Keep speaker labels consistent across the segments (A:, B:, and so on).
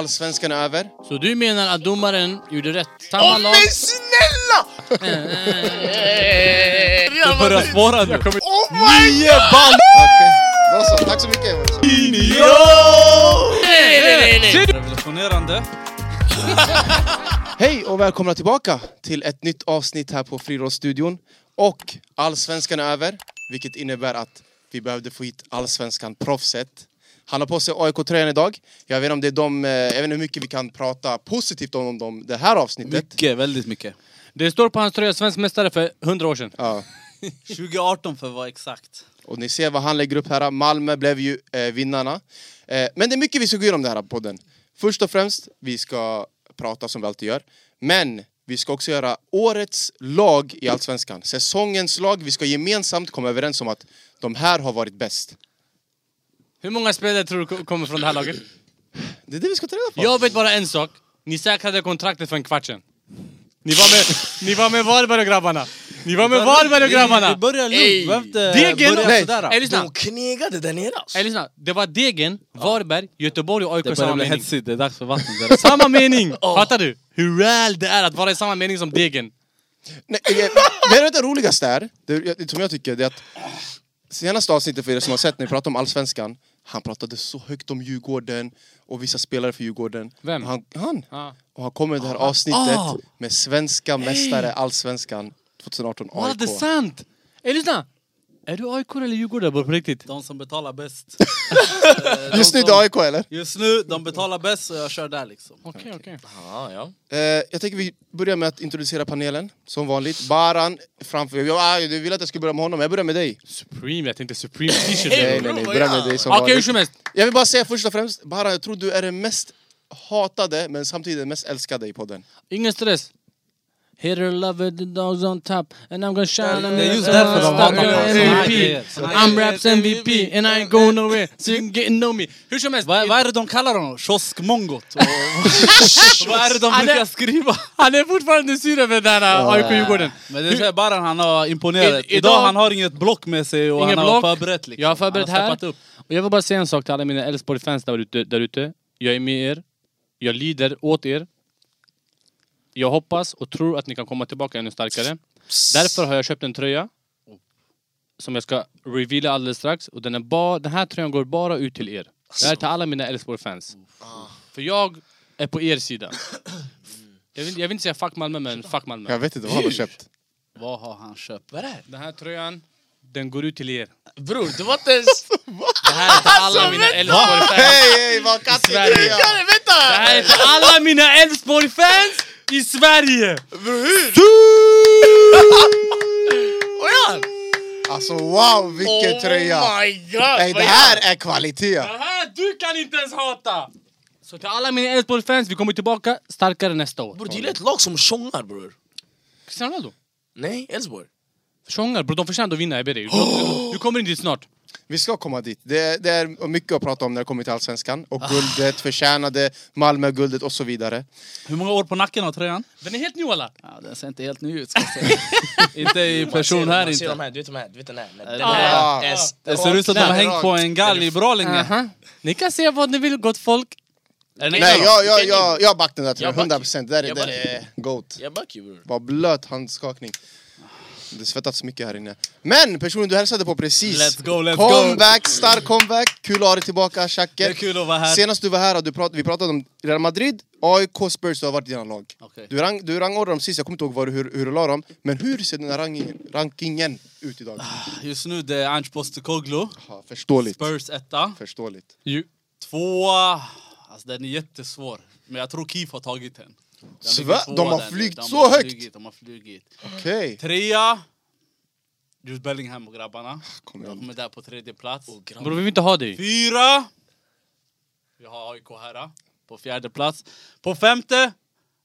A: Allsvenskan är över.
B: Så du menar att domaren gjorde rätt? Samma
A: Åh
B: lag?
A: men snälla!
B: Du börjar svara nu.
A: Oh my Nio god! band! Okej, då så. Tack så mycket.
C: Revolutionerande.
A: Hej och välkomna tillbaka till ett nytt avsnitt här på Friidrottsstudion. Och Allsvenskan är över, vilket innebär att vi behövde få hit Allsvenskan-proffset. Han har på sig AIK-tröjan idag. Jag vet, inte om det är de, eh, jag vet inte hur mycket vi kan prata positivt om dem det här avsnittet.
C: Mycket, väldigt mycket.
B: Det står på hans tröja, svensk mästare för 100 år sedan.
A: Ja.
C: 2018 för att vara exakt.
A: Och ni ser vad han lägger upp här. Malmö blev ju eh, vinnarna. Eh, men det är mycket vi ska gå igenom den här podden. Först och främst, vi ska prata som vi alltid gör. Men vi ska också göra årets lag i Allsvenskan. Säsongens lag. Vi ska gemensamt komma överens om att de här har varit bäst.
B: Hur många spelare tror du ko- kommer från det här laget?
A: Det är det vi ska ta reda på.
B: Jag vet bara en sak. Ni säkrade kontraktet för en kvart sedan. Ni var med, ni var med Varberg och grabbarna. Ni var med Varberg och
C: Vi
B: grabbarna.
C: börjar lugnt, behöver inte
B: Degen-
C: börja
A: Nej.
C: sådär.
B: Ey, lyssna.
D: De knegade där nere alltså.
B: Ey, lyssna. Det var Degen, Varberg, Göteborg och AIK
C: Det
B: samma
C: börjar bli
B: mening.
C: hetsigt, det är dags för vatten.
B: Samma mening! Fattar du? Hur väl det är att vara i samma mening som Degen.
A: Nej, eh, det är det roligaste är, det, det, som jag tycker, det är att senaste avsnittet för er som har sett när vi pratade om Allsvenskan, han pratade så högt om Djurgården och vissa spelare för Djurgården.
B: Vem?
A: Han, han.
B: Ja. Ah.
A: Och han kommer i det här avsnittet med svenska mästare Allsvenskan 2018
B: Walla,
A: AIK.
B: det är sant! Ey, lyssna! Är du AIK eller Djurgården bror, på riktigt?
C: De som betalar bäst. Eh,
A: Just nu är det AIK eller?
C: Just nu, de betalar bäst så jag kör där liksom.
B: Okej, okej.
D: Ja, ja.
A: Eh, jag tänker vi börjar med att introducera panelen, som vanligt. Baran framför... Jag, ah, du ville att jag skulle börja med honom, jag börjar med dig.
B: Supreme, jag tänkte Supreme t-shirt.
A: Nej,
B: Okej,
A: nej, nej,
D: vad
A: börja
D: gör
A: med
D: han?
A: dig som
B: hur
A: vanligt.
B: som helst.
A: Jag vill bara säga först och främst, Baran, jag tror du är den mest hatade, men samtidigt den mest älskade i podden.
B: Ingen stress. Hit or love it, the dogs on top And I'm gonna shine
C: Det är just därför de hatar
B: You're
C: mig. Såna här grejer,
B: MVP.
C: såna här
B: I'm
C: grejer.
B: raps MVP and I ain't going nowhere So you can get to know me. Hur som helst,
C: Vad, vad är det de kallar honom? Kioskmongot? Och- vad är det de
B: Han är-
C: brukar skriva?
B: han är fortfarande sur över den här AIK-Djurgården.
C: Men det är så här, bara han har imponerat.
B: I- idag-
C: Idag, han har inget block med sig och
B: Ingen
C: han har
B: block.
C: förberett liksom.
B: Jag har förberett
C: Han har
B: här.
C: steppat upp.
B: Och jag vill bara säga en sak till alla mina Elfsborg-fans där ute, där ute. Jag är med er. Jag lider åt er. Jag hoppas och tror att ni kan komma tillbaka ännu starkare. Därför har jag köpt en tröja. Som jag ska reveala alldeles strax. Och den, är ba, den här tröjan går bara ut till er. Det här är till alla mina Elfsborg-fans. För jag är på er sida. Jag vill, jag vill inte säga fuck Malmö, men fuck Malmö.
A: Jag vet inte vad han har köpt.
C: Vad har han köpt?
D: Vad är det här?
B: Den här tröjan, den går ut till er.
D: Bror, det var inte ens...
C: Alltså,
B: Det här är till alla mina Elfsborg-fans.
A: Hej, hej, vad kattig
B: Sverige.
A: grej!
D: Ja, men
B: Det
D: vänta!
B: här är till alla mina Elfsborg-fans i Sverige!
D: Vad är han?
A: Alltså wow, vilken tröja!
D: Oh my god! vad
A: Nej, det
D: gör
A: här
D: han?
A: är kvalitet!
B: Det här du kan inte ens hata! Så till alla mina Elfsborg-fans, vi kommer tillbaka starkare nästa år.
D: Bror, det är ju ett lag som tjongar bror.
B: Cristiano Ronaldo.
D: Nej, Elfsborg.
B: Tjongar bror, de förtjänar att vinna, jag ber dig. Du, du kommer in dit snart.
A: Vi ska komma dit. Det är, det är mycket att prata om när det kommer till Allsvenskan. Och guldet, förtjänade, Malmö-guldet och så vidare.
C: Hur många år på nacken har tröjan?
B: Den är helt ny alla.
C: Ja, den ser inte helt ny ut ska jag säga. inte i
D: Man ser
C: person
D: dem,
C: här
D: man ser de
C: inte.
D: här, du vet de här, du vet den här. Den
C: Ah.
D: här är
A: Ah.
C: Det ser ut som att de har
A: Den är
C: hängt på
A: rak.
C: en galg bra länge.
B: Ni kan säga vad ni vill gott folk.
C: Är den
A: Nej,
C: äkta
A: jag,
C: då?
A: jag, jag, jag backar den där tröjan.
D: Jag backar.
A: 100 procent. Det där är-
D: Jag
A: det där
D: backar.
A: är GOAT.
D: Jag backar ju bror.
A: Vad blöt handskakning. Det svettats mycket här inne. Men personen du hälsade på precis.
C: Let's go, let's go!
A: Comeback, stark comeback. Kul att ha dig tillbaka,
C: Det är
A: Shaker.
C: kul att vara här.
A: Senast du var här, har du prat, vi pratade om Real Madrid, AIK, Spurs, du har varit i dina lag.
C: Okej.
A: Du, rang, du rangordnade dem sist, jag kommer inte ihåg var, du- hur, hur du la dem. Men hur ser den här rankingen, rankingen ut idag?
C: Just nu det är Ange Postecoglou.
A: Aha, förståeligt.
C: Ah, Spurs etta.
A: Förståeligt.
C: Tvåa... Alltså den är jättesvår. Men jag tror Kif har tagit den. den
A: Svä-
C: ligger tvåa
A: de har
C: där nu.
A: flygt
C: de
A: så
C: har
A: högt?
C: Flugit, de har flugit.
A: Okej.
C: Trea... Jude Bellingham och grabbarna.
A: Kommer
C: De
A: jag-
C: kommer där på tredje plats.
B: Bror vi vill inte ha dig.
C: Fyra! Vi har AIK här. På fjärde plats. På femte...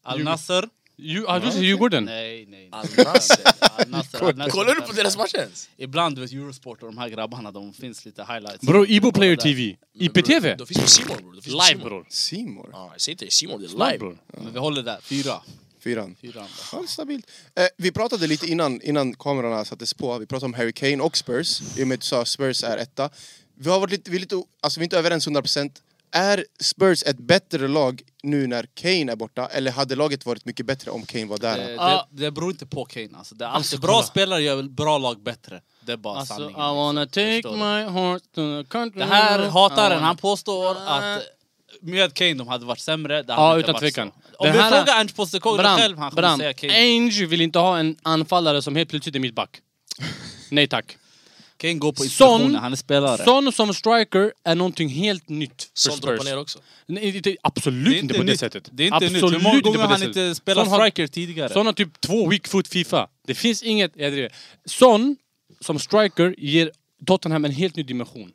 C: Al Nasser.
B: Ju, har du sett Djurgården?
C: Nej, nej, nej.
D: Al-Nasser.
C: Al Nasser, Al Nasser.
D: Kollar du på deras matcher ens?
C: Ibland, du vet, Eurosport och de här grabbarna, de finns lite highlights.
B: Bror, Ibo Player
C: Där.
B: TV.
D: Bror,
B: IPTV.
D: De finns på C More bror. De finns på C
B: Live
D: More.
B: bror.
A: Simor.
D: Ja, jag säger till dig, C More, det är
B: Live
D: live.
B: bror.
C: Men vi håller där. Fyra.
A: Fyran.
C: Fyra.
A: Ja, stabilt. Eh, vi pratade lite innan, innan kamerorna sattes på, vi pratade om Harry Kane och Spurs, i och med att du sa att Spurs är etta. Vi har varit lite, vi är lite, o- alltså vi är inte överens 100%. Är Spurs ett bättre lag nu när Kane är borta? Eller hade laget varit mycket bättre om Kane var där?
B: Eh,
C: Ah, det beror inte på Kane alltså. Det är alltid bra
B: kolla.
C: spelare gör bra lag bättre. Det är bara
B: Alltså, I
C: sanningen.
B: wanna take
C: Förstår du?
B: my horse to the country.
C: Det här
B: Mm.
C: hataren,
B: I
C: han påstår att med Kane de hade varit sämre. Det hade
B: Ja,
C: inte
B: utan
C: varit
B: tvekan.
C: så. Om
B: Den
C: vi
B: här-
C: frågar Ernst Postecoglou
B: Bram,
C: själv, han kommer
B: Bram,
C: säga Kane.
B: Ange vill inte ha en anfallare som helt plötsligt är mittback. Nej tack.
C: Kane går på
B: Son,
C: instruktioner, han är spelare.
B: Son som striker är någonting helt nytt för
D: Sånt droppar
B: Spurs.
D: ner också.
B: Nej, inte, absolut inte, på det
C: nytt.
B: sättet.
C: Det är inte
B: absolut
C: nytt. Hur många gånger
B: på
C: har
B: det
C: han
B: sättet.
C: inte spelat
B: Son har-
C: striker tidigare?
B: Son har typ två weak foot Fifa. Det finns inget... Jag driver. Son, som striker, ger Tottenham en helt ny dimension.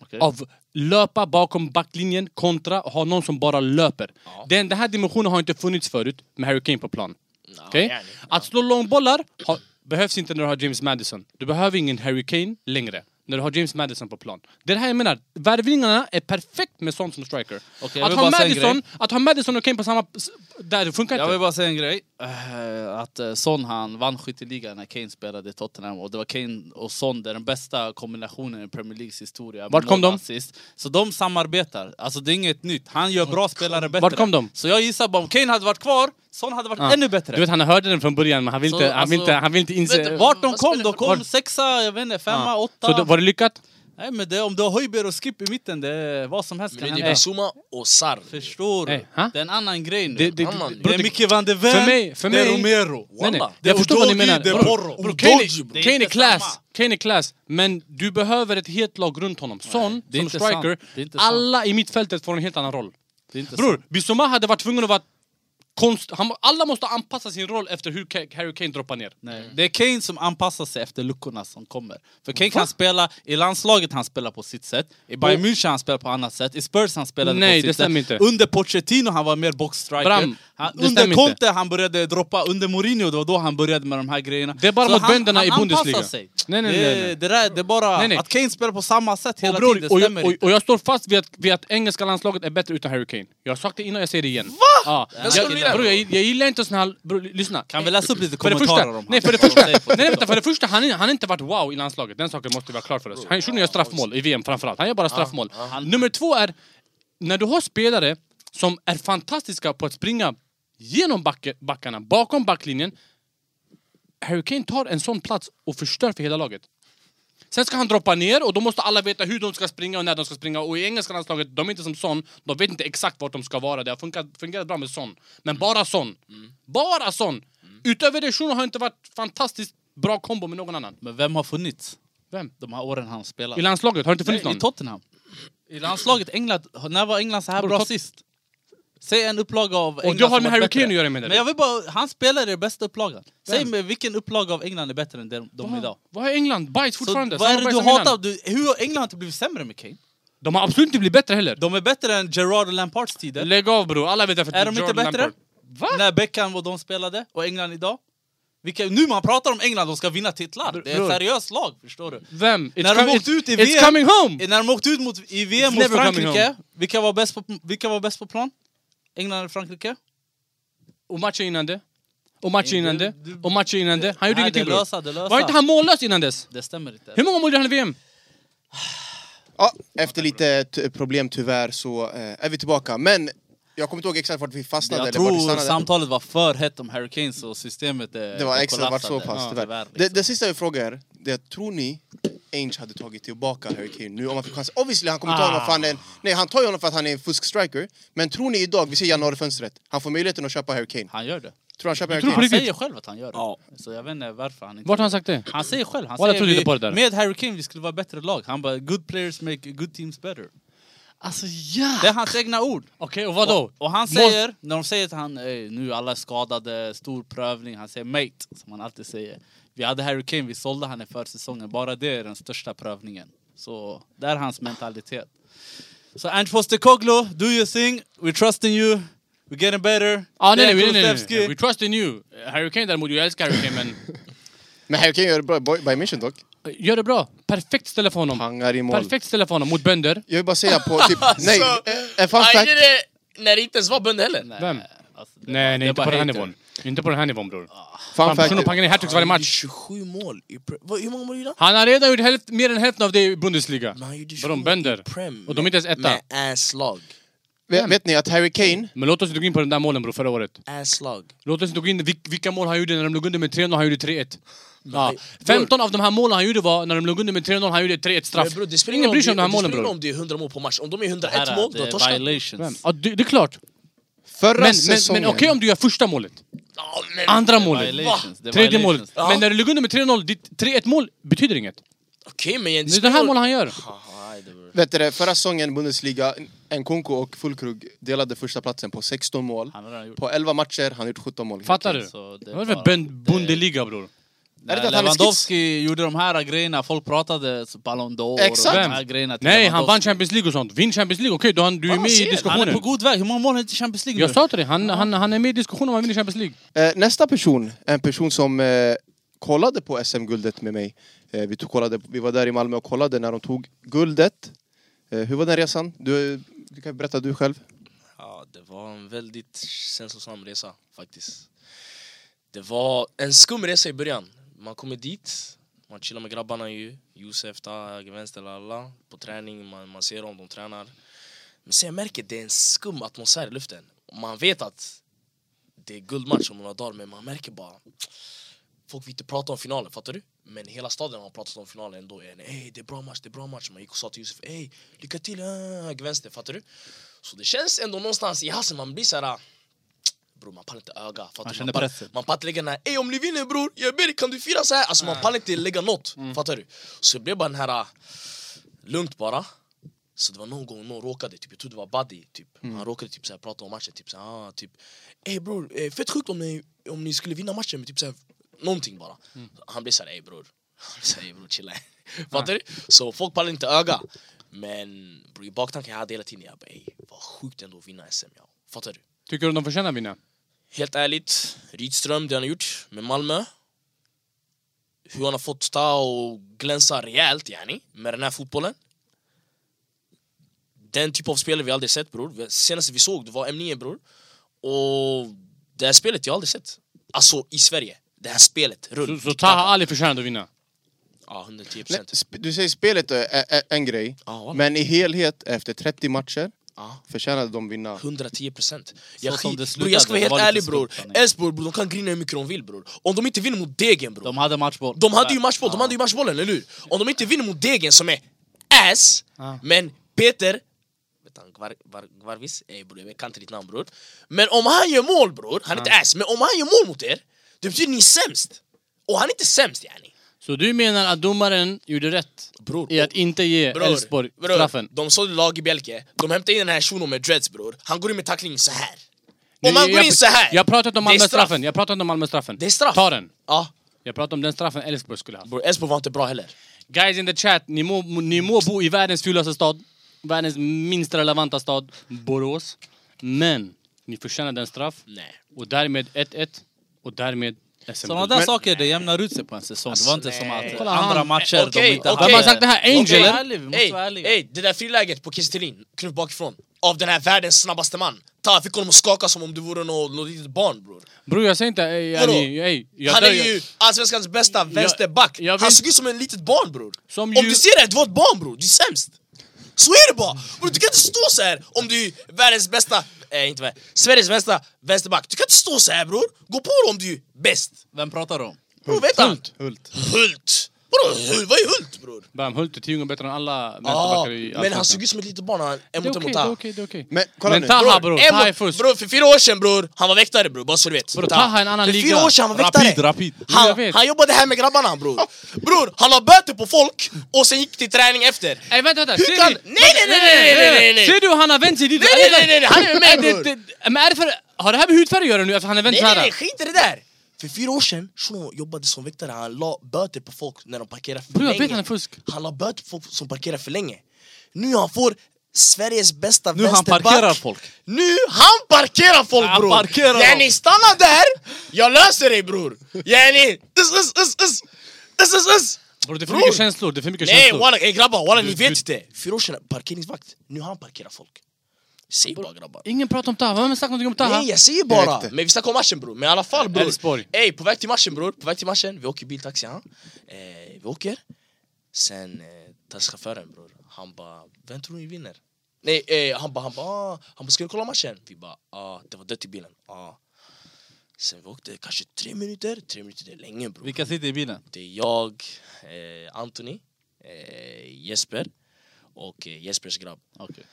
C: Okej.
B: Av löpa bakom backlinjen kontra ha någon som bara löper.
D: Ja.
B: Den, den här dimensionen har inte funnits förut med Harry Kane på plan.
D: Ja,
B: Okej?
D: gärna.
B: Att slå långbollar har, behövs inte när du har James Madison. Du behöver ingen Harry Kane längre. När du har James Madison på plan. Det är det här jag menar. Värvningarna är perfekt med sånt som striker.
C: Okej, jag
B: att,
C: vill
B: ha
C: bara säga en
B: Madison,
C: grej.
B: att ha Madison och Kane på samma... Där, det funkar
C: Jag
B: inte.
C: vill bara säga en grej. Eh, Att eh, Son han vann skytteligan när Kane spelade i Tottenham och det var Kane och Son, det är den bästa kombinationen i Premier Leagues historia.
B: Vart kom
C: Mål och
B: de?
C: Assist. Så de samarbetar, alltså det är inget nytt. Han gör bra spelare bättre.
B: Vart kom de?
C: Så jag gissar bara om Kane hade varit kvar, Son hade varit
B: Ja.
C: ännu bättre.
B: Du vet, han hörde den från början men han vill
C: Så,
B: inte, han vill
C: alltså,
B: inte, han vill inte
D: vet
B: inse...
D: du,
C: Vart de
D: Vad
C: kom,
D: spelar
C: de
D: för
C: kom
D: roll?
C: sexa, jag vet inte, femma, åtta.
B: Så då, var det lyckat?
C: Nej men det, om du har Höjbjerg och Skip i mitten, det är vad som helst
D: Men nu
C: kan
D: är det
C: hända.
D: Bissouma och Sarr.
C: Förstår
B: Nej,
C: du?
B: ha?
C: Det är en annan grej nu.
B: Det, det,
D: Annan
B: det-
C: Bro, det är Micke van de Ven,
B: För mig- för
C: det är
B: mig-
C: Romero.
B: Nej, nej.
D: Walla.
C: Det
B: Jag
C: är
B: förstår vad ni
C: Udogi,
B: menar.
C: det är
B: Bro,
C: Porro.
B: bro, Kane
D: Udogi, bro.
B: är- Kane
C: Det
B: är
C: är inte
B: class,
C: samma.
B: Kane är class, men du behöver ett helt lag runt honom. Son,
C: det är
B: som
C: inte
B: striker,
C: sant. Det är inte sant.
B: alla i mittfältet får en helt annan roll.
C: Det är inte
B: Bror, Bissouma hade varit tvungen att vara konst... Han, alla måste anpassa sin roll efter hur Ka- Harry Kane droppar ner.
C: Nej. Det är Kane som anpassar sig efter luckorna som kommer. För Kane kan spela i landslaget han spelar på sitt sätt, i Bayern
B: Och-
C: München han spelar på annat sätt, i Spurs han spelade
B: Nej,
C: på
B: det
C: sitt sätt.
B: stämmer inte.
C: Under Pochettino han var mer boxstriker.
B: Bram,
C: han,
B: det stämmer
C: under
B: inte.
C: Conte han började droppa, under Mourinho det var då han började med de här grejerna.
B: Det är bara
C: Så
B: mot
C: han,
B: bönderna
C: han
B: i Bundesliga.
C: anpassar sig.
B: Nej, nej,
C: det,
B: nej, nej.
C: Det, där, det är bara
B: Nej, nej.
C: att Kane spelar på samma sätt hela
B: och, bror,
C: tiden,
B: och,
C: stämmer
B: jag, och,
C: inte.
B: och jag står fast vid att, vid att engelska landslaget är bättre utan Harry Kane. Jag har sagt det innan, jag säger det igen. Va? Ja.
D: Vem ska
B: Jag,
D: du
B: bror,
D: lira med?
B: jag, jag gillar inte sån här... Bror, lyssna.
C: Kan vi läsa upp lite
B: För det
C: kommentarer
B: första,
C: om
B: nej, för det första, nej, nej, vänta, för det första han, han har inte varit wow i landslaget. Den saken måste vi ha klar för oss. Han Shunon gör straffmål i VM framförallt. Han gör bara straffmål. Nummer två är, när du har spelare som är fantastiska på att springa genom backe, backarna, bakom backlinjen. Harry Kane tar en sån plats och förstör för hela laget. Sen ska han droppa ner och då måste alla veta hur de ska springa och när de ska springa. Och i engelska landslaget, de är inte som Son. De vet inte exakt vart de ska vara. Det har funkat, fungerat bra med Son. Men bara Son. Bara Son! Utöver det, Shunon har inte varit fantastiskt bra kombo med någon annan.
C: Men vem har funnits
B: Vem?
C: de här åren han spelat?
B: I landslaget har det inte funnits
C: Nej,
B: någon.
C: I Tottenham. I landslaget England, när var England så här
B: Bror,
C: bra
B: Tot-
C: sist? Säg en upplaga av England
B: Och jag har
C: som
B: med
C: varit
B: Harry
C: bättre.
B: Kane att göra menar
C: Men
B: du?
C: jag vill bara, han spelar i den bästa upplagan. Säg
B: Vem?
C: mig vilken upplaga av England är bättre än de, de idag?
B: Vad- Vad är England? Bajs
C: Så,
B: fortfarande.
C: vad är
B: Samma
C: det
B: bajs
C: du
B: som innan.
C: hatar? Du, hur, England har inte blivit sämre med Kane.
B: De har absolut inte blivit bättre heller.
C: De är bättre än Gerard och Lampards tider.
B: Lägg av bror, alla vet att
C: är de inte
B: Jordan
C: bättre?
B: Lampard- Va?
C: När Beckham och de spelade, och England idag? Vilka, nu man pratar om England, de ska vinna titlar. Det är
B: Bror.
C: ett seriöst lag, förstår du?
B: Vem? It's
C: När de
B: com-
C: åkte ut i
B: it's- It's
C: VM.
B: coming home!
C: När de åkte ut mot, i VM
B: It's
C: mot
B: never coming
C: Frankrike, vilka var, bäst på, vilka var bäst på plan? England eller Frankrike?
B: Och matchen innan det. Och matchen innan det.
C: Du- du-
B: Och matchen innan det. Han gjorde
C: Nej,
B: ingenting
C: det
B: bror.
C: lösa, det lösa.
B: Var inte han mållös innan dess?
C: Det stämmer inte.
B: Hur många mål gjorde han i VM?
A: Ja, efter lite t- problem tyvärr så eh, är vi tillbaka. Men jag kommer inte ihåg exakt vart vi fastnade.
C: Jag
A: eller vart vi
C: tror
A: stannade.
C: samtalet var för hett om Hurricanes och systemet eh,
A: Det var extra, det var så
C: kollapsade.
A: pass
C: Ja,
A: tyvärr.
C: liksom.
A: det, det sista jag frågar er, det är, tror ni Ainge hade tagit tillbaka Harry Kane nu om han fick chansen? Obviously han kommer ta
B: Ah.
A: honom för han är en, Nej han tar ju honom för att han är en fuskstriker. Men tror ni idag, vi ser januarifönstret, han får möjligheten att köpa Harry Kane.
C: Han gör det.
A: Tror han köper Harry
B: tror på
A: Kane?
C: Han
B: det? riktigt?
C: säger själv att han gör det.
D: Ja.
C: Så jag vet inte varför han inte...
B: Vart har han sagt det?
C: Han säger själv, han
B: Walla,
C: säger
B: trodde inte
C: vi,
B: på det där.
C: med Hurricane vi skulle vara bättre lag. Han bara good players make good teams better.
B: Alltså ja!
C: Det är hans egna ord.
B: Okej, och vadå?
C: Och han
B: Mål-
C: säger, när de säger att han "Ey, nu alla är skadade, stor prövning, han säger mate, som han alltid säger. Vi hade Harry Kane, vi sålde han i försäsongen, bara det är den största prövningen. Så det är hans mentalitet. Så Ange Postecoglou, do your thing, we're trusting you, we're getting better.
B: Ah, nej,
C: Det är
B: nej, nej, nej, nej.
C: Kulusevski.
B: We trust in you. Harry Kane däremot, jag älskar Harry Kane men...
A: Men Harry Kane gör det bra i Bayern München dock.
B: Gör det bra. Perfekt ställe för honom.
A: Pangar i mål.
B: Perfekt ställe för honom mot bönder.
A: Jag vill bara säga på typ, nej, en fun fact.
D: Aj, det är det- När det inte ens var bönder heller.
B: Vem?
C: Alltså, det-
B: Nej, nej,
C: är
B: inte
C: bara
B: på den här
C: hater.
B: nivån. Inte på den här nivån bror.
A: Fun
B: Fan,
A: fact,
B: Bruno pangar ner hattricks varje
D: gjorde
B: match.
D: 27 mål i pre- Vad, Hur många mål gjorde han?
B: Han har redan gjort hälft, mer än hälften av det i Bundesliga.
D: Men han gjorde
B: Vadå,
D: 27
B: bönder?
D: i Prem.
B: Och de är inte ens etta.
D: Med anslag.
A: vet, vet ni att Harry Kane,
B: Men låt oss inte gå in på de där målen bror, förra året.
D: Anslag.
B: Låt oss inte gå in vil- vilka mål han gjorde när de låg under med 3-0 han gjorde 3-1. Ja.
D: Nej, bror.
B: 15 av de här målen han gjorde var när de låg under med 3-0 han gjorde 3-1 straff.
D: Men bror, det spelar
B: Ingen bryr sig om de
D: det-
B: här
D: det
B: målen
D: spelar ingen
B: bror.
D: om det är 100 mål på match. Om de är 101
C: Här,
D: mål,
C: det
D: du har
C: är
D: torskat.
B: Vem?
C: violations.
B: Ja, det, det är klart.
A: förra
B: Men, men,
A: säsongen...
B: men okej om du gör första målet.
D: Ja, men-
B: Andra målet.
C: Violations. Det är
B: Tredje
C: violations.
B: målet.
D: Ja.
B: Men när du ligger under med 3-0, ditt 3-1 mål betyder inget.
D: Okej, men...
B: Det är det här målet han gör.
D: Haha, nej, det var-
A: Vet du det, förra säsongen Bundesliga, Nkunku och Fulkrug delade första platsen på 16 mål.
C: Han har redan gjort
A: På 11 matcher, han har gjort 17 mål.
B: Fattar du?
C: Så det är
B: Vad är det
C: bara-
B: för bön- Bundesliga bror?
A: Är det att han är
C: Lewandowski gjorde de här grejerna, folk pratade så Ballon d'Or och
A: Exakt.
C: de
B: Vem?
C: här grejerna till
B: Nej, han vann
C: Lewandowski.
B: Champions League och sånt. Vinn Champions League, okej, då han- du är
D: Fan,
B: med i
D: ser.
C: Han är
B: diskussionen.
C: på god väg, hur många mål har inte Champions League
B: Jag
C: nu?
B: sa till dig, han, han, han är med i diskussionen om han vinner Champions League.
A: Eh, nästa person, en person som eh, kollade på SM-guldet med mig. Eh, vi, tog, kollade, vi var där i Malmö och kollade när de tog guldet. Eh, hur var den resan? Du, du kan berätta du själv.
D: Ja, det var en väldigt sensosam resa faktiskt. Det var en skum resa i början. Man kommer dit, man chillar med grabbarna ju. Josef, Taha, höger, vänster, alla. På träning, man, man ser dem, de tränar. Men sen jag märker det är en skum atmosfär i luften. Man vet att det är guldmatch om några dagar, men man märker bara... Folk vill inte prata om finalen, fattar du? Men hela staden har pratat om finalen ändå. Ey, det är bra match, det är bra match. Man gick och sa till Josef, ey, lycka till, äh, höger, vänster, fattar du? Så det känns ändå någonstans i halsen, man blir såhär Bror man pallar inte öga, fattar
C: Man
D: du?
C: känner
D: pallar-
C: pressen.
D: Man pallar inte lägga den här, ey om ni vinner bror, jag ber dig kan du fira så här? Alltså
C: Ah.
D: man pallar inte lägga något,
C: Mm.
D: fattar du? Så det blev bara den här, ah, lugnt bara så det var någon gång någon råkade, typ, jag tror det var Buddy, typ. han råkade typ, såhär, prata om matchen, typ såhär, ah, typ Ey bror, eh, fett sjukt om ni, om ni skulle vinna matchen med typ såhär, någonting bara Han blev såhär, ey bror, han blev såhär, ey bror chilla Fattar du? Så folk pallar inte öga Men bror, i baktanken jag hade hela tiden, jag bara ey, vad sjukt ändå att vinna SM ja. Fattar du?
B: Tycker du de förtjänar att vinna?
D: Helt ärligt, Rydström, det han har gjort med Malmö Hur han har fått ta och glänsa rejält yani, med den här fotbollen Den typ av spelare vi aldrig sett bror, senaste vi såg det var M9 bror Och det här spelet jag har aldrig sett Alltså i Sverige, det här spelet,
B: Så,
D: runt Typ
B: så Taha Ali förtjänade att vinna.
D: Ja, 110
A: Nej,
D: procent
A: sp- du säger spelet är, är, är en grej,
D: Ja, walla.
A: men i helhet efter 30 matcher
D: Ja.
A: förtjänade de vinna.
D: 110 procent. Jag,
C: som
D: skit-
C: det
D: bror,
C: slutade,
D: jag ska vara
C: det
D: helt
C: var lite
D: ärlig bror.
C: skumt, sanning.
D: Elfsborg bror, de kan grina hur mycket de vill bror. Om de inte vinner mot Degen bror.
C: De hade matchboll.
D: De hade ju matchboll, de hade ju matchbollen, eller hur? Om de inte vinner mot Degen som är ass, men Peter... Vet han, Gvar, Gvar, Gvarvis? Ey bror, jag kan inte ditt namn bror. Men om han gör mål bror, han är inte ass, men om han gör mål mot er, det betyder ni är sämst. Och han är inte sämst yani.
B: Så du menar att domaren gjorde rätt
D: Bror,
B: i att inte ge
D: Bror,
B: Elfsborg
D: bror,
B: straffen?
D: De sålde lag i Bjälke, de hämtade in den här shunon med dreads bror, han går in med tackling så här.
B: Nej,
D: Om han går
B: jag-
D: in så här,
B: Jag pratat om
D: det är straff.
B: Malmö-straffen. Jag pratat om Malmö-straffen.
D: Det är straff.
B: Ta den.
D: Ja,
B: Jag pratar om den straffen Elfsborg skulle ha. haft.
D: bror Elfsborg var inte bra heller.
B: Guys in the chat, ni må, ni må bo i världens fulaste stad. Världens minst relevanta stad, Borås. Men ni förtjänar den straff.
D: Nej.
B: Och därmed 1-1. Och därmed SM.
C: Sådana där
A: Men-
C: saker, det jämnar ut sig på en säsong. Det var inte som
D: nej.
C: att
D: Kolla,
C: andra
B: han-
C: matcher
D: Okej,
C: de inte
D: okej.
C: hade...
D: Vem har
B: sagt det här?
C: Vi måste
B: Angel, eller?
C: vara ärliga, vi måste
D: Ey,
C: vara ärliga.
D: ey, det där friläget på Kiese Thelin, knuff bakifrån. Av den här världens snabbaste man. Ta, fick honom att skaka som om du vore något nå litet barn bror.
B: Bror jag säger inte... Ey,
D: Vadå?
B: yani, ey, jag
D: han
B: dör-
D: är ju allsvenskans bästa vänsterback.
B: jag
D: han
B: vet-
D: såg ut som en litet barn bror.
B: Som
D: Om
B: ju-
D: du ser det, du var ett barn bror, du är sämst. Så är det bara! Bror, du kan inte stå så här om du är världens bästa, eh, inte världens, Sveriges bästa vänsterback. Du kan inte stå så här bror, gå på det om du är bäst.
C: Vem pratar du om?
D: Bror vet han?
B: Hult.
A: Hult.
D: Hult! Vadå Hult? Vad är Hult bror?
B: Bam, Hult är tio gånger bättre än alla
D: Ah,
B: vänsterbackar i
D: men han såg
B: Allsvenskan.
D: ut som ett litet barn, han, en
B: Det är
D: mot en
B: okej,
D: mot
B: det är
D: han.
B: okej, det är okej.
A: Men kolla
B: Men
A: nu.
B: Taha-
D: Bror,
B: bror.
D: en
B: Taha
D: mot-
B: är fusk.
D: bror, för fyra år sedan bror, han var väktare bror, bara så du vet.
B: Bror, Taha är en annan
D: för
B: liga.
D: fyra år sedan han var väktare.
C: Rapid, rapid.
B: Jo, jag
D: Han,
B: vet.
D: han jobbade här med grabbarna bror. Bror, han la böter på folk och sen gick till träning efter.
B: Ey vänta, vänta.
D: Hur
B: ser
D: kan-
B: ni-
D: Nej, nej, nej, nej, nej, nej, nej.
B: Ser du hur han har vänt sig dit?
D: Nej, nej, nej, nej, nej, han är med,
B: det-
D: bror.
B: det- Men är det för... Har det här med hudfärg att göra nu? Att han har vänt
D: Nej,
B: så
D: nej,
B: här?
D: nej, skit i det där! För fyra år sedan, shunon jobbade som väktare, han la böter på folk när de parkerade för
B: Bror, jag
D: länge.
B: vet han är fusk.
D: Han la böter på folk som parkerar för länge. Nu han får Sveriges bästa
C: Nu han
D: vänsterback.
C: parkerar folk.
D: Nu han parkerar folk
C: Han
D: bror!
C: parkerar dem.
D: yani, stanna där! Jag löser dig bror! Yani, us, us, us, us. Us, us, us.
B: Bror det är för
D: Bror.
B: mycket känslor, det är för mycket
D: Nej
B: känslor.
D: walla, ey, grabbar walla ni
B: Du-
D: vet
B: du-
D: inte! Fyra år sedan, parkeringsvakt, nu han parkerar folk Vi säger bara grabbar.
B: Ingen pratar om Taha, vem har sagt någonting om Taha?
D: Nej jag säger
A: Jag
D: bara!
A: vet inte.
D: Men vi snackar om matchen bror, men i alla fall bror!
B: Elfsborg.
D: Ey, på väg till matchen bror, på väg till matchen, vi åker biltaxi han. Eh, vi åker, sen eh, taxichauffören bror, han bara Vem tror ni vinner? Nej, eh, han bara, han bara, ah. han bara ska du kolla matchen? Vi bara ah, det var dött i bilen, ah. Sen vi åkte kanske tre minuter, tre minuter det är länge bror
C: Vilka sitter i bilen?
D: Det är jag, eh, Anthony, eh, Jesper och eh, Jespers grabb
C: Okej.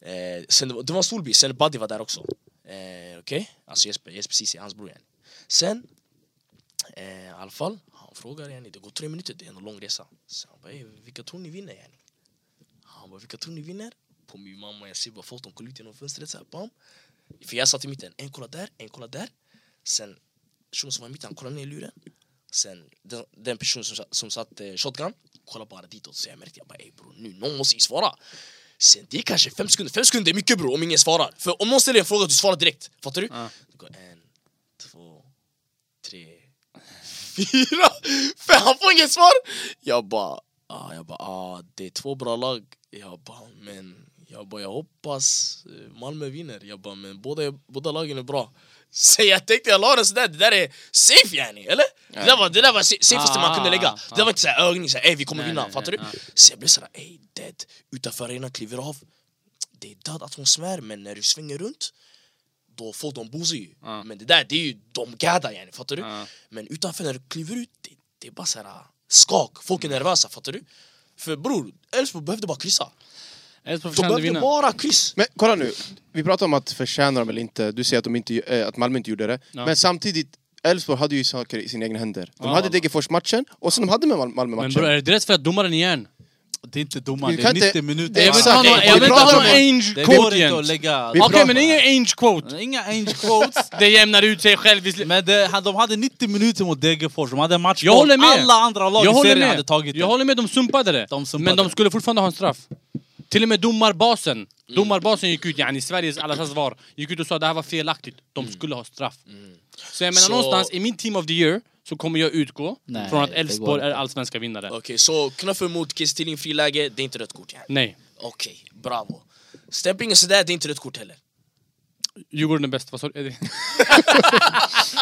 D: Eh, sen, det var- det var en stor by, sen Buddy var där också. Eh, Okej? Alltså Jesper, Jesper Ceesay, hans bror yani. Sen, eh, i alla fall, han frågar yani, det går tre minuter, det är en lång resa. Så han bara, "Ey, vilka tror ni vinner yani? Han bara, vilka tror ni vinner? På min mamma, jag ser bara foton kolla ut genom fönstret såhär, bam. För jag satt i mitten, en kollar där, en kollar där. Sen, personen som var i mitten, han kollade ner i luren. Sen den, den personen som, satt- som satt eh, shotgun kollade bara ditåt så jag märkte jag bara ey bror nu någon måste ju svara. Sen det är kanske fem sekunder, fem sekunder är mycket bror om ingen svarar. För om någon ställer en fråga du svarar direkt, fattar du?
B: Ja.
D: Det går en, två, tre, fyra, för han får inget svar. Jag bara, ah, jag bara ah, det är två bra lag. Jag bara men jag bara jag hoppas eh, Malmö vinner. Jag bara men båda, båda lagen är bra. Så jag tänkte jag la den sådär, det där är safe yani, eller? Det där var det där var sa- safeaste man kunde lägga. Det där var inte såhär ögning, såhär ey vi kommer
B: Ah, Nej,
D: vinna,
B: nej,
D: fattar
B: nej,
D: du? Så jag blev såhär ey dead, utanför arenan kliver av. Det är död att hon svär men när du svänger runt då får de boozar ju.
B: Ja.
D: Men det där det är ju de gadda yani, fattar du?
B: Ja.
D: Men utanför när du kliver ut, det, det är bara såhär skak, folk
B: Mm.
D: är nervösa, fattar du? För bror, Elfsborg behövde bara kryssa.
B: Elfsborg
D: De
B: förtjänade
D: behövde
B: vinna.
D: bara kryss.
A: Men kolla nu, vi pratar om att förtjäna dem eller inte. Du säger att, de inte, eh, att Malmö inte gjorde det.
B: Ja.
A: Men samtidigt, Elfsborg hade ju saker i sina egna händer. De
B: Ja,
A: hade
B: ja.
A: Degerfors-matchen och sen de hade med Mal-
B: Men
A: Malmö-matchen.
B: bror, är det direkt för att domaren är järn?
C: Det är inte domaren,
A: Vi
C: det
A: kan
C: är
A: inte-
C: 90 minuter.
A: det är
B: Jag vill inte
A: Exakt.
B: ha någon- jag
A: Vi
B: vill inte ha
A: pratar
B: någon
A: om-
B: ange
C: Det går
B: quote
C: inte
B: igen.
C: att lägga...
A: Vi
B: Okej
A: pratar-
B: men ingen ange quote.
C: Inga ange quotes.
B: Det jämnar ut sig själv. i slu-
C: Men det, de hade 90 minuter mot Degerfors, de hade en match
B: Jag
C: mot
B: håller med.
C: alla andra lag
B: Jag
C: i
B: håller
C: serien hade
B: med.
C: tagit
B: Jag
C: det.
B: håller med, de sumpade det.
C: De sumpade
B: men de
C: det.
B: skulle fortfarande ha en straff. Till och med domarbasen,
C: Mm.
B: domarbasen gick ut, yani Sveriges alla svar, gick ut och sa att det här var felaktigt. De
C: Mm.
B: skulle ha straff. Så jag menar
D: Så-
B: någonstans, i min team of the year så kommer jag utgå
C: Nej,
B: från att
C: det går
B: Elfsborg är
C: inte.
B: allsvenska vinnare.
D: Okej, så knuffen mot Kiese Thelin friläge, det är inte rött kort. ja.
B: Nej,
D: Okej, bravo. Stämpling och sådär, det är inte rött kort heller.
B: Djurgården är bäst. Vad sa du? Eh,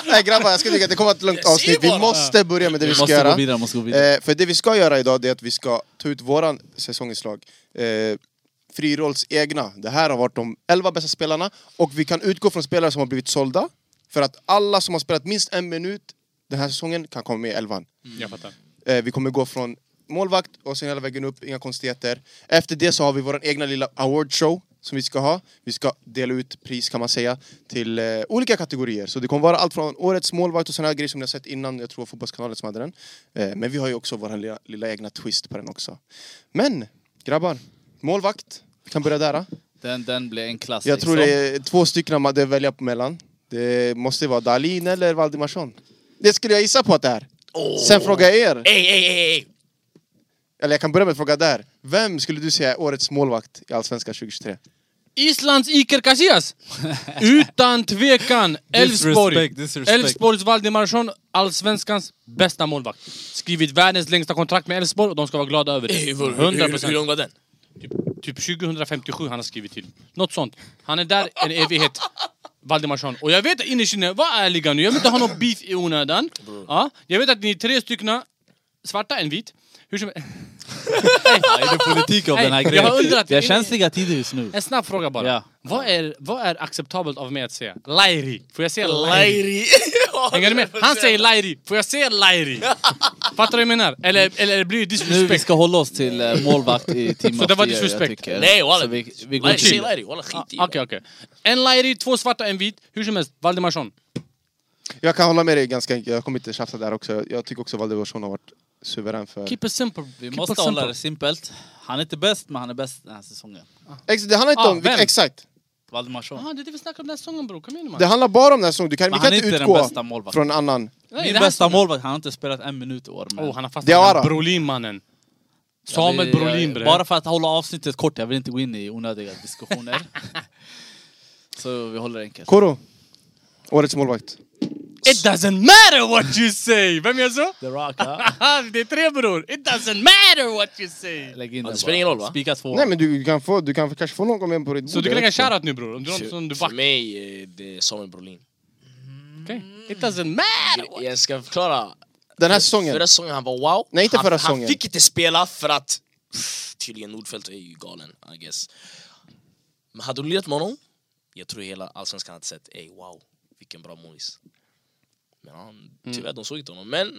A: Nej grabbar, jag ska tycka att det kommer ett långt
D: Jag ser
A: avsnitt. Vi
D: bara.
A: måste börja med det vi ska
C: måste
A: göra.
C: gå vidare, måste gå vidare.
A: Eh, för det vi ska göra idag det är att vi ska ta ut våran säsongslag. Eh, Frirolls egna. Det här har varit de 11 bästa spelarna. Och vi kan utgå från spelare som har blivit sålda. För att alla som har spelat minst en minut den här säsongen kan komma med i elvan.
C: Mm.
B: Jag fattar.
A: Eh, vi kommer gå från målvakt och sen hela vägen upp, inga konstigheter. Efter det så har vi vår egna lilla awardshow som vi ska ha. Vi ska dela ut pris kan man säga till eh, olika kategorier. Så det kommer vara allt från årets målvakt och sådana här grejer som ni har sett innan. Jag tror det var Fotbollskanalen som hade den. Eh, men vi har ju också vår lilla, lilla egna twist på den också. Men grabbar, målvakt. Vi kan börja där. Då.
C: Den, den blir enklast.
A: Jag tror
C: liksom.
A: det är två stycken man att välja på mellan. Det måste vara Dalin eller Valdimarsson. Det skulle jag gissa på att det är.
D: Oh.
A: Sen frågar jag er.
D: Ey, ey, ey, ey!
A: Eller jag kan börja med att fråga där. Vem skulle du säga är årets målvakt i Allsvenskan 2023?
B: Islands Iker Casillas! Utan tvekan Elfsborg!
C: Disrespect, disrespect.
B: Elfsborgs Valdimarsson, Allsvenskans bästa målvakt. Skrivit världens längsta kontrakt med Elfsborg och de ska vara glada över
D: ey
B: det.
D: hur, hur, hur, hur
B: 100%.
D: lång var den?
B: Typ, typ 2057 han har skrivit till. Något sånt. Han är där en evighet. Valdimarsson. Och jag vet in i sinne, var ärliga nu, jag vill inte ha någon beef i onödan. Ja, jag vet att ni är tre stycken svarta, en vit. Hur som
C: Är det politik om
B: Nej,
C: den här
B: jag
C: grejen?
B: har undrat.
C: Vi har känsliga tider just nu.
B: En snabb fråga bara.
C: Ja.
B: Vad, är, vad är acceptabelt av mig att säga? Lairi. Får jag säga lairi?
D: Lairi!
B: Hänger du med? Han säger lairi. Alltså, Får jag säga lairi? Fattar du vad jag menar? Eller, eller blir det
C: Nu vi
B: disrespect?
C: ska hålla oss till eh, målvakt i team
B: Så
C: of
B: det var
C: the year, jag
B: disrespect.
C: tycker.
D: Nej
C: Så
D: walla,
C: vi, vi går
D: Lairi, säg
C: till.
D: Lairi, walla skit i
B: Ah, Okej, okej. En lairi, två svarta, en vit. Hur som helst, Valdimarsson.
A: Jag kan hålla med dig ganska enkelt, jag kommer inte tjafsa där också. Jag tycker också Valdivarsson har varit suverän för...
B: Keep it simple.
C: Vi
B: Keep
C: måste
B: it simple.
C: hålla det simpelt. Han är inte bäst, men han är bäst den här säsongen.
A: Ex det handlar inte
B: Ah,
A: om... vilka-
B: vem?
A: Exakt!
C: Valdemarsson.
B: Ah, det är det vi snackar om den här säsongen bror, kom igen man.
A: Det handlar bara om den här säsongen, du kan, vi
C: Men
A: kan
C: han är
A: inte
C: inte den
A: utgå
C: bästa målvakten.
A: från en annan.
B: Nej,
C: Min
B: det här
C: bästa
B: säsongen.
C: målvakt, han har inte spelat en minut i år. Men...
B: Oh, han har fastnat
A: Diawara.
B: med Brolin-mannen.
C: Jag vill-
B: Samuel Brolin
C: jag-
B: bre.
C: Bara för att hålla avsnittet kort, jag vill inte gå in i onödiga diskussioner. Så vi håller det enkelt.
A: Koro, årets målvakt.
B: It doesn't matter what you say! Vem gör så?
C: The Rock, ja.
B: det är tre bror! It doesn't matter what you say!
C: Lägg in
D: Ja, det
C: den bara.
D: spelar ingen roll, va?
C: Spika två.
A: Nej men du kan, få, du kan kanske få någon med på ditt bord.
B: Så du kan
A: jag
B: lägga en
A: vet inte.
B: shoutout nu bror, om du har något som du
D: För
B: backar.
D: mig är det Samuel Brolin.
B: Okej. It doesn't matter!
D: Jag- Jag ska förklara.
A: Den här säsongen.
D: Förra säsongen han var wow.
A: Nej, inte
D: han,
A: förra
D: Han
A: säsongen.
D: fick inte spela för att pff, tydligen Nordfeldt är ju galen, I guess. Men hade du lirat med honom, jag tror hela allsvenskan hade sett ey wow, vilken bra målis. Men han,
A: Mm.
D: tyvärr, de såg inte honom. Men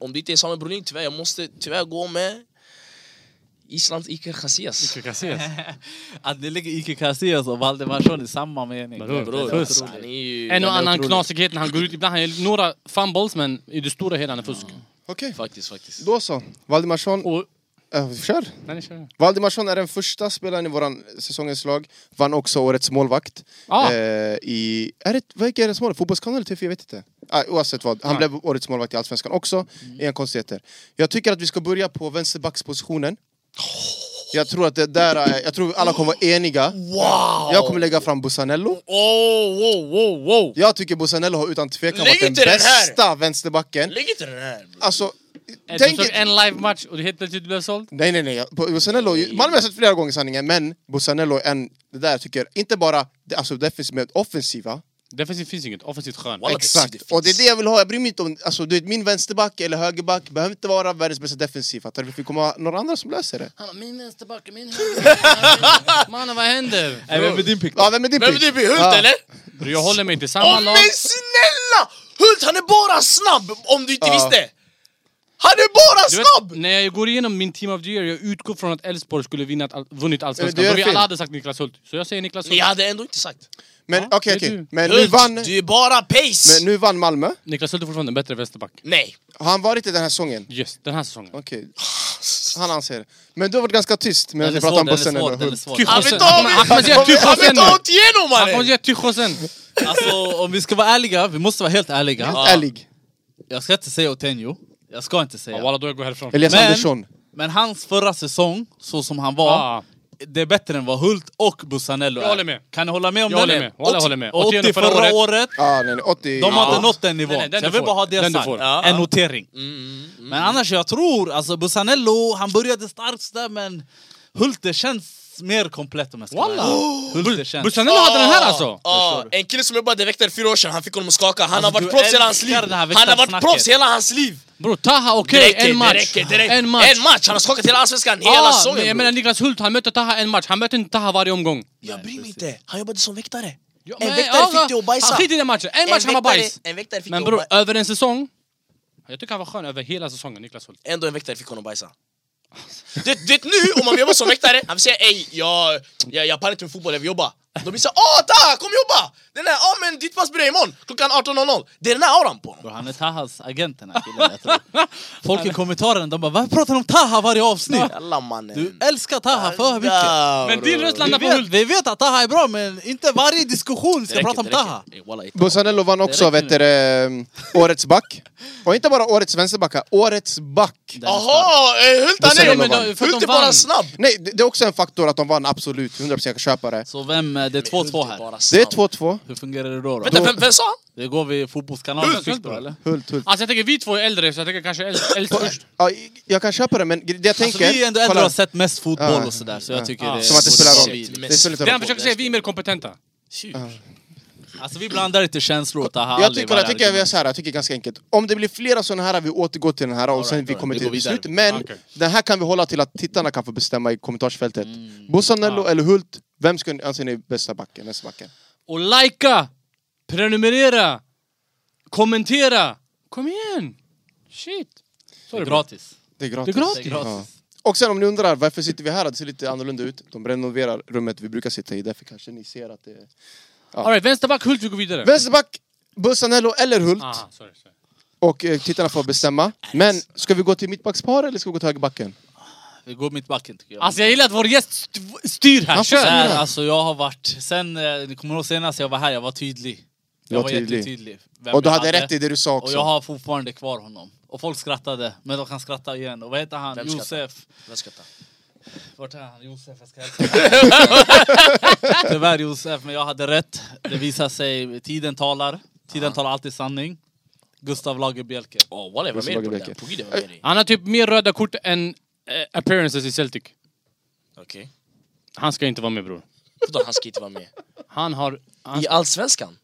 D: om det inte är Samuel Brolin, tyvärr, jag måste tyvärr gå med Islands Iker Casillas.
B: Ska ses.
C: Att ni lägger Ike Casillas och Valdemarsson i samma mening.
B: Bror,
D: Bror,
C: Det är
B: fusk.
C: otroligt.
D: han är ju...
B: En och
D: han är
B: annan
D: otrolig.
B: knasighet när han går ut. Ibland han gör några fumbles, men i det stora hela han är fusk.
A: Okej,
D: Faktiskt, faktiskt.
A: då så. Valdimarsson.
B: Och...
A: Äh, kör!
B: Nej, ni kör.
A: Valdimarsson är den första spelaren i våran säsongens lag. Vann också årets målvakt.
B: Ah.
A: Eh, i, är det, vad är årets målvakt? Fotbollskanalen eller TV? Jag vet inte. Ah, oavsett vad. Han
B: Nej.
A: blev årets målvakt i Allsvenskan också. Inga konstigheter. Jag tycker att vi ska börja på vänsterbackspositionen. Jag tror att det där är, jag tror alla kommer vara eniga.
D: Wow!
A: Jag kommer lägga fram Bussanello.
D: Oh, wow, wow, wow!
A: Jag tycker Bussanello har utan tvekan
D: Lägg
A: varit den
D: inte den här!
A: bästa vänsterbacken.
D: Lägg inte den här! bror.
A: Alltså,
B: Eh, Du
A: tänk...
B: såg en live-match och det helt plötsligt blev såld?
A: Nej, nej, nej. jag- Bussanello... Malmö har jag sett flera gånger sanningen, men Bussanello är en... Det där tycker jag, inte bara det- alltså, defensivt, men offensiva.
B: Defensivt finns inget, offensivt skönt.
D: Walla, det
A: Exakt.
D: ser det
A: och det är
D: finns.
A: det jag vill ha. Jag bryr mig inte om... Alltså, du vet, min vänsterback eller högerback behöver inte vara världens bästa defensiv. Fattar du? Det får komma några andra som löser det.
B: Han bara, min vänsterback, min höger. Mannen vad händer?
C: Även med din pick.
A: Ja, vem är din
D: Men det
A: pick?
D: blir Hult
A: Ja.
D: eller?
B: Bror, jag håller mig till samma
D: Ja,
B: lag.
D: men snälla! Hult han är bara snabb om du inte
A: Ja.
D: visste! Han är bara
B: Du
D: snabb!
B: vet, när jag går igenom min Team of the Year, jag utgår från att Elfsborg skulle vinna, all- vunnit
A: Du
B: Allsvenskan.
A: gör
B: Då vi
A: fel.
B: alla hade sagt Niklas Hult. Så jag säger Niklas
D: Ni
B: Hult.
D: hade ändå inte sagt.
A: Men
B: Ja,
A: okej,
B: det är
A: okej.
B: du.
A: Men nu
D: Hult,
A: vann...
D: du är bara pace!
A: Men nu vann Malmö.
B: Niklas Hult är fortfarande en bättre vänsterback.
D: Nej.
A: Har han varit i den här säsongen?
B: Yes, den här säsongen.
A: Okej. Han anser. Men du har varit ganska tyst medan
C: Den
A: vi
C: är
A: pratar om
C: svår, den är svår,
A: Bussanello.
C: den är
A: Hult.
C: svår.
B: Tycho
D: Han
B: sen.
D: vet inte om-
B: Han kommer säga Tycho
D: Han vet
B: sen
D: inte
B: typ nu. typ
D: ha åkt igenom
B: Han kommer
D: mannen!
B: säga Tycho sen.
C: Alltså om vi ska vara ärliga, vi måste vara helt ärliga.
A: Helt ärlig.
C: Jag ska inte säga Otenjo. Jag ska inte
B: Ja,
C: säga.
B: Walla, då jag går härifrån.
A: Elias
C: Men-
A: Andersson.
C: Men hans förra säsong, så som han var,
B: Ah.
C: det är bättre än vad Hult och Bussanello
B: Jag
C: är.
B: håller med.
C: Kan ni hålla med om
B: Jag
C: den?
B: håller med. Walla, jag håller med.
C: 80,
B: 80
C: förra,
B: förra året.
C: året,
A: Ah, nej, nej, 80.
C: de har
A: Ja.
C: inte nått den nivån.
B: Nej, nej, den
C: så jag
B: du
C: vill
B: får.
C: bara ha det
B: Den du
C: sagt.
B: får. Mm,
C: Ja, En notering. Men annars, jag tror, alltså Bussanello, han började starkt sådär men Hult, det känns mer komplett om jag ska vara
B: Walla. Oh!
C: ärlig. Hult, det känns...
B: Bussanello hade den här alltså!
D: Ja, en kille som jobbade väktare fyra år sedan, han fick honom att skaka. Han
C: Alltså,
D: har varit
C: du
D: proffs hela hans liv.
C: älskar det här
D: Han har varit
C: väktarsnacket.
D: proffs hela hans liv.
B: Bror, Taha
D: Det
B: okej,
D: räcker,
B: en
D: det
B: match.
D: räcker, det räcker.
B: En match.
D: En match! Han har skakat hela allsvenskan hela
B: Ah,
D: säsongen.
B: men jag
D: bror.
B: menar Niklas Hult, han mötte Taha en match. Han mötte inte Taha varje omgång.
D: Jag bryr mig inte, han jobbade som väktare.
B: Ja,
D: En
B: men,
D: väktare
B: ja,
D: fick dig att bajsa.
B: Han skit i den matchen. En match han var
D: väktare-
B: bajs.
D: En väktare fick
B: Men
D: dig att
B: bror,
D: bajsa.
B: över en säsong. Jag tycker han var skön över hela säsongen, Niklas Hult.
D: Ändå en väktare fick honom bajsa. Det, det nu, om man jobbar som väktare, han vill säga ey, jag, jag, jag pallar inte med fotboll, jag vill jobba. De blir såhär åh ta, kom jobba! Den där, ja men ditt pass börjar imorgon klockan 18.00. Det är den här auran på honom.
C: Bror, han är Tahas agent den här killen jag tror. Folk i kommentaren de bara varför pratar de om Taha varje avsnitt?
D: Jävla mannen.
C: Du älskar Taha för mycket.
D: Ja,
B: Men
D: bror.
B: din röst
C: Vi
B: landar på
C: vet,
B: Hult.
C: vi vet att Taha är bra men inte varje diskussion
D: Det
C: ska
D: räcker,
C: prata om
D: det räcker.
C: Taha.
D: Ey, wallah, ey.
A: Bussanello vann också vet du, eh, årets back. Och inte bara årets vänsterbacka, årets back.
C: Den är stark.
D: Jaha, eh, Hult han
A: Bussanello
D: är...
A: vann.
B: Men då- för att
D: Hult
B: de
D: är bara
B: vann.
D: snabb.
A: Nej, det det är också en faktor att de vann, absolut. 100% jag kan köpa det.
C: Så vem, eh, det är 2-2 här.
A: Det är 2-2.
C: Hur fungerar det då?
D: Vänta,
C: då?
D: vem, vem sa han?
C: Det går vi fotbollskanalen
B: Hult,
C: fick bra
B: Hult,
C: eller?
A: Hult, Hult.
B: Alltså jag tänker vi två är äldre, så jag tänker kanske äldst äldst först.
A: Ja, jag kan köpa det, men det jag
C: Alltså,
A: tänker...
C: vi är ändå äldre
A: kolla.
C: och har sett mest fotboll
A: Ja.
C: och sådär så jag tycker
B: Ja.
C: det
A: Som att det spelar roll.
D: Shit, men-
A: Det spelar inte
B: Det han
A: roll.
B: försöker säga, vi är mer kompetenta.
C: Alltså vi blandar inte känslor och Taha
A: Jag
C: Ali i
A: tycker,
C: varje
A: jag, tycker jag,
C: argument.
A: gör så här, jag tycker ganska enkelt. Om det blir flera sådana här, vi återgår till den här och sen vi
C: alright,
A: kommer
C: vi
A: till
C: går vidare.
A: beslut. Men
B: Okej.
A: den här kan vi hålla till att tittarna kan få bestämma i kommentarsfältet.
C: Mm.
A: Bussanello eller Hult, vem ska, ni- anser ni är bästa backen? Nästa backen?
B: Och likea! Prenumerera! Kommentera! Kom igen! Shit!
C: Det är gratis.
A: Det är
B: Det är
A: gratis.
B: gratis.
C: Det är
A: Ja.
C: gratis.
A: Och sen om ni undrar varför sitter vi här, det ser lite annorlunda ut. De renoverar rummet vi brukar sitta i, därför kanske ni ser att det är...
B: Alright, vänsterback, Hult, vi går vidare.
A: Vänsterback, Bussanello eller Hult.
B: Ah, sorry, sorry.
A: Och eh, tittarna får bestämma. Men ska vi gå till mittbackspar eller ska vi gå till högerbacken?
C: Vi går mittbacken tycker jag.
B: Alltså jag gillar att vår gäst st- styr här,
A: Han får
B: kör!
A: styra.
C: Där, alltså jag har varit, sen, eh, ni kommer ihåg senast jag var här, jag var tydlig.
A: Du var
C: Jag var
A: tydlig.
C: jättetydlig. Vem
A: Och du
C: jag
A: hade rätt i det du sa
C: Och
A: också.
C: jag har fortfarande kvar honom. Och folk skrattade, men de kan skratta igen. Och vad heter han?
D: Vem skrattar?
C: Josef.
D: Vem ska ta?
C: Vart är han? Josef, jag ska hälsa. Tyvärr Josef, men jag hade rätt. Det visar sig, tiden talar. Tiden talar alltid sanning. Gustav Lagerbielke.
D: Åh, walla jag var
A: Gustav
D: med på det där.
A: Lagerbäck.
D: På gud, jag var med dig.
B: Han har typ mer röda kort än eh, appearances i Celtic.
D: Okej.
B: Han ska inte vara med bror.
D: Vadå, han ska inte vara med?
B: Han har... Han,
D: I Allsvenskan?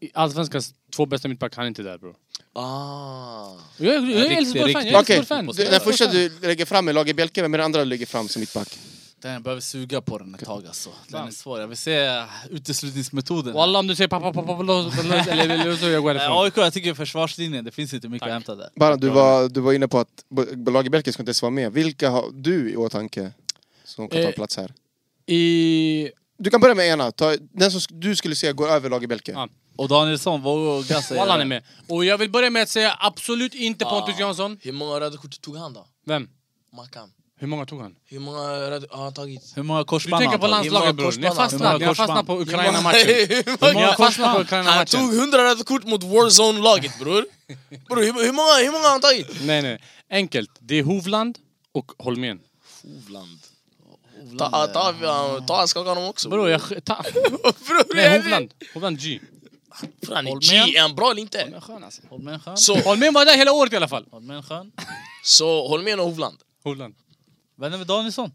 B: i Allsvenskans två bästa mittback, han är inte där bror.
D: Ah.
B: Jag, jag, jag är
C: riktig,
B: Elfsborg-fan,
C: riktig.
B: jag är
A: Okej,
B: Elfsborg-fan.
A: d- den första du lägger fram är Lager Bjelke, men den andra du lägger fram som mittback?
C: Den behöver suga på den ett tag alltså. Den är svår. Jag vill se uteslutningsmetoden.
B: Walla om du säger pappa, pappa, förlåt, eller eller- eller så jag går
C: Eh,
B: härifrån.
C: AIK, jag tycker försvarslinjen, det finns inte mycket
B: Tack.
C: att hämta där.
A: Bara, du, var, du var inne på att B- Lager Bjelke ska inte ens vara med. Vilka har du i åtanke som kan ta
B: Eh.
A: plats här?
B: I...
A: Du kan börja med ena. Ta, den som sk- du skulle säga går över Lager Bjelke.
B: Ja.
C: Och Danielsson vågar säga...
B: Walla han är med. Och jag vill börja med att säga absolut inte Pontus
D: Ah.
B: Jansson.
D: Hur många röda kort tog han då?
B: Vem?
D: Mackan.
B: Hur många tog han?
D: Hur många röda har han tagit?
C: Hur många
B: Du
C: korsband
B: tänker
C: har
B: på
C: han tagit?
B: landslaget bror, ni har fastnat, ni har fastnat på Ukraina-matchen. Ni har fastnat på
D: Han
B: Ukraina-matchen.
D: tog 100 röda kort mot Warzone-laget bror. Bror, hur, hur, många, hur många har han tagit?
B: Nej nej, enkelt. Det är Hovland och Holmén.
D: Hovland. Ta, ta, ta, ta skaka honom också.
B: Bror jag... sk- Ta...
D: Bror,
B: Nej Hovland. Hovland G.
D: Bror, han är G,
C: Holmén.
D: är han bra eller inte?
B: Men skön alltså.
C: Håll med en skön.
D: Så,
B: Holmén var där hela året i alla fall.
C: Håll med en skön.
D: så Holmén och Hovland.
B: Hovland.
C: Vänner med Danielsson.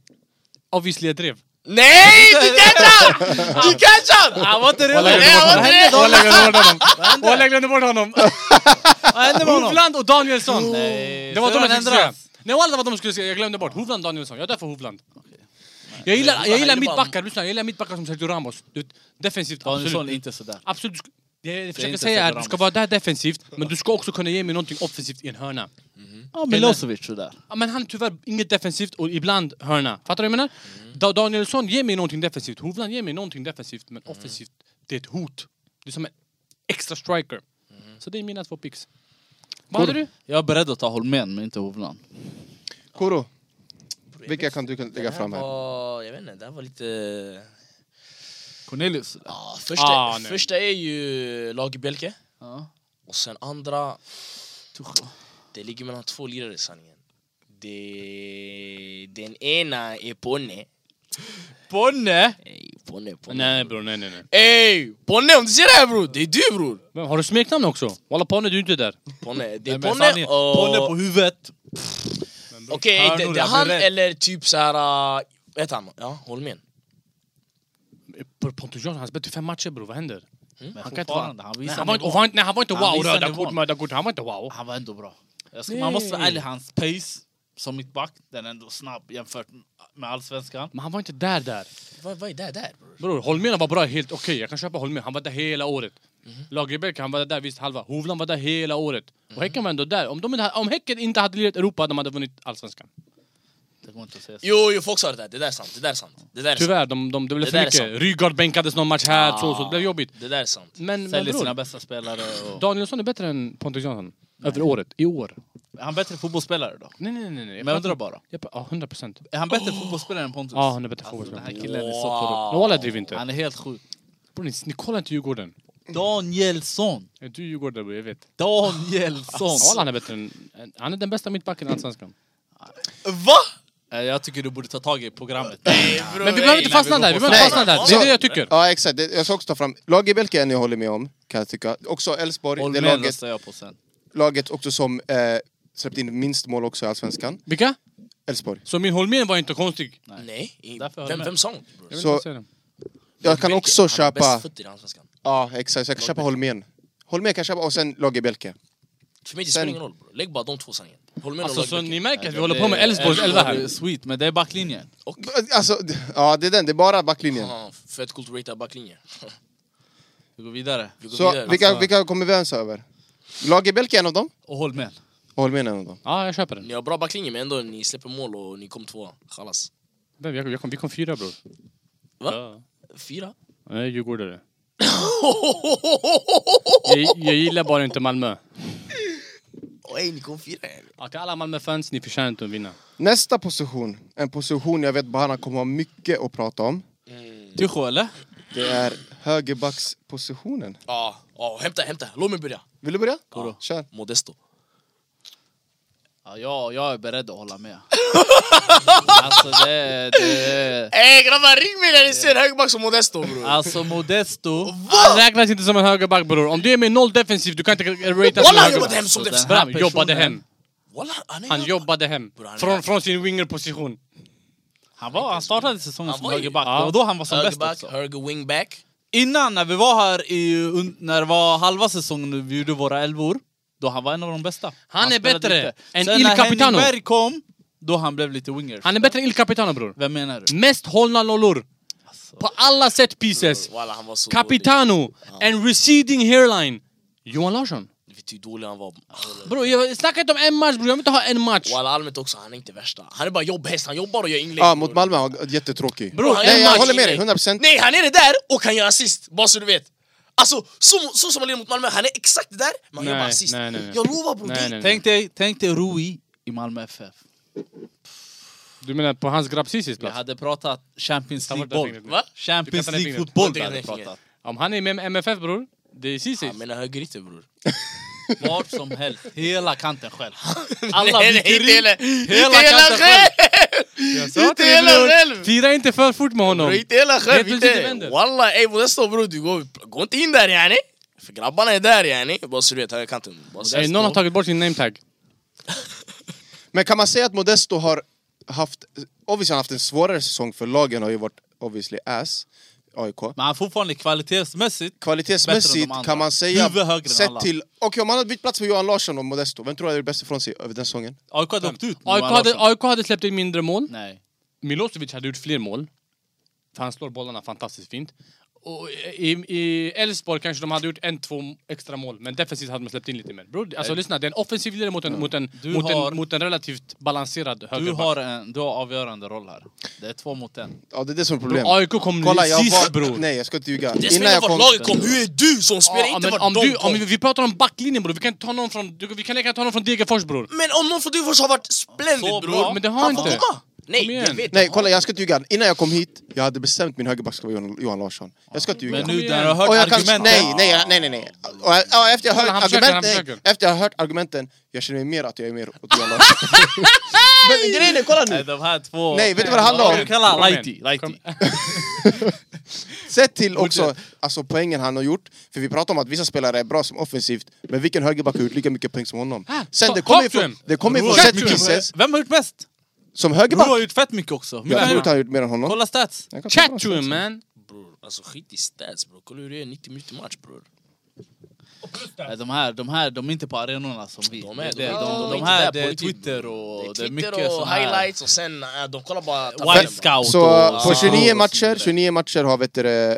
B: Obviously jag drev.
D: Nej! Du catchar! Du catchar! Han var inte redo!
B: Walla jag glömde
D: Nej, han var inte redo!
B: bort honom. Walla, jag glömde bort honom. Walla, jag glömde bort honom.
C: Vad hände med honom?
B: Hovland och Danielsson.
C: Nej,
B: Det var de
C: Sören
B: jag skulle säga.
C: ändras.
B: Nej walla vad de skulle säga, jag glömde bort. Hovland Danielsson, jag är där för Hovland. Jag gillar, jag gillar
D: Han gillar bara-
B: mittbackar, lyssna, jag gillar mittbackar som Sergio Ramos. Du, vet, defensivt,
C: Danielsson är
B: absolut.
C: inte sådär.
B: absolut. du sk- Det jag försöker
C: inte
B: säga är
C: Sergio
B: att du ska
C: Ramos.
B: vara där defensivt, men du ska också kunna ge mig någonting offensivt i en hörna.
C: Ja,
B: Milosevic
C: Milosevic sådär.
B: Ja, Men han är tyvärr inget defensivt och ibland hörna. Fattar du vad jag menar? Da Danielsson ger mig någonting defensivt, Hovland ger mig någonting defensivt, men offensivt, det är ett hot. Du är som en extra striker. Så det är mina två picks. Vad hade du?
C: Jag är beredd att ta Holmén, men inte Hovland.
A: Koro, vilka kan du kan lägga fram här?
D: Var, jag vet inte, det här var lite...
C: Cornelius sådär.
D: Ja, första,
B: Ah, nej.
D: första är ju Lagerbjälke.
C: Ja.
D: Och sen andra... Det ligger mellan två lirare i sanningen. Det, den ena är Ponne.
C: Bonne!
D: Ey, Ponne, Ponne.
B: Nej bror, nej nej nej.
D: Ey, Ponne om du ser det här bror! Det är du bror!
B: Men har du smeknamn också? Walla Ponne, du är inte där.
D: Ponne, det är
C: Nej, men
D: Ponne
C: sanningen, Ponne på
D: och...
C: huvudet.
D: Okej,
C: Hörnor,
D: det, det är
C: jag blir
D: han
C: rädd.
D: eller typ såhär... Vad heter han? Ja, Holmén.
B: Bror, Pontus Jansson, han spelade fem matcher bror, vad händer?
C: Men
B: Han kan inte vara...
C: fortfarande, Mm. han
B: Nej,
C: visar
B: han var inte, och
C: nivån.
B: var inte, nej, han var inte
C: Han
B: wow,
C: visar
B: röda
C: nivån.
B: kort, röda kort, han var inte wow.
C: Han var ändå bra. Jag ska,
B: Nej.
C: man måste vara ärlig, hans pace som mittback, den är ändå snabb jämfört med allsvenskan.
B: Men han var inte där där.
D: Vad vad är det där bror?
B: Bror, Holmén var bra helt okej, jag kan köpa Holmén, han var där hela året. Lagerbäck, han var där visst halva. Hovland var där hela året. Och Häcken var ändå där. Om, de, inte- om Häcken inte hade lirat Europa, de hade vunnit Allsvenskan.
C: Det går inte att säga så.
D: Jo, jo, folk sa det där. Det där är sant. Det där är sant. Det där är sant.
B: Tyvärr, de, de, det blev
D: Det
B: för
D: där är
B: mycket. Rygaard bänkades någon match här, så, så det blev jobbigt.
D: Det där är sant.
B: Men, men
C: Säljer sina
B: bror,
C: bästa spelare. Och...
B: Danielsson är bättre än Pontus Jansson. Över året, i år.
C: Är han bättre fotbollsspelare då?
B: Nej, nej, nej. nej. Jag
C: Men jag
B: pratar-
C: undrar bara.
B: jag pra- Ja, 100 procent.
C: Är han bättre fotbollsspelare än Pontus?
B: Ja, han är bättre
C: Den
B: fotbollsspelare.
C: här killen är så korrupt.
D: Wow.
B: Men walla, jag driver inte.
C: Han är helt sjuk.
B: Bror, ni- ni kollar inte Djurgården.
C: Danielsson!
B: Är Du är Djurgårdare, bror, jag vet.
C: Danielsson!
B: Walla, han är bättre än... Han är den bästa mittbacken i Allsvenskan.
D: Va?
C: Eh, Jag tycker du borde ta tag i programmet.
B: Men vi behöver inte fastna där, vi behöver inte fastna där. Det är det jag tycker.
A: Ja exakt, Det- jag ska också ta fram Lagerbälke än jag håller med om, kan jag tycka. Också Elfsborg, det
C: Holmén
A: laget,
C: röstar jag på sen.
A: laget också som eh, släppt in minst mål också i Allsvenskan.
B: Vilka?
A: Elfsborg.
B: Så min Holmén var inte konstig.
D: Nej. i-
C: Därför har
D: Vem,
C: jag
D: vem sa hon?
B: Jag vill
A: Så-
B: inte säga det.
A: Jag kan också
D: Han är
A: köpa...
D: bäst fötter i Allsvenskan.
A: Ja exakt, så jag kan köpa Holmén. Holmén kan jag köpa och sen Lagerbälke.
D: För mig det spelar
A: Sen-
D: ingen roll. Bro. Lägg bara de två sanningen. Håll med
B: Alltså, så
D: om
B: ni märker att vi håller på med Elfsborgs elva här.
C: Sweet, men det är backlinjen.
A: B- Alltså, d- ja det är den, det är bara backlinjen.
D: Ja, Fett coolt ratead backlinje.
C: Vi går vidare.
D: Vi går
A: Så
D: vidare.
A: vilka,
C: Alltså-
A: vilka kommer vi ens över? Lagerbälke är en av dem,
C: Och Holmén.
A: och Holmén är en av dem.
B: Ja, jag köper den.
D: Ni har bra backlinje men ändå ni släpper mål och ni kom tvåa. Chalas.
B: Vem, jag, jag kom, vi kom fyra bror.
D: Va?
B: Ja.
D: Fyra?
B: Jag är djurgårdare. Jag, jag gillar bara inte Malmö.
D: Oj, ni kom fyra. ja.
B: Ja, till alla Malmö-fans, ni förtjänar inte att vinna.
A: Nästa position, en position jag vet Bahana kommer ha mycket att prata om.
C: Tycho, eller?
A: Det är högerbackspositionen.
D: Ja, ja, hämta, hämta. Låt mig börja.
A: Vill du börja?
D: Ja.
A: Kör.
D: Modesto.
C: Ja, jag, jag är beredd att hålla med. alltså, det, det,
D: Ey grabbar E, ring mig när ni ser högerback som Modesto bror!
C: alltså Modesto...
B: Han räknas inte som en högerback bror. Om du är med noll defensivt, du kan inte ratea som
D: Walla
B: en
D: han jobbade
B: högerback.
D: hem som
C: Så
D: defensiv!
C: den här
B: Bram jobbade
C: personen-
B: hem.
D: Walla han är
B: Han jobbade hem.
D: Bror, han är-
B: Från, från sin wingerposition.
C: Han, var, han startade säsongen
D: Han
C: som
D: var ju-
C: högerback,
B: ja.
C: det var då han var som bäst
D: Högerback,
C: också.
D: höger wingback.
C: Innan, när vi var här, i, un- när det var halva säsongen och vi gjorde våra elvor, då han var en av de bästa.
B: Han är
C: spelade
B: bättre
C: lite.
B: än
C: Sen
B: Il
C: när
B: Capitano.
C: Henning Berg kom, då han blev lite winger.
B: Han är bättre än Il Capitano bror.
C: Vem menar du?
B: Mest hållna nollor. På alla set pieces.
D: Walla han var så
B: Capitano, en receding hairline. Johan Larsson.
D: dålig. Vet du hur dålig han var?
B: Bror, jag snackar inte om en match bror. Jag vill inte ha en match.
D: Walla allmänt också, han är inte värsta. Han är bara jobbhäst, han jobbar och gör inlägg.
A: Ja, mot
D: bror.
A: Malmö, han var jättetråkig.
D: Bror, han
A: Nej,
D: är
A: jag
D: match-
A: håller med dig, 100%.
D: Nej, han är det där och han gör assist, bara så du vet. Alltså, så, så som han leder mot Malmö, han är exakt det där, men han gör
B: Nej,
D: bara assist.
B: nej, nej, nej.
D: Jag lovar bror,
B: Nej,
D: det
B: nej,
D: är-
B: nej.
C: Tänk dig, tänk dig Rui i Malmö FF.
B: Du menar på hans grabb Cissis
C: Vi
B: plats?
C: hade pratat Champions
B: Ta bort det
C: League-boll.
B: fingret nu.
D: Va?
C: Champions
B: Du kan ta ner fingret.
C: League-fotboll
D: Du
C: vi
D: kan ta ner
C: hade
D: fingret.
C: pratat.
B: Om han är med MFF bror, det är Cissis.
D: Han menar högerytter bror.
C: Var som helst, hela kanten själv.
D: Alla
C: Nej, nej,
D: viker
C: inte
D: in.
C: hela-
D: Inte
C: hela
D: hela
C: kanten
D: själv!
B: Jag sa
D: Inte
B: till dig,
D: hela
B: bror,
D: själv!
B: Fira inte för fort med honom.
D: Bror, inte hela själv,
B: Helt plötsligt
D: inte.
B: vänder.
D: Walla, ey Modesto bror, du går, gå inte in där yani. För grabbarna är där yani. Bara så du vet, högerkanten. Bara så-
B: Ey, Någon har tagit bort sin nametag.
A: Men kan man säga att Modesto har haft, obviously han har haft en svårare säsong för lagen har ju varit obviously ass, AIK.
C: Men han är fortfarande kvalitetsmässigt Bättre än
A: Kvalitetsmässigt
C: de andra.
A: kan man säga,
C: Huvud högre än
A: sett
C: alla.
A: till... Okej, om han hade bytt plats med Johan Larsson och Modesto, vem tror du hade gjort bäst ifrån sig över den säsongen?
C: AIK hade åkt ut.
B: AIK
C: Johan
B: hade,
C: Larsson.
B: AIK hade släppt in mindre mål.
C: Nej.
B: Milosevic hade gjort fler mål. För han slår bollarna fantastiskt fint. Och i- I Elfsborg kanske de hade gjort en, två extra mål, men defensivt hade man släppt in lite mer. Bror, alltså lyssna, det är en offensiv ledare mot en, mot en,
C: Du
B: mot
C: har-
B: en, mot en relativt balanserad
C: Du
B: högerback.
C: har, en, du har avgörande roll här. Det är två mot en.
A: Ja, det är det som är problemet.
B: AIK kom
A: Kolla, jag
B: sist
A: var...
B: bror.
A: Nej, jag ska inte ljuga.
D: Det spelar
A: Innan
D: ingen
A: jag
D: roll
A: kom...
D: vart laget kom, hur är du som spelar?
B: Ja,
D: inte
B: men
D: vart
B: om
D: de
B: du,
D: kom.
B: om vi, vi pratar om backlinjen bror, vi kan inte ta någon från, du, vi kan lika gärna ta någon från Degerfors bror.
D: Men om någon från Djurgården har varit splendid
C: Så
D: bror,
C: bra.
B: Men det har
D: han får
B: inte.
D: komma! Nej,
B: Kom
D: jag
B: igen.
D: vet.
A: Nej, kolla, jag ska inte ljuga. Innan jag kom hit, jag hade bestämt min högerback ska vara Johan- Johan Larsson. Jag ska inte ljuga.
C: Men
B: Kom
C: nu
B: igen.
C: när du har hört
A: Och jag kan,
C: argumenten...
A: nej, nej, jag- nej, nej, nej. Och, jag- ja, efter, jag hört
B: Han försöker, han
A: argumenten,
B: försöker.
A: efter jag har hört argumenten, jag känner mig mer att jag är mer åt Johan Larsson. Men grejen är, kolla
C: Nej,
A: nu!
C: de här två...
A: Nej, vet du vad det handlar om?
C: Du kallar
B: Kom igen.
C: Laiti. Laiti.
A: Sett till också alltså, poängen han har gjort, för vi pratar om att vissa spelare är bra som offensivt, men vilken högerback har gjort lika mycket poäng som honom?
B: Ah,
A: Sen
B: ta-
A: det kommer ju
B: talk to
A: från,
B: him.
A: det kommer ju från
B: Roar,
A: set
B: talk to him.
A: pieces,
C: Vem har gjort mest?
A: som
C: Du har
A: högerback.
C: gjort fett mycket också. Hur
A: Jag
C: mycket
A: tror att han
C: har du?
A: har gjort mer än honom.
C: Kolla stats.
A: Jag kan kolla
B: Chat
A: på
B: to him
A: stats.
B: man!
D: Bror, alltså skit i stats bror. Kolla hur det är 90 minuter match bror.
C: Nej, de, här, de här, de är inte på arenorna som vi.
D: De är-
C: det,
D: de-
C: de,
D: de- de är
C: de,
D: inte där
C: här,
D: på
C: det är
D: riktigt.
C: Twitter och...
D: Det är
C: mycket
D: Twitter
C: sån
D: och
C: här-
D: highlights och sen eh, de kollar bara tabellen.
C: Wild scout
A: Så
C: och...
A: på
C: sånt.
A: 29 matcher, 29 matcher har vet du, det,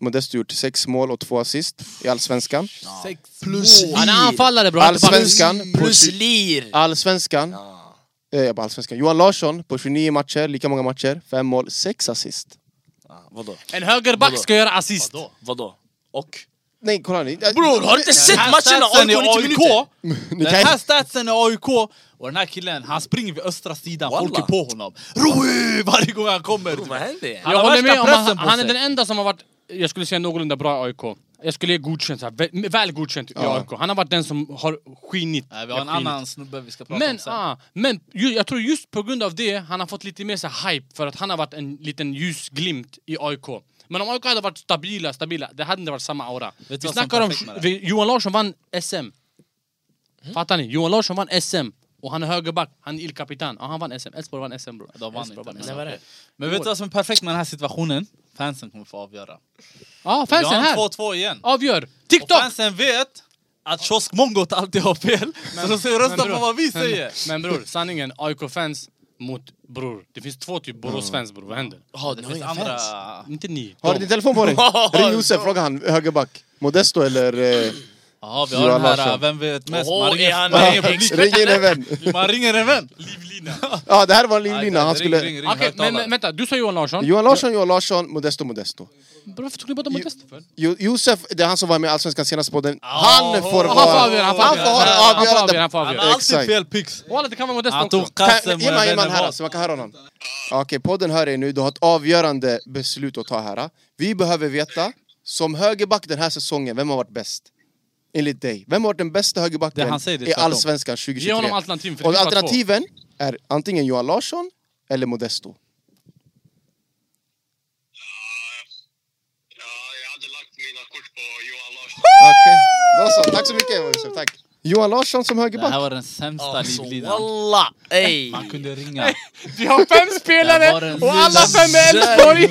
A: Modesto gjort sex mål och två assist i Allsvenskan.
C: Sex
D: Plus
C: mål.
B: Han är
D: lir.
B: anfallare bror, han är inte back.
A: Allsvenskan på
D: Plus
A: tju-
D: lir!
A: Allsvenskan.
D: Ja.
A: Eh, jag bara allsvenskan. Johan Larsson på 29 matcher, lika många matcher, fem mål, sex assist.
D: Ja, Vadå?
B: En högerback ska göra assist.
C: Vadå?
D: Vadå? Och?
A: Nej, kolla ni. Eh,
D: Bror, har du inte sett
C: Den här
D: matcherna
C: statsen
D: AIK 90
C: är
D: minuter?
A: ni
C: Den
A: kan-
C: här statsen är AIK och den här killen, han springer vid östra sidan,
D: Walla.
C: folk är på honom. Rui! Varje gång han kommer.
D: Bror, vad händer?
C: Han
B: jag
C: har
B: håller
C: värsta
B: med om han,
C: pressen på
B: han är
C: sig.
B: den enda som har varit, jag skulle säga någorlunda bra i AIK. Jag skulle ge godkänt, så här, väl, väl godkänt i
A: Ja.
B: AIK. Han har varit den som har skinit.
C: Nej, vi har en
B: skinit.
C: annan snubbe vi ska prata om
B: Men,
C: sen.
B: ah, men ju, jag tror just på grund av det han har fått lite mer så här hype för att han har varit en liten ljusglimt i AIK. Men om AIK hade varit stabila, stabila, det hade inte varit samma aura.
C: du
B: vi
C: vad som
B: snackar om
C: perfekt med det? Mm.
B: vi, Johan Larsson vann SM. Fattar ni? Johan Larsson vann SM. Och han är högerback, han är illkapitan. Ja, han vann SM. Elfsborg vann SM bror.
C: De vann
B: Elfsborg
C: inte,
B: vann
C: men-
B: SM.
C: Nej, vad är
B: Ja,
C: det? Men vet du vad som är perfekt med den här situationen? Fansen kommer få avgöra. Vi
B: fansen
C: har en
B: här!
C: 2-2 igen.
B: Avgör!
C: Och
B: TikTok!
C: fansen vet att kioskmongot alltid har fel, så de ska rösta
B: bror,
C: på vad vi säger.
B: Men, men bror, sanningen, AIK-fans mot bror. Det finns två typ Borås-fans bror, vad händer?
D: Ja,
C: Det
D: ni har
C: finns
D: inga
C: andra...
D: fans.
B: Inte ni.
A: Har du din telefon på dig? Ring Josef, fråga han, högerback. Modesto eller... Eh,
C: Jaha, vi har
A: Johan
C: den här,
A: Larsson.
C: äh, vem vet mest?
D: Åh,
C: Man
D: är han-
C: ringer, man ringer publik.
A: ring in en vän.
C: Man ringer en vän.
B: Livlina.
A: Ja, det här var en livlina.
C: Nej,
A: Han
C: ring,
A: skulle...
C: ring, ring,
B: Okej, men,
C: högtalare.
B: men vänta, du sa Johan Larsson.
A: Johan Larsson, Johan Larsson, Modesto, Modesto.
B: Bror, varför tog ni båda Modesto för?
A: Jo, Josef, det är han som var med i Allsvenskan senast podden. Han får
B: Han får avgöra,
A: vara...
B: han får
A: Han får ha
B: avgöra.
A: det
B: Han får avgöra,
A: avgörande.
B: han får
C: Han
B: avgöra.
C: har alltid
A: Exakt.
C: fel picks.
B: Walla, det kan vara Modesto
C: Han
B: också.
C: tog kassen
A: Kan-
C: på
A: Ge mig, ge mig
C: den vännen
A: här
C: bak.
A: så man kan höra honom. Ja, Okej, podden hör er nu. Du har ett avgörande beslut att ta här. Vi behöver veta, som högerback den här säsongen, vem har varit bäst? enligt dig? Vem har den bästa högerbacken
C: Det han säger, det är
A: i
C: tvärtom.
A: Allsvenskan
B: Ge
A: 2023?
B: honom alternativ, för det
A: Och
B: finns bara två.
A: alternativen är antingen Johan Larsson eller Modesto.
E: Ja, jag hade lagt mina kort på Johan Larsson.
A: Okej, då så. Tack så mycket Yusuf, tack. Johan Larsson som
C: Det här
A: högerback.
C: var den sämsta
D: Alltså
C: livlinan.
D: walla! Ey!
C: Man kunde ringa.
B: Vi har fem
C: Det var
B: spelare
C: en
B: och alla
C: liten
B: fem är Elfsborg!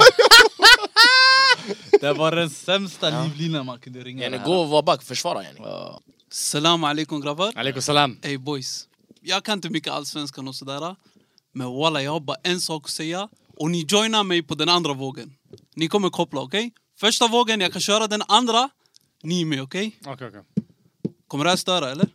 C: Det var den sämsta livlinan man kunde ringa.
D: Yani
C: det här.
D: gå och var back, försvara yani.
C: Ja.
F: Salam alaikum grabbar.
B: Alaikum salam.
F: Ey boys. Jag kan inte mycket allsvenskan och sådär. Men walla jag har bara en sak att säga. Och ni joinar mig på den andra vågen. Ni kommer koppla, okej? Första vågen, jag kan köra den andra. Ni är med, okej?
B: Okej, okej.
F: Kommer det här störa eller?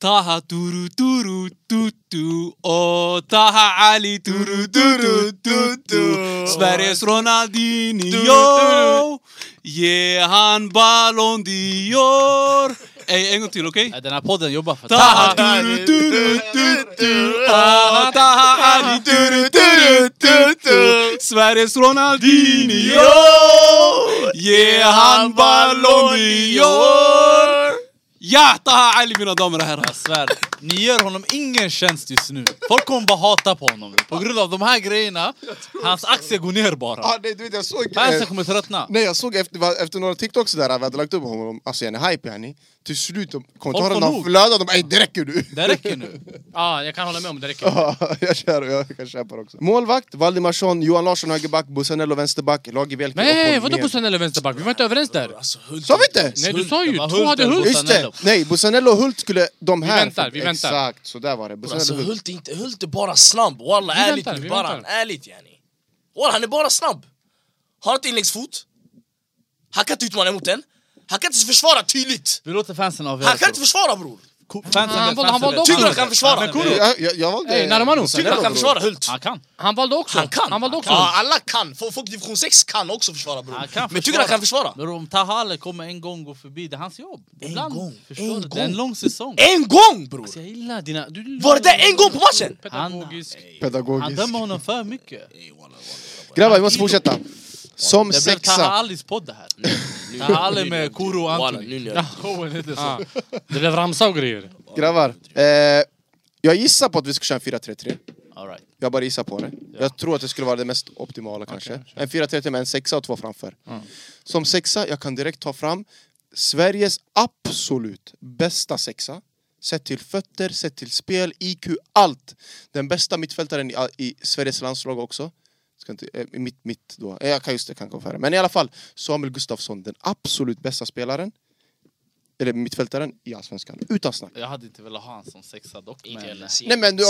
F: Taha turu turu tutu Åh, Taha Ali turu turu tutu Sveriges Ronaldinho Ge han Ballon d'Or Ey, en gång till, okej?
C: Nej, Den här podden jobbar för
F: Taha
C: Taha.
F: turu turu tutu Åh, Taha Ali turu turu tutu Sveriges Ronaldinho Ge han Ballon d'Or Ja, Taha Ali mina damer och herrar.
C: Jag svär, ni gör honom ingen tjänst just nu. Folk kommer bara hata på honom. På grund av de här grejerna, hans aktie går ner bara.
A: Ah, nej, du vet, jag såg, eh,
C: Fansen kommer tröttna.
A: nej, jag såg efter, efter några TikToks där vi hade lagt upp honom, alltså jag är hype yani. Till slut, de- kommentarerna
C: nog.
A: flödade, de ey det räcker nu!
C: Det räcker nu.
B: Ah, jag kan hålla med om det räcker.
A: Ja, jag kör, jag kan köpa det också. Målvakt, Valdimarsson, Johan Larsson högerback, Bussanello vänsterback, Lage Bielke och
B: Nej,
A: Holmén.
B: vadå Bussanell eller vänsterback? Vi var inte överens där.
D: Alltså Hult...
A: Sa vi inte?
B: Nej, du sa
C: Det
B: ju
C: var
B: två hade
C: Hulten,
B: Hult.
A: Just det!
C: Bussanello.
A: Nej, Bussanello och Hult skulle de här...
B: väntar, vi väntar.
A: Exakt, så där var det.
D: Alltså
A: Bussanello och Hult.
D: Hult är inte, Hult är bara snabb, walla
B: Vi
D: ärligt
B: väntar,
D: nu
B: vi
D: bara,
B: väntar.
D: ärligt yani. Walla han är bara snabb. Har inte inläggsfot. Han kan inte utmana mot den. Han kan inte försvara tydligt.
C: Vi låter fansen avgöra.
D: Han kan inte försvara bror.
C: Fansen
B: Han
C: vet,
B: valde- han
C: fansen
B: valde
C: vet.
B: också.
D: Tycker du han kan försvara?
B: alltså,
C: Men Kuro-
A: Jag, jag, jag valde...
B: Ey, Narmano.
D: Tycker du han kan
A: bror.
D: försvara Hult?
C: Han kan.
B: Han valde också.
D: Han kan.
B: Han valde också.
D: Ja, alla kan. Folk folk i division 6 kan också försvara bror.
C: Han kan
D: Men tycker du han kan försvara?
C: Men om Tahale kommer en gång gå förbi, det är hans jobb. Ibland,
D: gång,
C: förstår
D: en
C: du? Det
D: gång.
C: är en lång säsong.
D: En gång bror!
C: Så jag gillar dina... Du,
D: Var det där en gång på matchen?
B: Pedagogisk.
C: Han
A: Pedagogisk.
C: dömer honom för mycket.
A: Grabbar, vi måste fortsätta. Som
C: Det blev Taha
A: sexa.
C: Alis podd det här. Taha Ali med Kuro och
D: Walla,
C: Antoni.
D: nu nu.
B: Cohen heter så. Det blev ramsa och grejer.
A: Grabbar, eh, jag gissar på att vi ska köra en 4-3-3.
C: All right.
A: Jag bara gissar på det. Jag tror att det skulle vara det mest optimala kanske. En 4-3-3 med en sexa och två framför.
C: Mm.
A: Som sexa, jag kan direkt ta fram Sveriges absolut bästa sexa. Sett till fötter, sett till spel, IQ, allt. Den bästa mittfältaren i, i Sveriges landslag också. Ska inte, eh, mitt, mitt då. Eh, Jag kan just det, kan gå före. Men i alla fall, Samuel Gustafsson, den absolut bästa spelaren. Eller mittfältaren i Allsvenskan. Utan snack.
C: Jag hade inte velat ha han som sexa dock. Men...
A: Nej men du,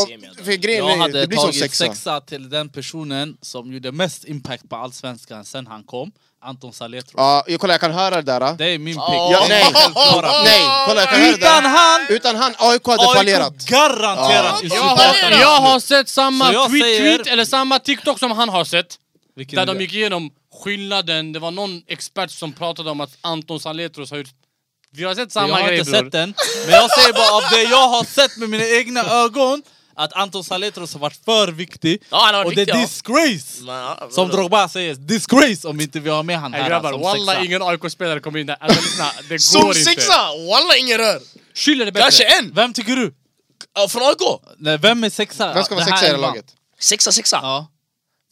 A: för grejen
C: Jag
A: är,
C: hade
A: det blir som
C: tagit
A: sexa.
C: sexa till den personen som gjorde mest impact på Allsvenskan sen han kom. Anton Saletro.
A: Ja, jag kolla jag kan höra det där. ah.
C: Det är min pick.
A: Ja, nej,
C: Självklara pick.
A: nej, kolla jag kan höra det
C: Utan
A: där.
C: han,
A: Utan han, AIK hade fallerat.
C: AIK garanterat i
B: Jag har,
C: Superettan.
B: jag har sett samma
C: Så jag
B: tweet,
C: säger-
B: tweet eller samma TikTok som han har sett.
C: Vilken
B: Där
C: är
B: de
C: det?
B: gick igenom skillnaden. Det var någon expert som pratade om att Anton Saletros har gjort... Vi har sett
C: Jag
B: samma
C: har
B: grej
C: inte
B: bror.
C: sett den, men jag säger bara av det jag har sett med mina egna ögon att Anton Saletros har varit för viktig.
D: Ja, han har
C: Och
D: varit
C: det
D: riktig,
C: är
D: ja.
C: disgrace!
D: Men, ja,
C: Som
D: vadå?
C: Drogba säger, disgrace om inte vi har med han
B: Nej
C: här
B: grabbar,
C: som
B: walla
C: sexa.
B: ingen AIK-spelare kommer in där. Alltså lyssna, det
D: Som
B: går inte.
D: sexa! Walla ingen rör!
B: Schüller är bättre.
D: Kanske en!
C: Vem tycker du?
D: Ja, Från AIK!
C: Nej, Vem är sexa?
A: Vem ska vara
C: Den här
A: sexa i det
C: elvan.
A: laget?
D: Sexa, sexa!
C: Ja.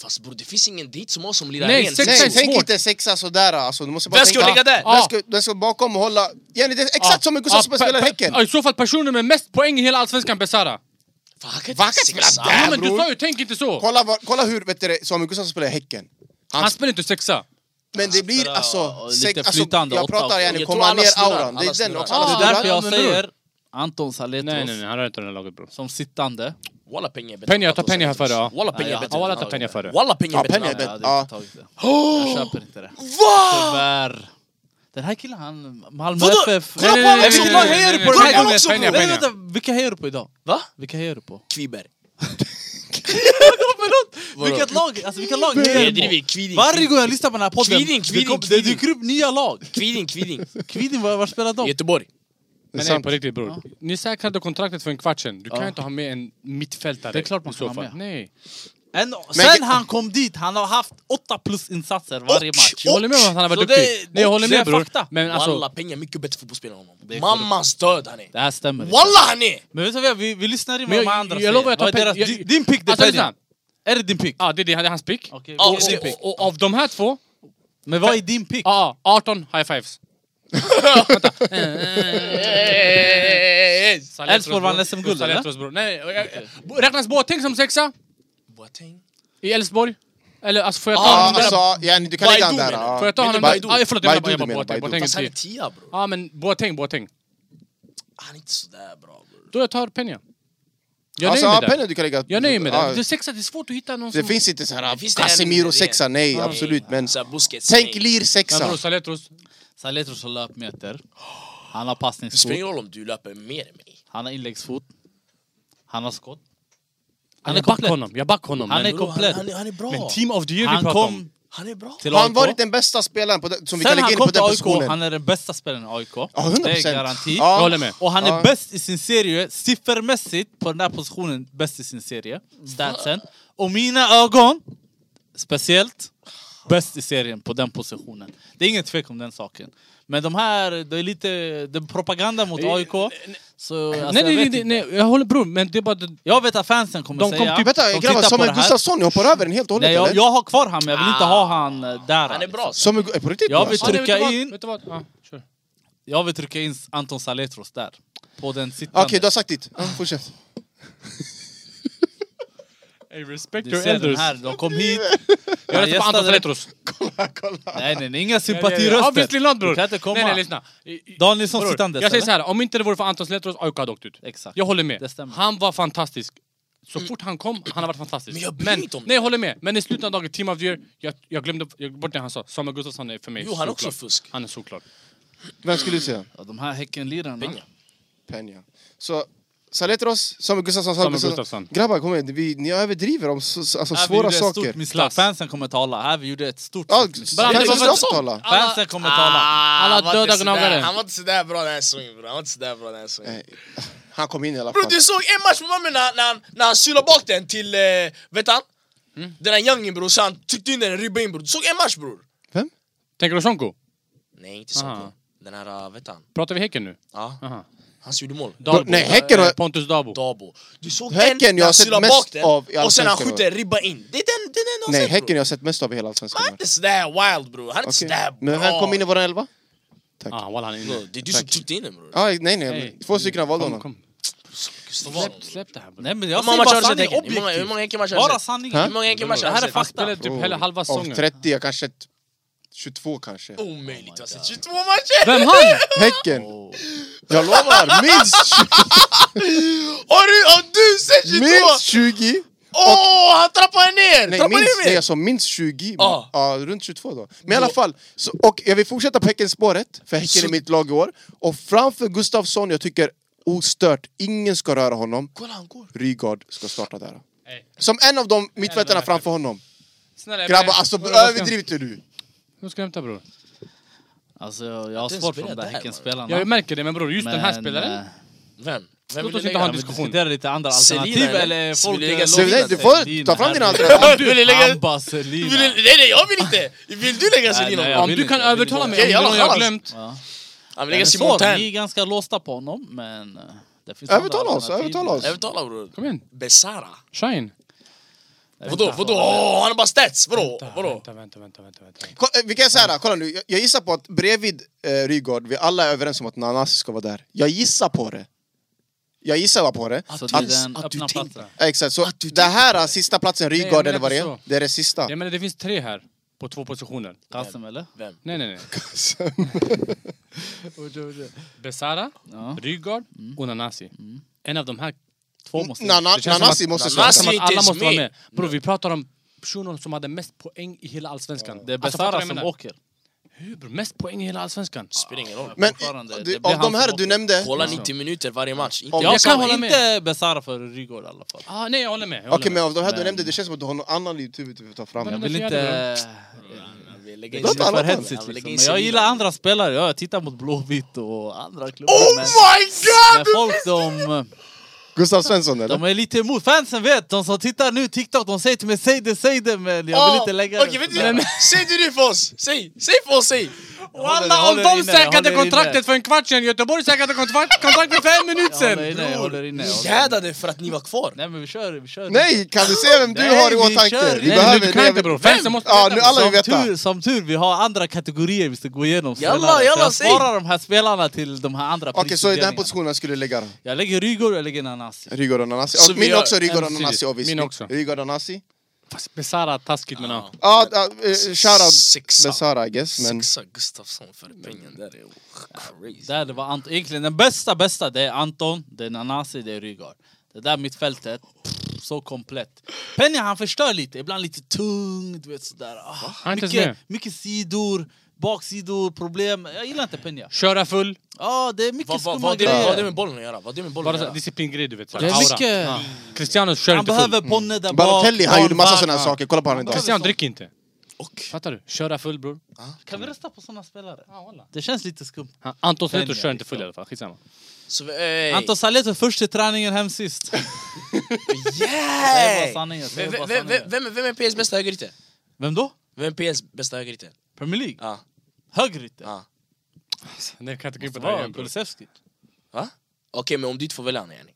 D: Fast bror det finns ingen dit så många som lirar
B: Nej,
D: rent.
B: sexa
A: Nej,
B: är
A: tänk
B: svårt.
A: inte sexa sådär alltså. Du måste bara
D: Vem ska
A: tänka-
D: ligga där?
A: Vem ska, vem ska bakom och hålla? Jenny, det är exakt som en Gustav som spelar i Häcken.
B: Ja, I så fall personen med mest poäng i hela Allsvenskan, Besara.
D: Fan, han kan inte
A: Fan, han kan
D: spela
A: spela
D: där!
B: Ja men du
A: bror.
B: sa ju, tänk inte så!
A: Kolla, vad- kolla hur vet du, det, Samuel Gustafsson spelar i Häcken. Han,
B: Han spelar inte sexa.
A: men det blir
C: spelar,
A: alltså...
C: och lite
A: Sex, alltså
C: flytande
A: jag
C: åtta
A: pratar
C: också.
A: Jenny,
D: Jag
A: komma
D: tror alla
A: ner
D: snurrar,
A: auran. Det
D: alla
A: är den
D: snurrar.
A: också.
B: Ja,
A: Alla
C: Det
B: där-
A: snurrar.
C: är därför jag
B: men bror.
C: säger Anton Saletros
B: han rör inte det här laget bror.
C: som sittande.
D: Walla Penny är bättre.
B: Penny, jag tar Penny här före. ja.
D: Walla Penny
C: Ja,
D: är
C: jag
D: bättre.
B: Ja, walla tar Penny här före.
D: Walla Penny
A: Ja,
D: är bättre.
A: Penny är
D: än
A: bättre.
D: han.
C: Jag
A: vet,
C: hade
A: ja.
C: inte tagit det.
D: Oh!
C: Jag köper inte det.
D: Va?
C: Tyvärr. Den här killen, han... Malmö
D: Vadå?
C: FF...
D: Kolla
B: Nej, nej,
D: på honom!
B: nej,
D: Som
B: nej,
D: lag
B: nej,
D: hejar
B: nej,
D: på
B: nej,
D: Dragan
B: nej,
D: också
B: nej, nej,
D: bror!
B: nej.
C: Vänta, vänta, vilka hejar du på idag?
D: Va?
C: Vilka hejar du på?
D: Kviberg.
C: Förlåt! Vilket lag, alltså vilka lag
D: Nej,
C: hejar
D: det är
C: du
D: vi.
C: på?
D: Kviding.
C: Varje gång jag lyssnar på den här podden,
D: Kviding,
C: det
D: Kviding,
C: kom- det
D: Kviding.
C: dyker upp nya lag!
D: Kviding, Kviding.
C: Kviding, var, var spelar de?
D: Göteborg.
B: Men nej,
A: sant.
B: på riktigt bror. Ni säkrade kontraktet för en kvart sedan. Du kan ju inte ha med en mittfältare.
C: Det är klart man
B: i så
C: kan ha
B: fall.
C: med.
B: Nej.
C: Ändå,
A: Men-
C: sen han kom dit, han har haft åtta plus insatser varje match.
B: Jag håller med om att han har varit
D: Så det-
B: duktig. Nej, jag håller
C: det är
B: med bror.
C: fakta.
B: Men alltså,
D: Walla, pengar är mycket bättre fotbollsspelare än
C: Det är
D: honom. Mammans död han är.
C: Det här stämmer inte.
D: Walla han är!
C: Men vet du vad, vi, vi lyssnar
B: Men
C: in vad
B: jag-
C: de andra
B: jag
C: säger.
B: lovar att
C: Vad är
B: ta pe-
C: deras,
B: jag-
C: din, din pick, det
B: alltså
C: är
B: lyssna.
C: pengen. Är det din pick?
B: Ja, det är det, det är hans pick.
C: Okej,
D: Ja,
B: Och,
C: vad är din
B: och,
C: pick?
B: och, och av de här två,
C: Men vad är din pick?
B: ja, 18 high fives. Vänta.
C: Elfsborg vann SM-guld, eller?
B: eller? Nej, jag- jag- räknas Boateng som sexa
D: Boateng.
B: i Elfsborg? Eller alltså får jag ta
A: Ja,
B: honom där?
A: alltså, yani, du kan lägga han
D: Baidu
A: där.
D: menar
A: ja.
B: Får jag ta honom där?
A: Baidu.
B: Ja, förlåt, jag menar
A: Baidu
B: bara- jag
A: du
B: menar
A: menar,
B: Boateng.
A: Baidu.
B: Boateng är
D: Fast han är
B: tio.
D: tia bror.
B: Ja, men Boateng, Boateng.
D: Han är inte sådär bra bror.
B: Då jag tar Peña. Jag
A: Alltså,
B: nöjer
A: ja,
B: mig där.
A: Penny, du kan lägga...
B: Jag nöjer mig
A: Ja,
B: där. Det är sexa, det är svårt att hitta någon
A: Det
B: som...
A: finns inte så här
D: Det finns det en-
A: Casemiro-sexa, nej,
D: Nej,
A: absolut. Men
D: Så här, Busquets,
A: tänk
D: nej.
B: Ja, bror,
A: Lir-sexa.
B: Saletros.
C: Saletros har löpmeter. Han har
D: Det spelar
C: passningsfot.
D: ingen roll om du löper mer än mig.
C: Han har inläggsfot. Han har skott.
B: Han
C: Han
B: är
C: är
B: back
C: komplett.
B: honom. Jag back honom.
C: Han
B: men-
C: är
D: Bror, han,
C: komplett.
D: han, är- han är bra.
B: Men team of the year vi
C: Han
B: pratar
C: kom
B: om.
D: han är bra.
C: till
A: Har han
C: AIK.
A: varit den bästa spelaren på den, som vi kan
C: Sen
A: lägga
C: han
A: in på
C: kom till
A: den
C: AIK,
A: positionen?
C: han är den bästa spelaren i AIK.
A: Ja, 100%.
C: Det är garanti.
A: Ja.
B: Jag håller med.
C: Och han är
A: Ja.
C: bäst i sin serie, siffermässigt på den här positionen, bäst i sin serie. Statsen. Och mina ögon, speciellt, bäst i serien på den positionen. Det är ingen tvek om den saken. Men de här, det är lite det är propaganda mot AIK. Så, alltså,
B: Eh, nej, nej,
C: jag,
B: nej,
C: vet
B: nej,
C: inte.
B: Jag håller bror, men det är bara... det-
C: jag vet att fansen kommer
B: De kom
C: säga...
B: typ-
A: Vänta,
C: de
A: grabbar,
C: tittar på
A: Samuel
C: det här.
A: Gustafsson, ni hoppar över den helt och hållet
C: Nej, jag,
A: eller?
C: jag har kvar han, men jag
B: Ah.
C: vill inte ha han eh, där.
D: Han är bra.
C: liksom.
D: så.
A: Samuel, Gu- eh, på riktigt?
C: Jag vill
A: alltså?
B: Ja,
C: trycka
B: vet du vad?
C: in.
B: Vet du vad? Ja, kör.
C: Jag vill trycka in Anton Saletros där. På den sittande.
A: Ah, Okej, du har sagt ditt. Ja, Fortsätt.
B: respect
C: Du
B: your
C: ser den
B: elders.
C: här, de kom hit.
B: Jag röstar på Anton Saletros.
C: Nej, nej, nej, inga
B: Ja,
C: sympatiröster.
B: Obviously not bror.
C: Du kan inte komma.
B: Nej, nej, lyssna. I- i-
C: Danielsson
B: bror,
C: sittandes,
B: Jag säger
C: eller?
B: så här, om inte det vore för Anton Saletros, AIK hade åkt ut.
C: Exakt.
B: Jag håller med.
C: Det stämmer.
B: Han var fantastisk. Så fort han kom, han har varit fantastisk.
D: Men jag bryr mig inte om det.
B: Nej, jag håller med. Men i slutet av dagen, Team of the Year, jag, jag glömde jag glömde bort det han sa. Samuel Gustafsson är för mig
D: Jo, han är också
B: solklar.
D: fusk.
B: Han är såklart.
A: Vem skulle du säga?
C: Ja, de här Häckenlirarna.
D: Pengar.
A: Peña. Så, Saletros, Samuel Gustafsson,
B: Samuel Gustafsson.
A: Grabbar, kom igen. Vi, ni överdriver om så, så- alltså,
C: Här vi
A: svåra
C: gjorde ett
A: saker.
C: Stort misstag. Fansen kommer tala. Här vi gjorde ett stort
A: Ja,
C: misstag.
B: Bara-
A: Saletros
B: det var-
A: ska också tala.
C: Fansen kommer
B: Ah.
C: tala.
B: Alla
D: Ah, han var
B: döda
D: inte sådär-
B: gnagare.
D: Han var inte sådär bra den här säsongen bror. Han var inte sådär bra den här säsongen.
A: Nej, Han kom in i alla fall.
D: Bror du såg en match med Malmö när, när, han- när han sylade bak den till, eh, vet han?
B: Mm.
D: Den där youngen bror, så han tryckte in den, ribbade in bror. Du såg en match bror.
A: Vem?
B: Tänker du Sonko?
D: Nej inte så.
B: Aha.
D: bror. Den här, eh, vet han?
B: Pratar vi Häcken nu?
D: Ja.
B: Aha.
D: Han som gjorde mål.
B: Dabo.
A: nej, Häcken har-
B: Eh, Pontus Dabo.
D: Dabo. Du såg
A: Häcken, jag
D: en
A: har
D: när han
A: sett
D: sylade
A: mest
D: bak den,
A: av i
D: och sen han
A: Allsvenskan,
D: skjuter, ribba in. Det är den, det är den du har
A: Nej,
D: sett
A: Häcken jag
D: bror.
A: har sett mest av i hela Allsvenskan.
D: Han är inte sådär wild bror. Han Alltså, är inte
A: Okej.
D: sådär bra.
A: Men han kom in i vår elva?
B: Ah, walla, han är inne.
D: Bror, Det är du som tryckte in den bror.
A: Ah, nej,
B: Nej.
A: nej. Två stycken har valt
B: Kom,
A: honom.
B: kom.
D: Gustav Vasson.
B: Släpp, släpp det här. bror.
C: Nej, men
D: Hur
C: jag
D: många
C: säger
D: matcher
C: bara
D: har du sett
C: sanning.
D: Häcken? Hur många- Hur
C: Objektivt.
D: många Häckenmatcher har du
C: Bara
D: sett?
C: sanning.
A: Hä?
D: Hur många Häckenmatcher
B: Det
D: har
B: här
D: du
B: är
D: sett?
B: fakta. Han spelade typ hela halva
A: Av
B: säsongen.
A: 30, jag kanske... ett 22 kanske.
D: Omöjligt, du har sett 22 matcher!
B: Vem han?
A: Häcken! Jag lovar, minst,
D: Har du, har du sett 22?
A: minst 20!
D: Åh, han trappar ner!
A: Nej,
D: trappar
A: minst,
D: ner
A: nej
D: mer!
A: alltså minst 20,
D: Ja.
A: ja, runt 22 då. Men i alla fall, så, och jag vill fortsätta på Häckenspåret, för Häcken
D: Så-
A: är mitt lag i år. Och framför Gustafsson, jag tycker ostört, ingen ska röra honom.
D: Kolla, han går.
A: Rygaard ska starta där.
B: Nej.
A: Som en av de mittfältarna framför honom.
B: Snälla, jag
A: Grabbar,
B: ber-
A: alltså
B: Bror, vad ska-
A: överdriv inte du!
B: Vem ska jag hämta bror?
C: Alltså, jag jag har
D: Den
C: svårt för
D: spelar
C: de där
D: där,
C: Häckenspelarna.
B: Jag märker det, men bror, just den här
C: Men,
B: spelaren.
C: eh,
D: Vem? Vem
B: Låt
D: vill
B: oss inte
D: du lägga
B: ha en
D: där?
C: Vi
B: diskussion.
C: diskuterar lite andra
D: Selina,
C: alternativ
D: eller?
C: eller
D: Vill
C: folk...
D: du lägga
C: eh,
D: Selina?
C: lovar
A: Du får
C: sig.
A: ta fram dina
C: herregud.
A: alternativ.
D: Vill du lägga-
C: Amba, Selina.
D: Vill du- Nej nej, jag vill inte! Vill du lägga
C: Nej,
D: Selin
C: nej,
D: om?
C: jag
B: Om
C: vill
B: du
C: inte,
B: kan
C: jag vill
B: övertala
C: inte.
B: mig om
D: Okej,
B: det är
D: jalla,
B: någon jag har
D: chalas.
B: glömt.
C: Ja.
D: Han vill
C: Den är
D: lägga
C: svår,
D: Simon
C: Vi är
D: Tern.
C: ganska låsta på honom, men... eh, Det finns
A: Övertala
C: andra
A: oss,
C: alternativ.
A: övertala oss.
D: Övertala bror.
B: Kom igen,
D: Besara.
B: shine.
C: Jag vet
D: Vadå,
C: inte.
D: vadå? Åh, han är bara stats! Vadå? Vadå?
B: Vänta, vänta, vänta, vänta. vänta.
A: Ko- eh, Vi kan säga det, här, kolla nu. Jag- Jag gissar på att bredvid eh, Rygaard, vi alla är överens om att Nanasi ska vara där. Jag gissar på det. Jag gissar bara på det.
C: Så
D: Att-
C: till Alltså, den
D: att du
C: öppna
D: tänker.
C: platsen.
A: Ja, Exakt, så det här sista platsen,
B: jag
A: Rygaard
B: menar
A: eller vad det
B: inte
A: är,
B: så.
A: det är det sista.
B: Jag menar, det finns tre här. På två positioner.
C: Kassem, eller?
D: Vem?
B: Nej, nej, nej. Besara,
C: Ja.
B: Rygaard och Nanasi. En av de här Mm. två måste...
A: Nana-
B: det känns som
A: Nanasi
B: att-
A: måste
B: det känns som
D: Nanasi är
B: att
D: inte
B: alla
D: ens
B: måste vara
D: med.
B: med. Bror, vi pratar om personer som hade mest poäng i hela Allsvenskan.
C: Det är
B: Alltså, fattar du
C: Besara
B: vad jag
C: som
B: menar?
C: åker.
B: Hur bror? Mest poäng i hela Allsvenskan?
D: Spelar ingen roll.
A: Men
C: fortfarande,
A: i-
C: det
A: du, av
C: blir
A: de
C: han
A: här
C: som
A: du
C: åker.
A: nämnde, okej
D: Kolla 90 minuter varje match. Inte
A: Om-
D: jag
B: Jag
D: sa
B: kan
D: det.
B: hålla med.
C: Inte Besara för Rygaard i alla fall.
B: Ah, nej, jag håller med. jag håller
A: men
B: med.
A: av de här du
C: Men-
A: nämnde, det känns som att du har någon annan i huvudet du vill ta fram.
B: Men-
C: Jag vill inte...
D: Han vill
C: Det
D: lägga
C: är
D: in
A: Låt
C: eh, lite
A: alla
C: för
A: ta det.
C: hetsigt
D: Han vill lägga
C: liksom.
D: in
C: Men jag
D: Selina.
C: gillar andra spelare. Ja, Jag tittar mot Blåvitt och andra klubbar.
D: Oh
C: men,
D: my god!
C: men folk de...
A: Gustav Svensson eller?
C: eh, De är lite emot, fansen vet, de som tittar nu TikTok, de säger till mig säg det, säg det men jag vill
D: Ah,
C: inte lägga
D: Okej, vet
C: det. sådär.
D: du, säg du det för oss! Säg! Säg för oss, säg!
B: Walla, om
C: håller inne,
B: de
C: jag håller
B: säkrade
C: inne.
B: kontraktet för en kvart sedan, Göteborg säkrade kontrakt- kontraktet för en minut
C: Jag håller
B: sedan!
C: inne, jag håller inne. jag
D: Ni
C: håller inne.
D: jädade för att ni var kvar!
C: Nej men vi kör, vi kör.
A: Nej, kan du se vem du
C: Nej,
A: har i
C: vi kör.
A: åtanke?
C: Nej,
B: du kan inte, bror. Fansen måste
A: ja,
B: veta.
A: nu alla vill
C: som,
A: veta.
C: tur, som tur, vi har andra kategorier vi ska gå igenom
D: Jalla,
C: senare.
D: jalla,
C: så jag
D: säg.
C: sparar de här spelarna till de här andra
A: Okej, så i den
C: prisutdelningarna.
A: här positionen jag skulle jag lägga då?
C: Jag lägger Rygaard och jag lägger Nanasi.
A: Rygaard och Nanasi.
D: Så
A: Och
D: vi
A: min
D: gör
A: också, Rygaord och
B: ömsesidigt.
A: Nanasi obviously.
B: Min också.
A: Rygaord och Nanasi.
B: Fast Besara, taskigt men ja.
A: Ja, ah, eh, shoutout
D: Sexa.
A: Besara I guess. Men
D: Sexa Gustafsson för pengen, där är crazy.
C: Där det var Anton. Egentligen den bästa, bästa det är Anton, det är Nanasi, det är Rygaard. Det där mittfältet, pff, så komplett. Penny han förstör lite, ibland lite tung, du vet sådär. Ah,
B: är inte ens
C: mycket,
B: med.
C: mycket sidor, baksidor, problem. Jag gillar inte Penja.
B: Köra full,
C: Ja, det är mycket
D: Vad vad-
C: skumma
D: vad det- vad har det
C: grejer.
D: med bollen att göra? Vad har det med bollen
B: bara
D: att
B: så här
D: göra?
B: disciplingrej du vet. så här,
C: Det är
B: aura.
C: mycket.
B: Cristiano kör
C: Han
B: inte full.
C: behöver ponne där bak.
A: Balotelli, han gjorde massa
C: barn,
A: såna här
C: ja.
A: saker. Kolla på honom idag.
B: Cristiano dricker inte.
D: Och
B: Fattar du? Köra full bror.
C: Kan vi rösta på såna spelare? Det känns lite skumt.
B: Han- Anton Sleto
C: Penja,
B: kör inte full
C: liksom.
B: i alla fall, skitsamma.
D: Så, ey.
C: Anton Saletto först till träningen, hem sist. Det är bara
D: Yeah!
C: sanningen. det
D: Vem,
C: är bara
D: vem, vem,
C: sanningen.
D: vem, vem vem är PS:s bästa högerytter?
C: Vem då?
D: Vem är PS:s bästa högerytter?
C: Premier League?
D: Ja.
C: Högerytter?
D: ja.
B: Alltså, Nej, kan inte gå in på
C: Det
B: det här
C: var
B: igen bror.
C: Kulusevski.
D: Va? Okej, men om du inte får välja han yani.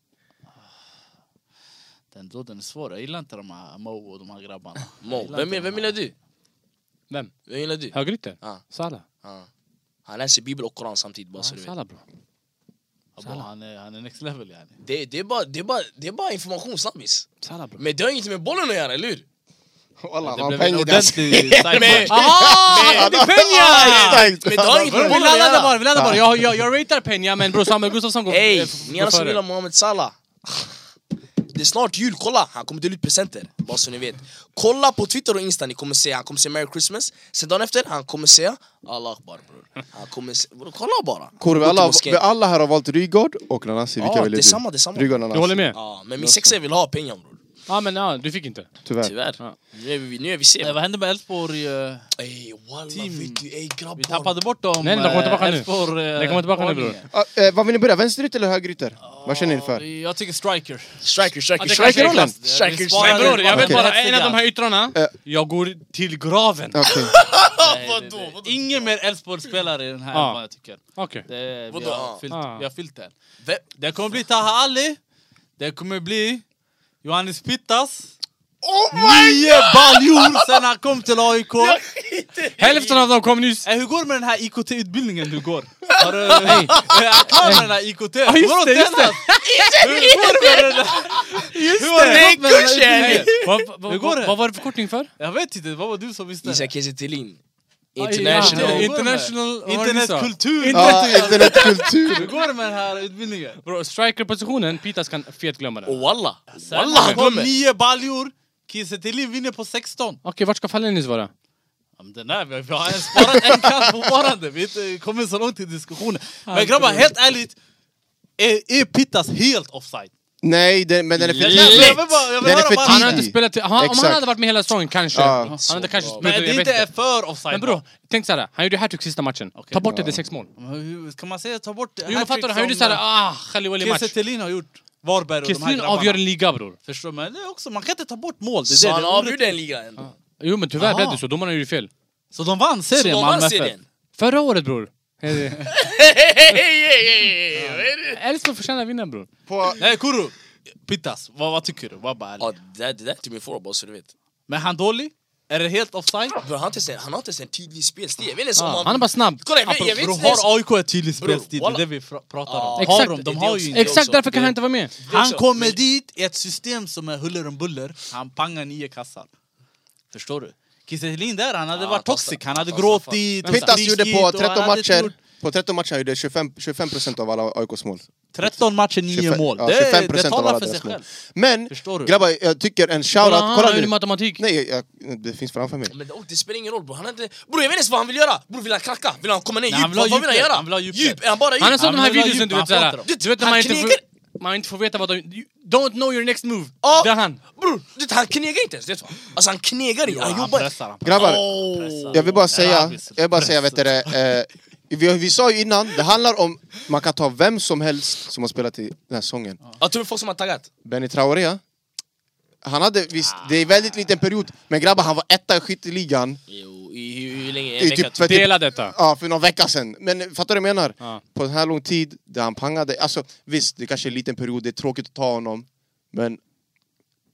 C: Den då, den är svår. Jag gillar inte de här Mo och de här grabbarna. Jag
D: Mo,
C: gillar
D: vem,
C: inte
D: är-
C: de
D: vem
C: här.
D: gillar du?
B: Vem?
D: Vem gillar du?
B: Högerytter?
D: Ja.
B: Salah.
D: Ja. Han läser bibel och koran samtidigt bara
B: Ja,
D: så du vet.
B: Salah bror.
C: Ja, bra, han, är, Eh, han är next level yani.
D: Det, det, är bara, det, är bara, det är bara information snabbis.
B: Salah bror.
D: Men det har inget med bollen att göra, eller hur?
A: Walla, han
C: Det
A: har
C: blev en
A: pengar där.
C: ordentlig sidebar.
B: Aha! Det är pengar!
A: Exakt!
D: Men det har inget med
B: Vi
D: bollen att
B: laddar
D: göra!
B: bara, vi laddar bara. Jag, jag, jag ratear Peña men bror Samuel Gustafsson går
D: Ey,
B: eh, f-
D: ni
B: går
D: alla som
B: före.
D: gillar Mohamed Salah. Det är snart jul, kolla! Han kommer dela ut presenter, bara så ni vet. Kolla på Twitter och Insta, ni kommer se, han kommer säga Merry Christmas. Sen dagen efter, han kommer säga Allah Akbar Ah, bror. Han kommer se, bror, kolla bara!
A: Kor, vi
D: Gå till
A: alla,
D: moskén.
A: vi alla här har valt Rygaard och Nanasi, vilka
D: Ja,
A: väljer du?
D: detsamma, detsamma.
A: Rygaard och Nanasi.
B: Du håller med?
D: Ja, men min sexa vill ha pengar bror.
B: Ja men ja, du fick inte.
A: Tyvärr.
D: Tyvärr.
B: Ja.
D: Nu är vi, nu är vi
C: Nej,
D: sena.
C: Vad hände med Elfsborg? eh,
D: Ey walla,
C: Team.
D: vet du, ey
C: Vi
D: grabbar.
C: tappade bort dem.
B: Nej, de kommer
C: eh,
B: tillbaka nu.
C: Elfsborg, eh,
B: De kommer tillbaka nu, bror.
C: ordningen.
A: Ah, eh, vad vill ni börja? Vänsterytter eller högerytter? Vad känner ni för?
C: Jag tycker striker.
D: Striker, striker,
B: Ja, det
D: striker.
B: kanske är
A: klass.
D: Striker,
C: Vi
D: striker.
C: sparar
B: Men bror, jag vet
A: Okej.
B: bara en av de här yttrarna,
A: Eh.
B: jag går till graven.
A: Okej.
C: Nej, det- det- Ingen mer Elfsborg-spelare i den här
B: Ja.
C: elvan, jag tycker.
B: Okej. Ah.
C: Det, eh, vi,
D: Vadå?
C: har fyllt,
B: Ja.
C: vi har fyllt den.
D: Vem-
C: Det kommer bli Taha Ali, det kommer bli Johannes Pittas.
D: Oh
C: Nio baljor sen han kom till AIK.
B: Hälften av dem kom nyss.
C: Eh, hur går det med den här IKT-utbildningen du går? Har du, är han klar med den här IKT? Ja,
B: just det, just det.
C: Hur går det med den här? Hur har
D: det.
C: det gått med den här
D: Kursen.
C: utbildningen?
B: Vad va,
C: Hur går det?
B: va, vad var det förkortning för?
C: Jag vet inte, vad var du som visste?
D: Isak Kiese Thelin.
B: Ah, ja.
D: International.
B: International... vad var det ni sa?
C: Internetkultur!
A: Ja, internetkultur.
C: Hur går det med den här utbildningen?
B: Bror, strikerpositionen, Pitas kan fet glömma den.
D: Och
B: Okej,
D: walla, walla
C: Wallah,
D: han
C: kom
D: kommer!
C: nio baljor! Kiese Thelin vinner på 16.
B: vart ska Fallenis vara?
C: Ja, men den där, vi har- vi har ens sparat en kant fortfarande. Vi har inte kommit så långt i diskussionen. Men grabbar, helt ärligt. Är, är Pittas helt offside?
A: Nej, den, men den är för
B: Lätt.
C: Jag
A: tidig.
C: vill bara- jag vill
A: Den är
C: höra
A: för
C: bara-
B: Han
A: tidig.
B: har inte spelat... till- Han, om han
A: Exakt.
B: hade varit med hela säsongen, kanske.
A: Ja.
B: Han hade kanske...
D: bra.
C: Men
B: jag
C: det
B: vet
C: inte är
B: inte.
C: för offside.
B: Men bror, tänk såhär, han gjorde hattrick sista matchen.
C: Okej.
B: Ta bort det, det är sex mål.
C: Men hur kan man säga ta bort...
B: Jo men fattar du, han gjorde såhär ah, Khalil Wali-match.
C: Kiese Thelin har gjort Varberg och de här
B: Kristin
C: grabbarna.
B: avgör en liga bror.
C: Förstår du? Men det är också, man kan inte ta bort mål. Det är
D: Så
C: det,
D: han
C: det är
D: avgjorde
C: orättvist.
D: en liga ändå.
B: Jo men tyvärr
C: Aha.
B: blev det så, domarna gjorde fel.
C: Så de vann
D: Så de
C: serien,
D: vann
C: Malmö FF.
D: serien.
B: Förra året bror.
D: Hehehehe!
B: Elfsborg förtjänar att vinna bror.
A: På-
C: Nej, Kuru. Pittas, vad, vad tycker du? Vad bara ärlig.
D: Ja, det där- det där är inte min fråga bara så du vet.
C: Men är han dålig? Är det helt offside?
D: Bror, han har inte ens- han har inte ens en tydlig spelstil. Jag vet inte ens om
B: Ah,
D: han-
B: han är bara snabb.
D: Kolla, jag vet- jag vet
C: Bro,
D: inte ens-
C: har AIK ett tydligt
D: Bror,
C: spelstil? Det är
D: walla.
C: det vi fr- pratar om.
D: Ja,
C: har
B: exakt.
C: de? De
D: Det
C: har
D: är
C: ju
D: det
C: inte.
D: också.
B: Exakt därför kan
D: Det-
B: han inte vara med.
C: Han
D: också.
C: kommer
D: Men-
C: dit i ett system som är huller om buller. Han pangar nio kassar. Förstår du? Kiese Thelin där, han hade
D: Ja,
C: varit
D: han
C: toxic.
D: kastar-
C: Han hade
D: han kastar fan.
C: gråtit.
A: Pittas gjorde på
C: skrikit och han
A: 13
C: hade
A: matcher,
C: gjort
A: på 13 matcher gjorde 25, 25% av alla AIKs mål.
C: 13 matcher, 9
A: 25,
C: mål.
A: ja,
C: det,
A: 25%
C: det
A: av alla
C: talar för sig
A: deras mål.
C: själv.
A: Men
C: Förstår du?
A: grabbar, jag tycker en
B: Kolla,
A: shoutout,
B: han
A: kolla
B: har ju
A: nu.
B: matematik.
A: Nej, jag, det finns framför mig.
D: Men det, och det spelar ingen roll bror, han har inte... Bror jag vet inte ens vad han vill göra! Bror vill han knacka? Vill han komma ner
C: Nej,
D: djupt?
C: han vill ha
D: Vad vad vill han
C: djupet.
D: göra?
C: Han vill ha djupet.
D: Djup? Är han bara djup?
B: Han är som
C: Han
B: de här
C: vill ha
B: videosen
C: djup,
B: du
C: han
B: vet
C: får
B: såhär.
C: inte dem.
B: Du vet när
D: Han
B: man inte får,
D: knegar.
B: man inte får veta vad de... you Don't know your next move.
D: Ja.
B: Det är han.
D: Bror, du vet, han knegar inte ens! Det är så. Alltså han knegar inte,
C: Ja,
D: han
C: han
D: jobbar...
C: pressar. Han
A: Grabbar,
D: Åh.
A: jag vill bara
C: Ja,
A: säga,
C: visst.
A: jag vill bara säga vet du det, eh, vi, vi sa ju innan, det handlar om, man kan ta vem som helst som har spelat i den här sången.
D: Jag tror folk som har taggat.
A: Benny Traoré, ja. han hade visst, det är väldigt liten period, men grabbar han var etta i skytteligan
D: Jo, i, hur, hur länge?
A: I
D: En vecka?
A: typ- för typ-
B: Dela detta!
A: Ja, för någon vecka sedan. Men fattar du vad jag menar?
B: Ja.
A: På en här lång tid, där han pangade. Alltså visst, det kanske är en liten period, det är tråkigt att ta honom. Men...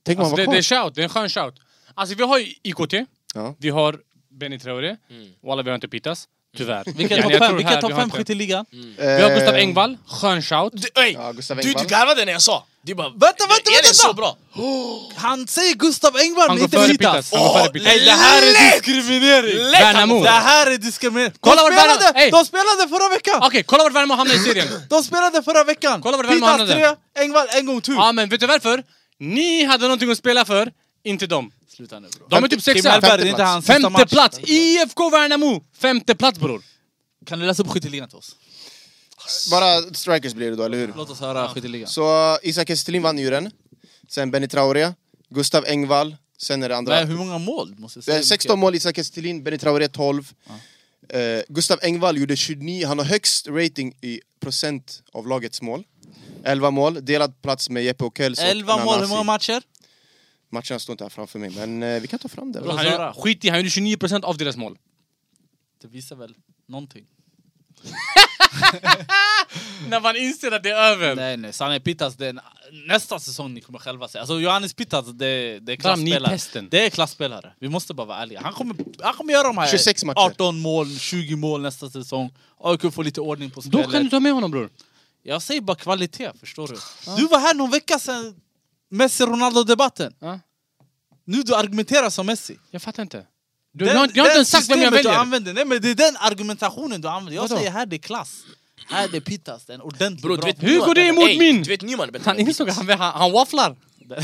A: Tänk om
B: Alltså,
A: han
B: det,
A: var
B: det är
A: kvar.
B: shout, det är en skön shout. Alltså vi har ju IKT,
A: Ja.
B: vi har Benny Traoré,
D: Mm.
B: och alla vi har inte Pittas. Tyvärr.
C: Vilka
B: Yani,
C: topp
B: jag
C: fem,
B: tror
C: vilka
B: här
C: topp
B: vi har
C: fem
B: inte-
C: skytteliga?
B: Vi har
A: Eh,
B: Gustav Engvall, skön shout.
D: Du, ey,
A: Ja, Gustav
D: du,
A: Engvall.
D: du garvade när jag sa! Du bara,
C: Vänta, vänta,
D: är det
C: vänta!
D: så bra?
C: Han säger Gustav Engvall
B: Han
C: men
B: går
C: inte
B: före
C: Vitas!
B: Pittas. Han går före Pittas.
C: Ey, det här är diskriminering!
D: Lätt han
B: Värnamo.
D: går
C: Det
D: för.
C: här är diskriminering!
B: Kolla
C: de,
B: vart Värnamo-
C: spelade,
B: Ey!
C: de spelade förra veckan!
B: Okej, kolla vart Värnamo hamnade i serien.
C: De spelade förra veckan!
B: Kolla vart Värnamo
C: Vitas
B: hamnade.
C: tre, Engvall en gång till!
B: Ja men vet du varför? Ni hade någonting att spela för, inte dem.
C: Sluta nu bro.
B: De är typ
C: Kim
B: sexa.
C: Hellberg,
A: femte
C: det är inte
A: plats.
C: hans sista
B: Femte
C: match.
B: plats! IFK Värnamo! Femte plats bror!
C: Kan du läsa upp skytteligan till oss?
A: Bara strikers blir det då, eller hur?
C: Låt oss höra skytteligan.
A: Så eh, Isak Estelin vann ju den. Sen Benny Traoré, Gustav Engvall, sen är det andra.
C: Men Hur många mål? Måste jag
A: Det
C: säga
A: är 16 mål Isak Estelin, Benny Traoré 12. Eh, Gustav Engvall gjorde 29, han har högst rating i procent av lagets mål. 11 mål, delad plats med Jeppe Okells och
C: 11 mål, hur
A: Nanasi.
C: många matcher?
A: Matcherna står inte här framför mig, men eh, vi kan ta fram det.
C: Bra.
B: Han,
C: Zara.
B: gjorde- skit i, han gjorde 29% av deras mål.
C: Det visar väl någonting.
B: När man inser att det är över.
C: Nej nej, Sanne Pittas det är en, nästa säsong ni kommer själva säga. Alltså Johannes Pittas det, det är
B: Fram, ni är
C: klasspelare.
B: pesten.
C: Det är klasspelare. Vi måste bara vara ärliga. Han kommer, han kommer göra de här
A: 26 matcher.
C: 18 mål, 20 mål nästa säsong. AIK får lite ordning på
B: Då
C: spelet.
B: kan du ta med honom bror.
C: Jag säger bara kvalitet, förstår du? Du var här någon vecka sedan Messi-Ronaldo-debatten.
B: Ja.
C: Nu du argumenterar som Messi.
B: Jag fattar inte. Du, jag, har- jag har inte ens sagt vem jag
C: systemet Du
B: väljer.
C: använder, nej, men det är den argumentationen du använder. Jag
B: Vadå?
C: säger här det är klass. Här det är Pittas, det är en ordentlig
D: Bro,
C: bra
D: du vet,
B: Hur går det emot
D: Ey,
B: min?
D: Du vet Nyman är bättre
B: Han
D: än
B: insåg att
D: Vitas.
B: han, han, han wafflar.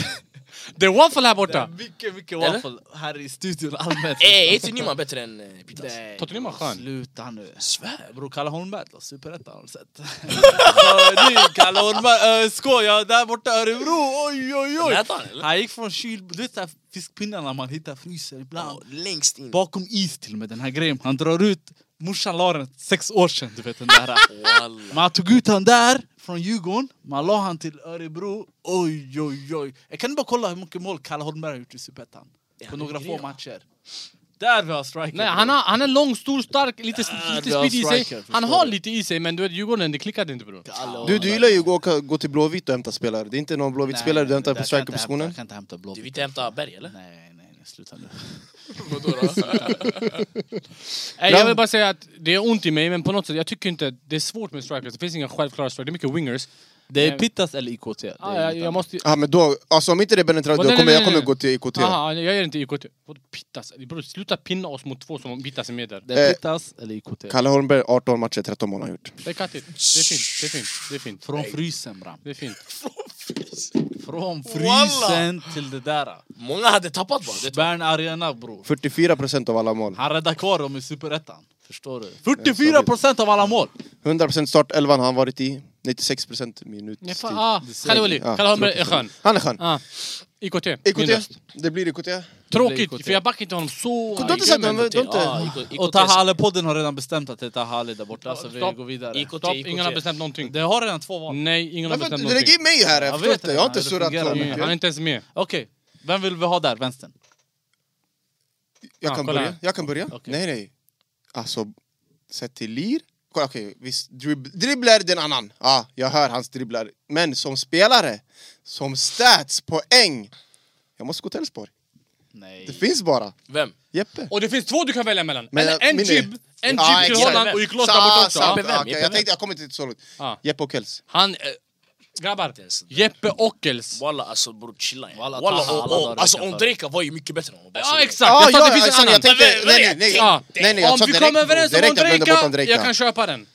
B: Det är waffle här
C: Det är
B: borta.
C: mycket, mycket
D: Eller?
C: waffle här i studion allmänt.
D: Ey, Eh, är inte Nyman bättre än eh, Pitas?
C: Nej,
B: Totte Nyman är skön.
C: Sluta nu.
D: Svär!
C: Bror, Kalle Holmberg då? Superettan har du sett? Så, nu, Kalle Holmberg, ÖSK, ja, där borta Örebro, oj oj oj!
D: Lät han eller?
C: Han gick från kyl... Du vet så här fiskpinnarna man hittar i frysen ibland.
D: Ja, Längst in.
C: Bakom is till och med, den här grejen. Han drar ut... Morsan la den sex år sedan, du vet den där.
D: Walla.
C: Man tog ut han där från Djurgården, man la han till Örebro. Oj, oj, oj. Jag kan bara kolla hur mycket mål Kalle Holmberg har gjort i Superettan. På
D: men
C: några
D: det
C: få
D: är-
C: matcher. Där vi har striker.
B: Nej, han, har, han är lång, stor, stark, lite,
C: Ah,
B: lite
C: du har
B: speed i sig.
C: striker,
B: Han
C: förstår
B: har
C: du.
B: lite i sig, men du vet Djurgården, det klickade inte bror.
C: Kalle
A: Du, du gillar ju att gå, gå till Blåvitt och hämta spelare. Det är inte någon
C: Nej,
A: Blåvitt-spelare du
C: nej,
A: hämtar
C: där
A: på
C: kan jag inte hämta-
A: strikerpositionen.
C: Jag kan inte hämta blå.
D: Du vill inte hämta Berg eller?
C: Nej, nej, nej, sluta nu.
B: Nej, jag vill bara säga att det är ont i mig, men på något sätt, jag tycker inte... Det är svårt med strikers, det finns inga självklara strikers, det är mycket wingers.
C: Det är
B: Nej.
C: Pittas eller IKT. Det är
B: Ah, jag,
C: inget
B: jag
C: annat.
B: måste...
A: Ja, men då, alltså om inte det är Benny Traoré,
B: Vad-
A: då
B: nej,
A: kommer
B: nej,
A: jag
B: nej,
A: kommer
B: nej.
A: gå till IKT.
B: Aha, jag gör inte IKT. Vadå pittas? Bror, sluta pinna oss mot två som Pittas är med där.
C: Det är
A: Eh,
C: Pittas eller IKT.
A: Kalle Holmberg, 18 matcher, 13 mål har han gjort.
B: Det är kattigt. Det är fint, det är fint, det är fint.
C: Från frysen bram.
B: Det är fint.
C: Från
D: Walla!
C: frysen till det där.
D: Många hade tappat bara. Det
C: Bern Arena bror.
A: 44 procent av alla mål.
C: Han räddar kvar dem i Superettan. Förstår du? 44 procent av alla mål!
A: 100 procent startelvan har han varit i. 96 procent minut.
B: Ja, fan, ah, Kalle Wally,
A: Ja,
B: Kalle Holmberg är skön.
A: Han är skön.
B: Ah, IKT. min
A: IKT,
B: röst.
A: det blir IKT.
B: Tråkigt,
C: Det är IKT.
B: för jag backar inte honom så...
A: Du har inte sagt
D: men
A: men du har
D: till. Ja,
A: inte...
D: IK-
C: Och Taha Ali-podden har redan bestämt att det är Taha Ali där borta, så vi
B: stopp.
C: går vidare.
D: IKT,
B: Stopp, ingen har bestämt någonting.
C: Det har redan två val.
B: Nej, ingen har
A: Varför-
B: bestämt
A: Du lägger
B: någonting.
A: in mig här, jag,
C: Jag
A: förstår
C: vet
A: inte. Jag har
C: inte,
A: inte
C: det
A: surrat
C: fungerar
A: så
C: inte.
B: Mm, Han är
A: mycket.
B: inte ens med.
C: Okej, vem vill vi ha där? Vänstern?
A: Jag
B: Ja,
A: kan
B: kolla
A: börja.
B: här.
A: Jag kan börja.
C: Okej.
A: Nej, nej. Alltså, sett till lir. Kolla, okej, visst. Dribb, dribblar är det en annan. Ja, jag hör hans dribblar. Men som spelare, som stats, poäng. Jag måste gå till Elfsborg. Det
C: Nej.
A: finns bara.
D: Vem?
A: Jeppe.
B: Och det finns två du kan välja mellan.
A: Men, eh,
B: en en
A: min är-
B: jib, en
A: Ja,
B: jib till
A: exakt.
B: Holland och gick loss där borta också.
A: Sa-
B: Ja.
A: sa- ja, okej,
D: Jeppe
A: Jag
D: vem?
A: tänkte, jag kommer inte så långt.
B: Ja.
A: Jeppe och Kels.
B: Han... eh, grabbar,
D: ens där.
B: Jeppe Ockels.
D: Walla alltså bror chilla. Walla,
C: Walla,
D: Walla
C: Taha, alla
D: och,
C: dagar
D: och, alltså
C: i alla fall.
D: Ondrejka var ju mycket bättre än honom. bara så
B: Ja
D: du vet.
B: exakt, jag sa alltså, det finns en
A: Ah,
B: annan.
A: alltså, jag tänkte...
D: Men, men,
A: Nej, nej, nej.
B: Ja.
A: nej, nej jag sa
B: om vi
A: direkt,
B: kommer
A: bro,
B: överens om
A: direkt jag glömde bort
B: Ondrejka,
A: Ondrejka.
B: jag kan köpa den.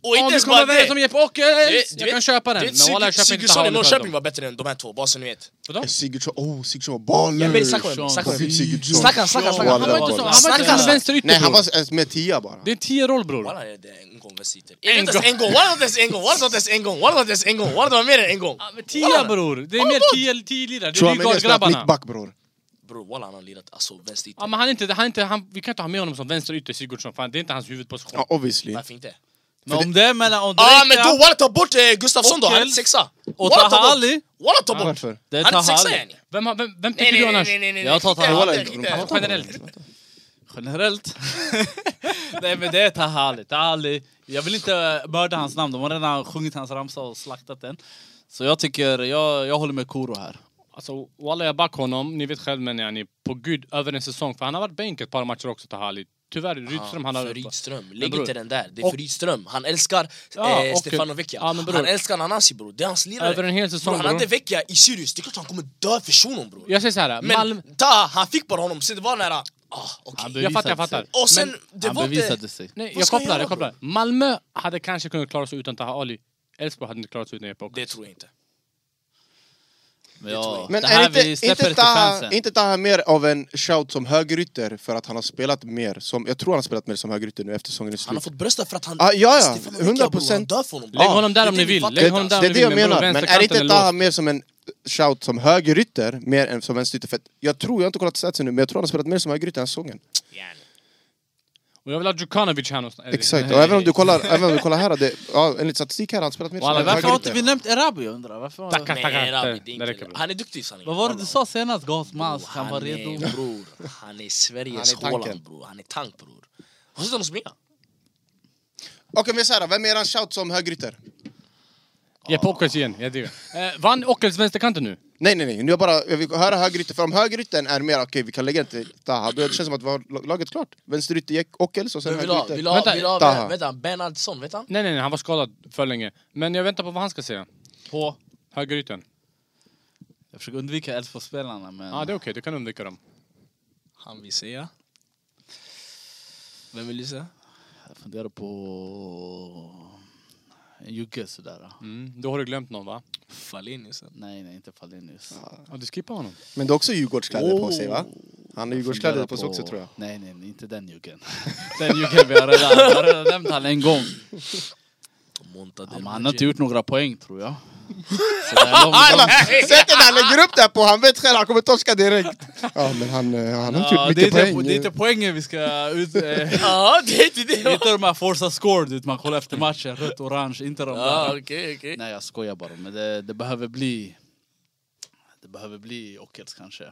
D: Och
B: Om
D: inte
B: vi
D: ens
B: kommer
D: bara
B: överens om
D: det.
B: Jeppe Ockels,
D: Du
B: jag kan
D: vet-
B: köpa den.
D: du vet,
B: Men walla jag
D: Sigurd-
B: köper inte
D: Sigurdsson i
B: Holland för
D: Norrköping
B: dem.
D: var bättre än de här två, bara så ni vet.
B: Vadå?
A: Sigurdsson, oh Sigurdsson var baller!
D: Jag vet, snacka med mig, snacka med mig.
A: Sigurdsson.
D: Snacka, snacka, snacka.
A: Walla,
B: Han var inte så-
A: walla.
B: han var inte som en
D: Snacka.
A: Nej,
B: vänsterytter
A: han
B: bror.
A: var med tia bara.
B: Det är en tio-roll bror.
D: Walla det är en gång Vesiter. En
B: gång.
D: gång! En gång! Walla det var inte ens en gång! Walla det var inte ens en gång! Walla det var inte ens en gång! Walla det var mer än en gång!
B: Ah, Ja,
D: Oh
B: men Tia bror, det är mer tio-lirare. Det är
A: Chouameni har
B: Rygaard
A: spelat
B: grabbarna.
A: mittback bror.
D: Bror walla han har lirat alltså vänsterytter.
B: Ja, men han är inte, han är inte, han, vi kan inte ha med honom som vänsterytter Sigurdsson, fan det är inte hans huvudposition.
A: Ja, obviously.
D: Varför inte?
C: Men om det är mellan Ondrejka
D: Ah men då walla ta bort eh, Gustafsson då, han är
C: Okel.
D: inte sexa!
C: och
D: Walla, ta
C: Taha
D: bort.
C: Ali,
D: Walla ta bort!
A: Varför?
C: det är
D: Han är inte
C: Taha
D: sexa
C: Ali.
D: yani!
B: Vem, har- vem, vem tycker du annars?
C: Jag tar
D: skit i det,
C: Taha
A: Walla,
C: Ali.
D: skit i det.
A: inte.
B: Generellt.
C: Generellt. Nej men det är Taha Ali. Taha Ali. Jag vill inte eh, mörda hans namn, de har redan sjungit hans ramsa och slaktat den. Så jag tycker, jag, jag håller med Koro här.
B: Alltså walla jag backar honom, ni vet själv men yani, på gud över en säsong för han har varit bänk ett par matcher också Tahali. Tyvärr Rydström han har...
D: För Rydström, lägg
B: bror.
D: inte den där. Det är
B: Och-
D: för Rydström. Han älskar
B: Ja,
D: eh,
B: och-
D: Stefano Vecchia.
B: Ja, men bror.
D: han älskar Nanasi bror, det är hans lirare.
B: Över en hel säsong,
D: bror, han hade
B: bror.
D: Vecchia i Sirius, det är klart han kommer dö för shunon bror.
B: Jag säger såhär,
D: Men
B: Malm...
D: ta, han fick bara honom, sen det var nära... Ah, okej.
C: Han
B: Jag fattar, jag
C: bevisade
B: fattar.
C: sig.
D: Och sen, det
C: Han
D: var inte...
C: bevisade sig.
B: Nej,
D: Vad
B: jag
D: ska jag
B: kopplar, jag
D: göra,
B: kopplar. Malmö hade kanske kunnat klara sig utan Taha Ali. Elfsborg hade inte klarat sig utan Jeppe också.
D: Det tror jag inte.
C: Men, ja,
A: Men
C: det
A: är
C: här
A: inte,
C: vi släpper
A: inte,
C: till
A: Taha,
C: fansen.
A: inte Taha mer av en shout som högerytter för att han har spelat mer som, jag tror han har spelat mer som högerytter nu efter säsongen är
D: Han har
A: slut.
D: fått brösta för att han...
A: Ah, ja, ja.
D: Stefano Vecchia, bror,
A: 100%.
D: Han dör för honom. Ah,
B: Lägg
A: Ja,
B: honom där om
D: det
B: ni
D: är det
B: vill.
D: vi
B: Lägg
D: fattar.
B: honom där
A: det
B: om
A: är det
B: ni vill.
A: jag
B: men bror,
A: menar, men är inte
B: vänsterkanten
A: Taha
B: låst.
A: mer som en shout som högerytter mer än som vänsterytter? För att jag tror, jag har inte kollat statsen nu, men jag tror han har spelat mer som högerytter den här säsongen.
B: Och jag vill ha Djukanovic här någonstans.
A: Exakt, och även om du kollar, även om du kollar här, det, ja, enligt statistik här har han spelat mer som
B: Walla,
C: Men
A: en
C: varför har inte
A: högerytter.
C: vi nämnt Erabi jag undrar Varför?
B: Tackar,
D: Nej,
B: tackar.
D: Rabi, det
B: Det
D: är
B: det
D: inte
B: räcker
D: bra.
B: bra.
D: Han är duktig i sanning.
C: Vad var det du sa senast? Gas mask,
D: Bror,
C: han var redo.
D: Är, bror, han är Sveriges
A: Han är tanken.
D: Haaland bror. Han är tank bror. Har du sett honom springa?
A: Okej men såhär, vem är eran shout som högerytter?
B: Jeppe Ockels igen, jag driver. Eh, vann Ockels vänsterkanten nu?
A: Nej nej nej, nu jag bara, jag vill höra högerytter, för om högerytten är mer, okej vi kan lägga den till Taha, då känns det som att vi har laget klart. Vänsterytter, Jack Ockels och sen
D: Men vill du ha,
A: högerytter.
D: vill du ha,
B: Vänta,
D: vill du ha,
A: Taha.
D: vä- vänta, Bernhardsson, vet han?
B: Nej, nej, nej, han var skadad för länge. Men jag väntar på vad han ska säga.
C: På.
B: Högerytten.
C: Jag försöker undvika Elfsborgsspelarna men...
B: Ja, ah, det är okej, du kan undvika dem.
D: Han vill säga. Vem vill du säga?
C: Jag funderar på... En jugge sådär.
B: Mm, då har du glömt någon va?
D: Fallinius.
C: Nej, nej, inte Fallenius.
B: Ja, du skippar honom.
A: Men du har också Djurgårdskläder på sig va? Han har Djurgårdskläder
C: Funderar
A: på sig också tror jag.
C: Nej, nej, nej, inte den juggen. den juggen, vi har redan, jag har redan nämnt han en gång. Ja, men han har inte gjort några poäng tror jag. Så det är långt-
A: Alla, sättet han lägger upp det här på, han vet själv, han kommer torska direkt. Ja men han, eh, han har
C: Ja,
A: typ
C: det, är
A: mycket
C: inte,
A: poäng.
C: det är inte poängen vi ska ut... eh,
D: Ja, det är inte det!
C: Det är inte de här forza score du vet, man kollar efter matchen, rött, orange, inte de
D: Ja,
C: där.
D: okej, okej.
C: Nej jag skojar bara, men det, det behöver bli... Det behöver bli Ockels kanske.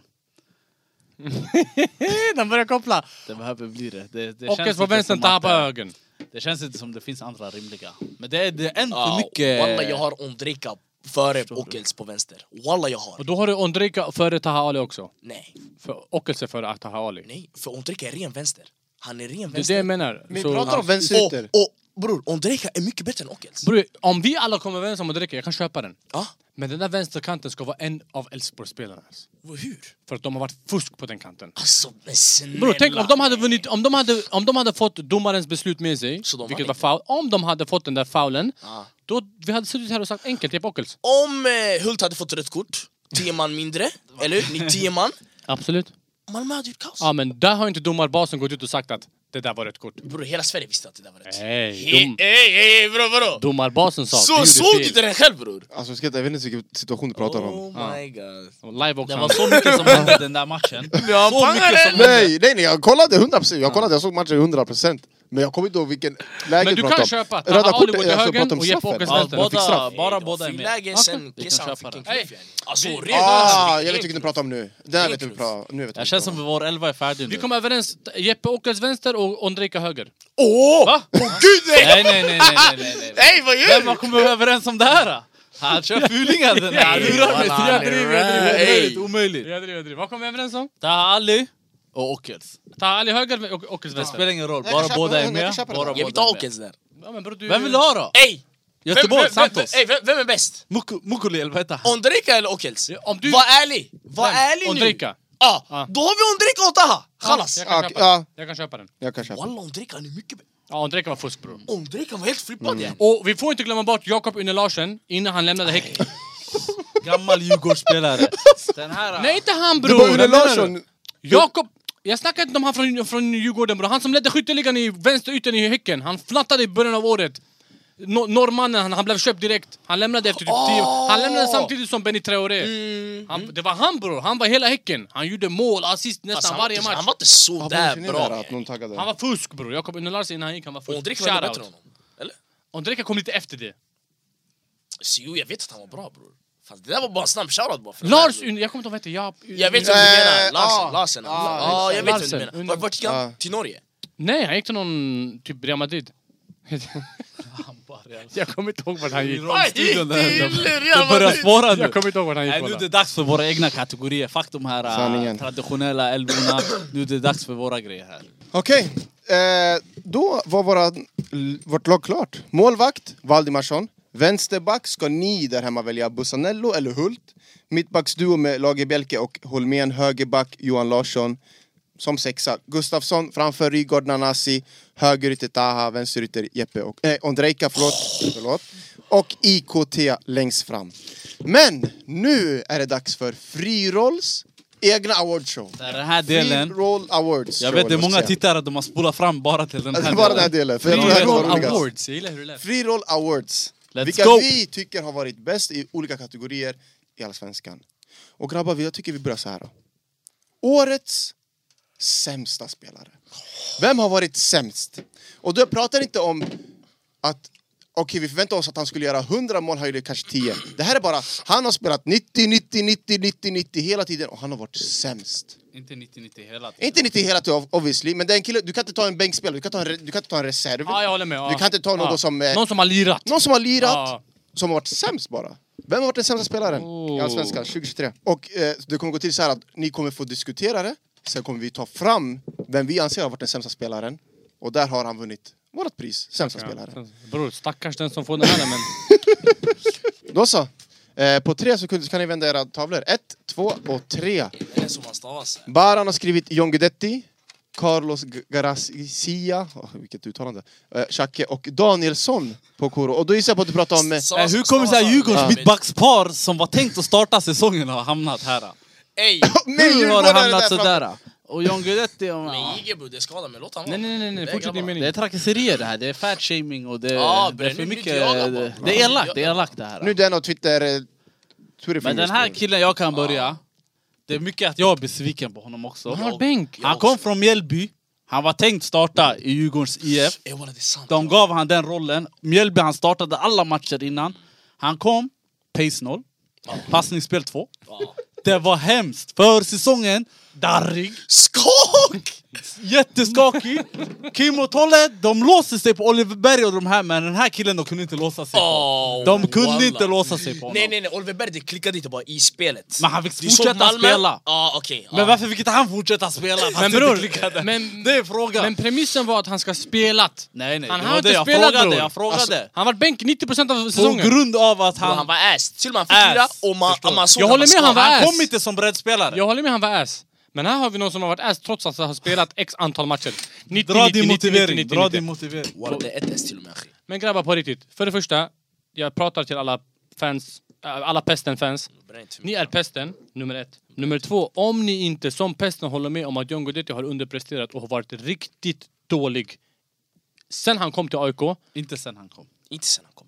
B: Den börjar koppla!
C: Det behöver bli det. det, det
B: Ockels
C: känns
B: på
C: inte
B: vänstern,
C: som
B: Taha
C: att
B: på
C: det-
B: högern.
C: Det känns inte som det finns andra rimliga. Men det är, det är en för
D: Ja,
C: mycket...
D: Ah, Walla, jag har Ondrejka före
C: Förstår du?
D: Ockels på vänster. Walla, jag har.
B: Och då har du Ondrejka före Taha Ali också.
D: Nej,
B: För Ockels är före Taha Ali.
D: nej. För Ondrejka är ren vänster. Han är ren
B: Det är det
D: vänster.
B: jag menar.
A: Vi
B: Så-
A: pratar om vänsterytter.
D: Och, och bror, Ondrejka är mycket bättre än Ockels.
B: Bror, om vi alla kommer överens om Ondrejka, jag kan köpa den.
D: Ja,
B: Men den där vänsterkanten ska vara en av Elfsborgsspelarna.
D: hur?
B: För att de har varit fusk på den kanten.
D: Alltså, men snälla.
B: Bror, tänk om de hade vunnit, om de hade, om de hade fått domarens beslut med sig,
D: Så de vann
B: vilket var
D: inte.
B: foul, om de hade fått den där foulen,
D: Ja.
B: då vi hade suttit här och sagt enkelt, Jeppe Ockels.
D: Om eh, Hult hade fått rött kort, tio man mindre, eller hur? Ni tio man.
B: Absolut.
D: Malmö hade gjort kaos.
B: Ja, men där har inte domarbasen gått ut och sagt att det där var rött kort.
D: Bror, hela Sverige visste att det där var rätt.
B: Nej,
D: Hej,
B: dom,
D: hej, hej, bror, vadå?
B: domarbasen sa
D: Så
B: vi
D: såg du
B: gjorde
D: inte den själv bror?
A: Alltså jag ska inte- jag vet inte vilken situation du pratar om.
D: Oh my god.
B: fel. Live också.
C: Det var så mycket som hände den där matchen. Så mycket som hände.
A: Nej, nej, nej, jag kollade 100%, jag kollade, jag såg matchen 100% Men jag kommer inte ihåg vilken läge
B: Men
A: vi
B: du
A: pratar
B: kan
A: om.
B: köpa
A: Röda
B: Taha
A: kort,
B: Ali går till
A: alltså, jag pratar
B: höger
A: om
B: och Jeppe
A: straffen.
B: Ockels
A: Ja,
B: vänster.
A: båda- fick straff.
C: Bara båda är
D: med.
C: med.
D: Friläge, sen
C: vi kan
D: kissade han
C: köpa
D: fick en
C: den.
D: knuff igen. Alltså, ren
A: Ah, jag
D: ren
A: vet vilken du pratar om nu. Där vet du bra. Nu vet
C: Jag känns som att vår elva är färdig
B: Vi
C: nu.
B: kom överens, Jeppe Ockels vänster och Ondrejka höger.
D: Åh!
B: Va?
D: Åh gud nej!
C: Nej, nej, nej, nej, nej, nej, nej.
D: Nej vad gör
C: Vem
D: du?
C: har kommit överens om det här? då? Han kör fulingar den här.
D: Nej,
C: Du rör mig,
D: walla,
C: jag
D: han är
C: driver, jag driver.
D: right.
C: Omöjligt, omöjligt.
B: Jag driver, jag driver. Vad kom vi överens om?
C: Taha Ali och Ockels.
B: Taha Ali höger och Ockels
C: Det
B: vänster.
C: spelar ingen roll,
A: Jag kan
C: bara
A: köpa
C: båda
A: den,
C: är
A: jag kan
C: med.
A: köpa den.
C: Bara
D: Jag vill
C: båda
D: inte ha
C: är med.
D: Hawkins där.
B: Ja, men bror, du...
C: Vem vill du ha då?
D: Ey!
C: Göteborg, Santos.
D: Ey, vem, vem är bäst?
C: Muk- Mukuli, eller vad heter han?
D: Ondrejka eller Ockels?
B: om du-
D: Var ärlig! Var ärlig nu!
B: Ondrejka.
D: Ja,
B: Ja.
D: då har vi Ondrejka och Taha! Chalas!
B: Jag kan,
A: Ja,
B: köpa
A: Ah, ja.
B: den. jag kan köpa den.
A: Jag kan köpa.
D: Walla Ondrejka, han är mycket bättre.
B: Ja, Ondrejka var fusk bror.
D: Ondrejka var helt flippad igen.
B: Och vi får inte glömma bort Jakob Une Larsen innan han lämnade Häcken.
C: Gammal Djurgårdsspelare. Den här...
B: Nej, inte han
A: Det var
B: bror!
A: Ulle
B: Vem menar
A: Larsson,
B: du? Jakob... Jag snackar inte om han från, från Djurgården bror. Han som ledde skytteligan i vänsterytten i Häcken. Han flattade i början av året. No, norrmannen, han, han blev köpt direkt. Han lämnade efter typ tio Han lämnade samtidigt som Benny Traoré.
D: Mm.
B: Han, det var han bror, han var hela Häcken. Han gjorde mål, assist nästan
D: Fast Alltså, han, var
B: varje
D: inte,
B: match.
D: han var inte så
A: Vad
D: där
A: borde ni göra
D: bra.
A: Att någon taggade.
B: Han var fusk bror. Jakob Unulars innan han gick, han var fusk.
D: Ondrejka var ändå
B: Shout
D: bättre än
B: out.
D: honom. Eller?
B: Ondrejka kom lite efter det.
D: Så, jo, jag vet att han var bra bror. Fast det där var bara en snabb shoutout bara. för-
B: Lars, Un- jag kommer inte ihåg vad han hette. Ja,
D: Jag vet vad du menar.
A: Eh,
D: Larsen.
A: ah.
D: Larsen.
A: Ah,
D: Ja, jag vet vad
B: Larsen.
D: du menar. Vart- Vart gick han?
A: Ah.
D: Till Norge?
B: Nej, han gick till någon typ Real Madrid. jag kommer inte ihåg vart han gick.
D: Han gick till
C: Det
D: Real
C: börjar spåra nu.
B: Jag kommer inte ihåg vart han gick.
C: Nej, nu är
B: kolla.
C: det dags för våra egna kategorier. Fuck de här äh,
A: Sanningen.
C: traditionella älvorna. Nu är det dags för våra grejer här.
A: Okej, eh, då var våra, l- vårt lag klart. Målvakt, Valdimarsson. Vänsterback ska ni där hemma välja Bussanello eller Hult. Mittbacksduo med Lagerbielke och Holmén. Högerback, Johan Larsson. Som sexa, Gustafsson framför Rygaard Nanasi. Högerytter Taha, vänsterytter Jeppe och... Eh, Ondrejka, förlåt. förlåt. Och IKT längst fram. Men nu är det dags för Frirolls egna awardshow.
C: Det är Den här delen.
A: Free Roll Awards.
C: Jag vet det är
A: show,
C: många
A: måste jag.
C: tittare de har spolat fram bara till den här
A: Alltså, bara den här delen, för jag tror det här var roligast.
C: Awards, jag gillar hur det lät.
A: Free Roll Awards.
C: Let's
A: vilka
C: go.
A: vi tycker har varit bäst i olika kategorier i Allsvenskan. Och grabbar, vi- jag tycker vi börjar så här. då. Årets sämsta spelare. Vem har varit sämst? Och då pratar jag inte om att okej, vi förväntar oss att han skulle göra 100 mål, han gjorde kanske 10. Det här är bara, han har spelat 90, 90, 90, 90, 90 hela tiden och han har varit sämst.
C: Inte 90-90 hela tiden.
A: Inte 90 hela tiden obviously, men det är en kille, du kan inte ta en bänkspelare, du kan ta en, re- du kan inte ta en reserv.
B: Ja, jag håller med. Ja.
A: Du kan inte ta någon
B: ja.
A: som... eh,
B: Någon som har lirat.
A: någon som har lirat,
B: Ja.
A: som har varit sämst bara. Vem har varit den sämsta spelaren i
B: Oh.
A: Allsvenskan 2023? Och eh, det kommer gå till så här att ni kommer få diskutera det, sen kommer vi ta fram vem vi anser har varit den sämsta spelaren. Och där har han vunnit vårt pris, sämsta spelaren.
B: Bror, stackars den som får den här men...
A: Då så. Eh, på tre sekunder så kan ni vända era tavlor. Ett, två och tre.
D: Det är som han stavas.
A: Baran har skrivit John Guidetti, Carlos G- Garcia, oh, vilket uttalande, eh, Xhake och Danielsson på Koro. Och då gissar jag på att du pratar om... Eh,
C: Äh, hur kommer det här Djurgårdens mittbackspar som var tänkt att starta säsongen har hamnat här? då?
D: Ey!
C: Hur har det
A: Djurgårdare
C: hamnat
A: där framme.
C: sådär? då? Och John Guidetti... ja.
D: Men Jigebo, det skadar mig. Låt han
B: Nej, nej, nej, nej.
D: Det är
B: fortsätt din
D: grabbar.
B: mening.
C: Det är trakasserier det här, det är fat shaming och det,
D: Ja,
C: det är
D: bränn
C: för
D: in
C: mycket...
D: mitt öga bara.
C: Det, det är elakt, det är elakt det här.
A: Nu är det en av Twitter... Eh,
C: Men den här killen, jag kan börja. Det är mycket att jag är besviken på honom också.
B: Han har bänk.
C: Han kom från Mjällby, han var tänkt starta i Djurgårdens IF.
D: Ey walla, det är sant.
C: De gav han den rollen. Mjällby, han startade alla matcher innan. Han kom, pace noll. Passningsspel två.
D: Ja.
C: Det var hemskt. För säsongen, darrig.
D: Skak!
C: Jätteskakig! Kim och Tolle, de låste sig på Oliver Berg och de här, men den här killen de kunde inte låsa sig på.
D: Åh,
C: de kunde
D: wallah.
C: inte låsa sig på honom.
D: Nej, nej, nej. Oliver Berg, det klickade inte bara i spelet.
C: Men han fick
D: Du såg
C: fortsätta
D: Malmö?
C: spela.
D: Ja, okej. Ah,
C: Men varför fick inte han fortsätta spela? fast
B: Men
C: det inte
B: bror,
C: klickade?
B: men,
C: det är frågan.
B: men premissen var att han ska ha spelat.
C: nej, nej,
B: Han
C: det
B: har
C: var
B: inte
C: det jag
B: spelat,
C: frågade.
B: bror.
C: Jag frågade.
B: Han var bänk 90% av
C: på
B: säsongen.
C: grund av att
D: Han,
C: han...
D: han var ass. Till och med han fick
C: Ass.
D: lira och man,
C: Förstår.
D: man såg
B: Jag
D: att
B: håller med, han
D: skadad.
B: var
C: han
B: ass.
C: kom inte som breddspelare.
B: Jag håller med, han var ass. Men här har vi någon som har varit ass trots att han har spelat x antal matcher. 90,
C: Dra
B: 90,
C: din
B: 90,
C: motivering.
B: 90,
C: Dra
B: 90.
C: din motivering.
D: Walla, det är ett S till och med. akhi.
B: Men grabbar, på riktigt. För det första, jag pratar till alla fans, äh, alla Pesten-fans.
D: Bränn inte för
B: Ni
D: mycket.
B: är pesten, nummer ett. Nummer två, om ni inte som pesten håller med om att John Guidetti har underpresterat och har varit riktigt dålig sen han kom till AIK.
C: Inte sen han kom.
D: Inte sen han kom.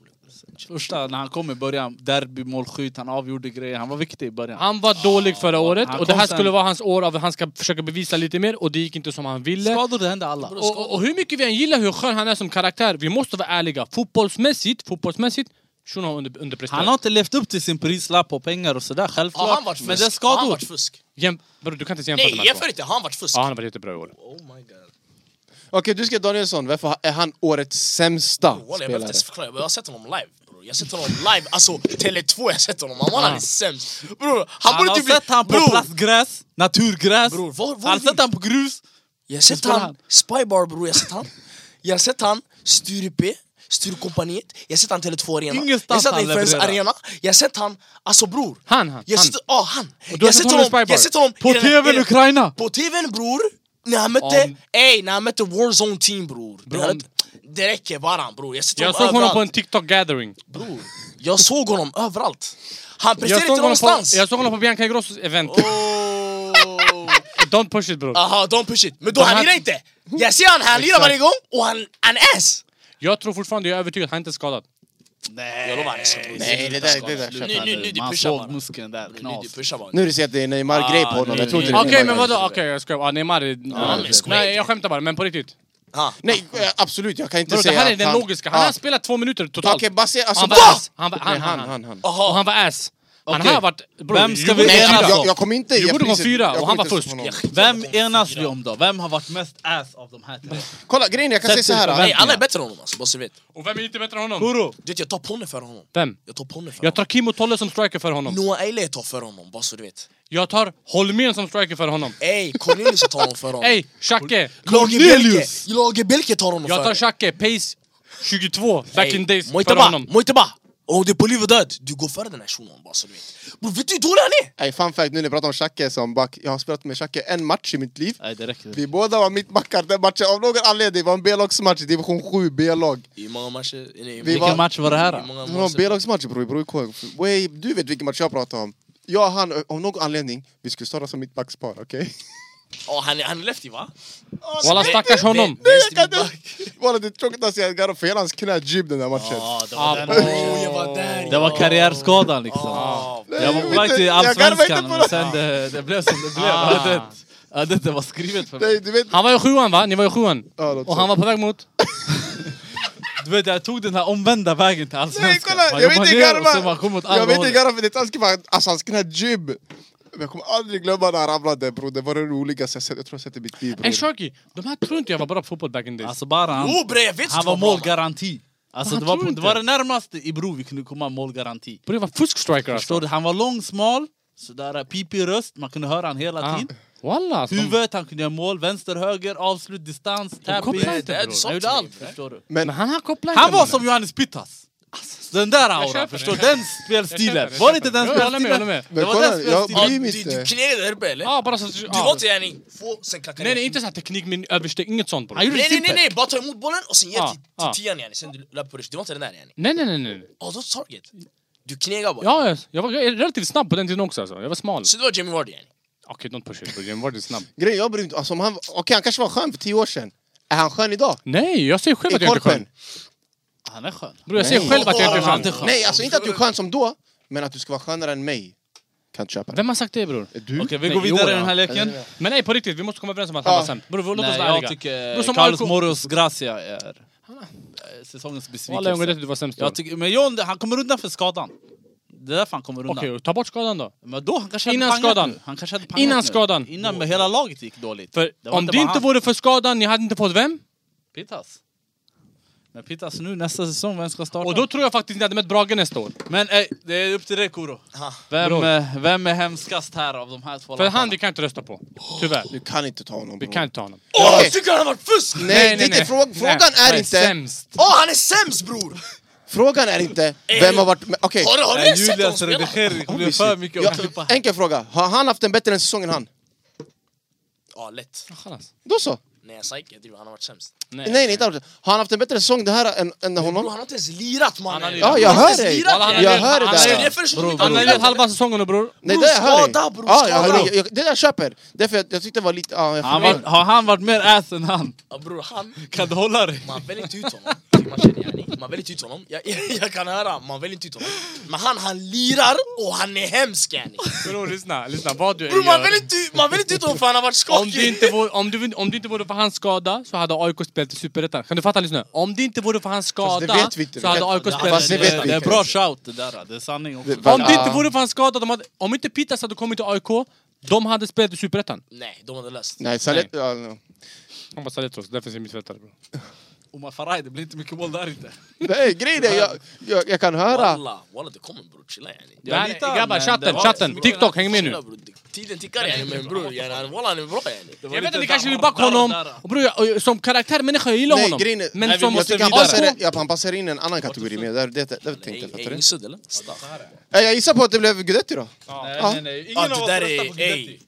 C: Första, när han kom i början, derby, målskytt, han avgjorde grejer. Han var viktig i början.
B: Han var dålig förra året
C: han
B: och det
C: kom
B: här
C: sen.
B: skulle vara hans år av att han ska försöka bevisa lite mer och det gick inte som han ville.
C: Skador, det hände alla.
B: Och, och, och hur mycket vi än gillar hur skön han är som karaktär, vi måste vara ärliga. Fotbollsmässigt, fotbollsmässigt, shunon har under, underpresterat.
C: Han har inte levt upp till sin prislapp och pengar och sådär,
D: Har han
C: självklart.
D: varit
C: men det är
D: fusk? Har han
C: skador.
D: varit fusk?
B: Jäm... Bro, du kan inte jämföra de
D: Nej,
B: här två.
D: jämför inte. Har han varit fusk?
B: Ja, han har varit jättebra i år.
D: Oh my god.
A: Okej, du ska Danielsson. Varför är han årets sämsta
D: Walla, jag behöver inte
A: spelare?
D: ens förklara, jag har sett honom live bror. Jag har sett honom live, alltså Tele2 jag har sett honom, han var ah. sämst Bror, han
C: Han
D: borde
C: har
D: typ bli-
C: sett han på
D: Bror,
C: plastgräs, naturgräs.
D: Bror, var- var
C: han har
D: är vi?
C: sett han på grus.
D: Jag har sett
C: spelar
D: han,
C: han?
D: Spybar bror, jag har sett han Jag har sett han, Sturepé, Sturecompagniet Jag har sett han Tele2 Arena Jag har
C: Ingenstans
D: sett han
C: han
D: Influence
C: levererar.
D: Arena Jag har sett han, alltså bror
B: Han, han,
D: jag har
B: han.
D: sett, Ja, han!
B: du har
D: Jag har
B: sett
D: sett
B: honom i
D: honom, jag har
B: Spybar?
D: sett honom i
C: På
D: den här-
C: tvn
D: i den-
C: Ukraina!
D: På tvn bror, när han mötte,
B: Om-
D: ey när han mötte Warzone team bror
B: Bror,
D: Det här-
B: om-
D: Det räcker bara bror, jag har sett
B: Jag såg honom
D: överallt.
B: på en TikTok-gathering.
D: Bror, jag såg honom överallt. Han
B: Jag
D: presterade
B: såg
D: inte
B: honom på,
D: någonstans.
B: jag såg honom på Bianca Ingrossos event.
D: Oh.
B: Don't push it bror.
D: Aha, don't push it. Men då,
B: Men
D: han
B: han-
D: lirar inte. Jag ser han, han lirar
B: Exakt.
D: varje gång och han, han är ass.
B: Jag tror fortfarande, jag är övertygad, han är inte skadad.
C: Nej.
D: Jag lovar, han är så-
A: Nej, det där, det där
D: Nu-
A: köper
D: nu-
A: jag.
D: nu- nu- du
C: Man
D: pushar
C: såg
D: bara.
C: muskeln där,
D: Nu är du
C: knas.
D: pushar bara.
A: Nu du ser att det är
B: Ah,
A: Neymar-grej på honom, jag tror inte det är
B: Okej, men
A: Neymar-grej.
B: vadå? Okej, jag skojar. Ah, Neymar är...
D: men
B: Nej,
D: skit.
B: Nej, jag skämtar bara, men på riktigt.
D: Ha.
A: Nej, eh, absolut, jag kan inte
B: Bro, det
A: säga
B: här är
A: att
B: den
A: han-
B: logiska. Han
A: Ja.
B: har spelat två minuter totalt.
A: Okej, bara se... Alltså,
B: han, var
A: va?
B: ass. Han, var- han,
A: Nej,
B: han, han,
A: han, han.
B: Och han var ass. Han
C: Okej.
B: här varit... Bro,
C: Vem ska vi
B: Djurgården
A: Nej,
C: enas
B: fyra.
C: om?
A: jag, jag kommer inte ge
B: Djurgården var
A: priset.
B: fyra,
A: Jag
B: och
A: kommer
B: han var
A: inte
B: fusk.
A: honom.
C: Vem enas vi om då? Vem har varit mest ass av de här tre?
A: Kolla, grejen är, jag kan säga
C: Sätt
A: så
C: dig
A: här. eh.
C: förväntningar.
D: Nej, alla är bättre än honom alltså, bara så du vet.
B: Och vem är inte bättre än honom?
D: Du vet, jag tar ponnen för honom.
B: Vem?
D: Jag tar ponnen för
B: Jag tar
D: honom.
B: Kim och Tolle som striker för honom.
D: Noah Eileh tar för honom, bara så du vet.
B: Jag tar Holmén som striker för honom.
D: Ey, Cornelius tar honom för honom.
B: Ey, Xhake!
D: Lage Belke! Lage Belke tar honom
B: Jag
D: för
B: tar Xhake, Pace 22, back in days, för
D: Moitaba,
B: honom.
D: Moitaba! Om det är på liv och död, du går före den här shunon bara så du vet. Bro, vet du hur dålig han är?
A: Ey, fun fact, nu när jag pratar om Xhake som back. Jag har spelat med Xhake en match i mitt liv.
C: Nej, det räcker.
A: Vi båda var mittbackar den matchen. Av någon anledning, det var en B-lagsmatch i division 7, B-lag.
D: I många matcher...
A: Vi var-
C: Vilken match var det här
D: I
C: då?
D: många
A: Det var en
D: matcher.
A: B-lagsmatch bror, i Bror Way, Du vet vilken match jag pratar om. Jag och han, av någon anledning, vi skulle starta som mittbackspar, okej?
D: Ja, han, är- han är Oh, lefty va?
B: Walla stackars
A: Nej,
B: honom!
D: Vänster
A: jag kan
D: mittback.
A: inte- Walla, det är tråkigt att säga Garro, för hela hans knä jib den där matchen.
C: Ja, det
B: Ah,
C: var den.
D: Oh, jag var där!
C: Det var karriärskadan liksom.
D: Ah,
A: Nej,
C: Jag var på
A: vet
C: väg
A: inte,
C: till
A: jag garvar inte
C: Allsvenskan,
A: på
C: men
A: det.
C: sen det, det blev som det blev.
B: Ah.
C: Ödet, ödet det var skrivet för mig.
A: Nej, du vet...
B: Han var i sjuan va? Ni var i sjuan?
A: Ja, låt
B: Och han var på väg mot?
C: Du vet, jag tog den här omvända vägen till
A: Nej,
C: Allsvenskan.
A: kolla!
C: Man
A: Jag vet
C: jobbar
A: inte
C: ner och så man kom
A: garva!
C: åt
A: Jag
C: andra
A: vet inte
C: hållet.
A: garva, för det är taskigt, för han- alltså hans knä jib. Men Jag kommer aldrig glömma när han ramlade bror, det var det roligaste jag sett, jag tror jag sett i mitt liv bror.
B: Ey Sharky, de här tror inte jag var bra på fotboll back in days.
C: Alltså bara han,
D: Oh bre, jag vet
C: han
D: vad
C: var
D: bra han
C: målgaranti. Alltså,
B: Han
C: det, var
B: tror
C: på,
B: inte.
C: det var det närmaste i Bro vi kunde komma målgaranti.
B: Bro, det var fusk-striker
C: Förstår
B: alltså.
C: du? Han var lång, smal, sådär pipig röst, man kunde höra han hela
B: Ah.
C: tiden.
B: Walla alltså. de-
C: Huvudet, han kunde göra mål, vänster, höger, avslut, distans, tapping.
B: kopplar inte,
D: Det är
B: bror.
D: du sa
C: Han
D: till
C: gjorde
D: mig,
C: allt,
D: bre.
C: förstår du.
B: Men han här kopplar
C: Han var
B: mannen.
C: som Johannes Pittas. Så Den där
B: köper
C: auran,
B: det.
C: förstår du? Den
B: Jag
C: spelstilen.
B: köper
C: Var
B: det.
C: det inte den
B: Jo, jag håller med, jag håller
C: spelstilen?
B: med.
A: Men
C: Det var
A: kolla,
C: den
A: jag
D: Ja,
C: spelstilen.
A: bryr
D: du
A: mig
D: du
A: inte.
D: knegade Erbe eller?
B: Ja, bara så...
D: Du
B: ja.
D: går till yani, få, sen klackar
B: Nej,
D: ner.
B: nej, inte såhär teknik min översteg, inget sånt bror.
C: Han gjorde
D: Nej nej nej,
C: simpel.
D: nej, bara ta emot bollen och sen ge
B: Ah,
D: till
B: ah.
D: till tian yani, sen du löper på det. Det var inte den där yani.
B: Nej, nej, nej, nej.
D: Ja, då target. Du knegar bara.
B: Ja, jag- jag var relativt snabb på den tiden också alltså. Jag var smal.
D: Så det var Jamie Vardy yani.
B: Okej, don't push it bror. Jag var lite snabb.
A: Grejen, jag bryr mig inte. Alltså, om han, okej, han kanske var skön för tio år sedan. Är han skön idag?
B: Nej, jag säger själv
A: I
B: att jag inte är
A: korpen?
B: skön.
C: Han är skön.
B: Bror, jag säger själv att jag inte
C: Han är
B: är
C: inte
B: skön.
C: skön.
A: Nej, alltså inte att du är skön som då, men att du ska vara skönare än mig. Kan inte köpa det.
B: Vem har sagt det bror?
A: Du?
C: Okej, vi
B: Nej,
C: går
B: jo,
C: vidare i
B: ja.
C: den här leken.
B: Men nej, på riktigt, vi måste komma överens om att han
A: Ja.
B: var sämst. Bror, låt oss
C: Nej,
B: vara
C: jag
B: ärliga. Bror,
C: tycker
B: som
C: Eh, Carlos
B: AIK.
C: Moros Gracia är eh, säsongens
B: Alla gånger
C: besvikelse.
B: du var sämst.
C: Jag
B: Okej,
C: tycker, men John, han kommer undan för skadan. Det är därför han kommer undan.
B: ta bort skadan då.
C: Men då, han kanske hade
B: Innan
C: pangat
B: skadan.
C: nu. Han kanske hade pangat
B: Innan
C: nu.
B: skadan.
C: Innan med hela laget gick dåligt.
B: För
C: Det var
B: om
C: inte
B: det
C: bara
B: inte
C: han.
B: vore för skadan, ni hade inte fått vem?
C: Pittas. Men Pittas nu nästa säsong, vem ska starta?
B: Och då tror jag faktiskt ni hade mött Brage nästa år.
C: Men ey, det är upp till dig Kuro.
D: Ha.
C: Vem,
B: Bror.
C: eh, vem är hemskast här av de här två
B: För
C: lapparna?
B: han, vi kan inte rösta på. Tyvärr.
A: Du kan inte ta honom.
B: Vi
A: bro.
B: kan inte ta honom.
D: Åh,
A: Okej.
D: jag tycker han har varit fusk!
A: Nej, det är inte fråg- frågan
B: han
A: är inte...
B: Sämst.
D: Åh, han är sämst Oh, bror!
A: Frågan är inte vem har varit... men Okej,
D: Har, har
C: Nej,
D: ni sett honom
C: Julias
D: spela?
C: redigering kommer bli
A: Obviously.
C: för mycket
A: Ja,
C: att klippa.
A: enkel fråga. Har han haft en bättre än säsongen han?
D: Ja, lätt.
B: Chalas.
A: Då så.
D: Nej, jag sa inte, jag driver, han har varit sämst.
A: Nej, nej, inte alls. Har han haft en bättre säsong det här än, än
D: Bror,
A: honom?
D: han har inte ens lirat mannen!
B: lirat.
A: Ja, jag hör dig. Jag hör dig
D: Alltså,
A: där.
D: det är först
C: Bror,
B: Han har
C: bror.
B: lirat halva säsongen bror.
A: Nej,
D: Bror,
A: det jag hör dig.
D: skada, bror,
A: Ja, jag hör
D: skada.
A: dig. Jag- Det där jag köper. Därför jag, jag tyckte det var lite... Ja, jag
C: Han
A: förstår.
C: var, har han varit mer ass än han?
D: Ja, bror, han...
C: Kan du hålla dig?
D: Man väljer inte ut honom. Man känner yani. Man väljer inte ut honom. Jag, jag kan höra, man väljer inte ut honom. Men han, han lirar och han är hemsk yani.
B: Bror, lyssna, lyssna. Vad du
D: Bror, man väljer inte, man väljer inte ut honom för han har varit
B: Om det,
D: skakig.
B: inte vore, om, du, om det inte vore för hans skada så hade AIK spelat i Superettan. Kan du fatta? Lyssna. Om det inte vore för hans
A: Fast det
B: skada
A: vet vi inte.
B: så hade
A: Fast
B: AIK
A: det
B: spelat i
A: vet vi
C: det, det är
A: inte.
C: bra shout det där. Det är sanning också.
A: Det-
B: Om det inte
A: Ah.
B: vore för hans skada, de hade, om inte Pittas hade kommit till AIK, de hade spelat i Superettan.
D: Nej, de hade löst.
A: Nej, Salet... Ja, no.
B: Han var Saletros, defensiv mittfältare bror.
C: Omar Faraj, det blir inte mycket mål där inte.
A: Nej, grejen är, jag, jag, jag kan höra...
D: Walla, walla det kommer bror, chilla yani.
C: Jag
B: Nej,
C: litar,
B: grabbar,
C: men
B: chatten,
C: det var-
B: chatten, TikTok, häng med nu.
D: Chilla, bror. Tiden tickar yani, men bror yani, han- walla han är bra yani.
C: Det var
B: Jag vet
C: lite
B: att ni
C: där-
B: kanske vill backa
C: där och
B: honom,
C: där.
B: och bror, jag, som karaktär människa, jag gillar
A: Nej,
B: honom.
A: grejen är-
B: Men
C: Nej, vi
B: som
A: Jag
C: måste
A: tycker han
C: vidare.
A: passar, in- ja, han passar in i en annan kategori med. Det, det, det, det tänkte jag.
D: Ey,
A: Fattar
D: ey,
A: du?
D: ingen sudd eller? Staff.
A: Ja, Jag gissar på att det blev Gudetti då.
C: Nej,
A: Ja.
C: nej, nej. Ingen
D: Ja,
C: av
D: det
C: oss
D: där
C: röstar på
D: är-
C: Guidetti.
D: ey.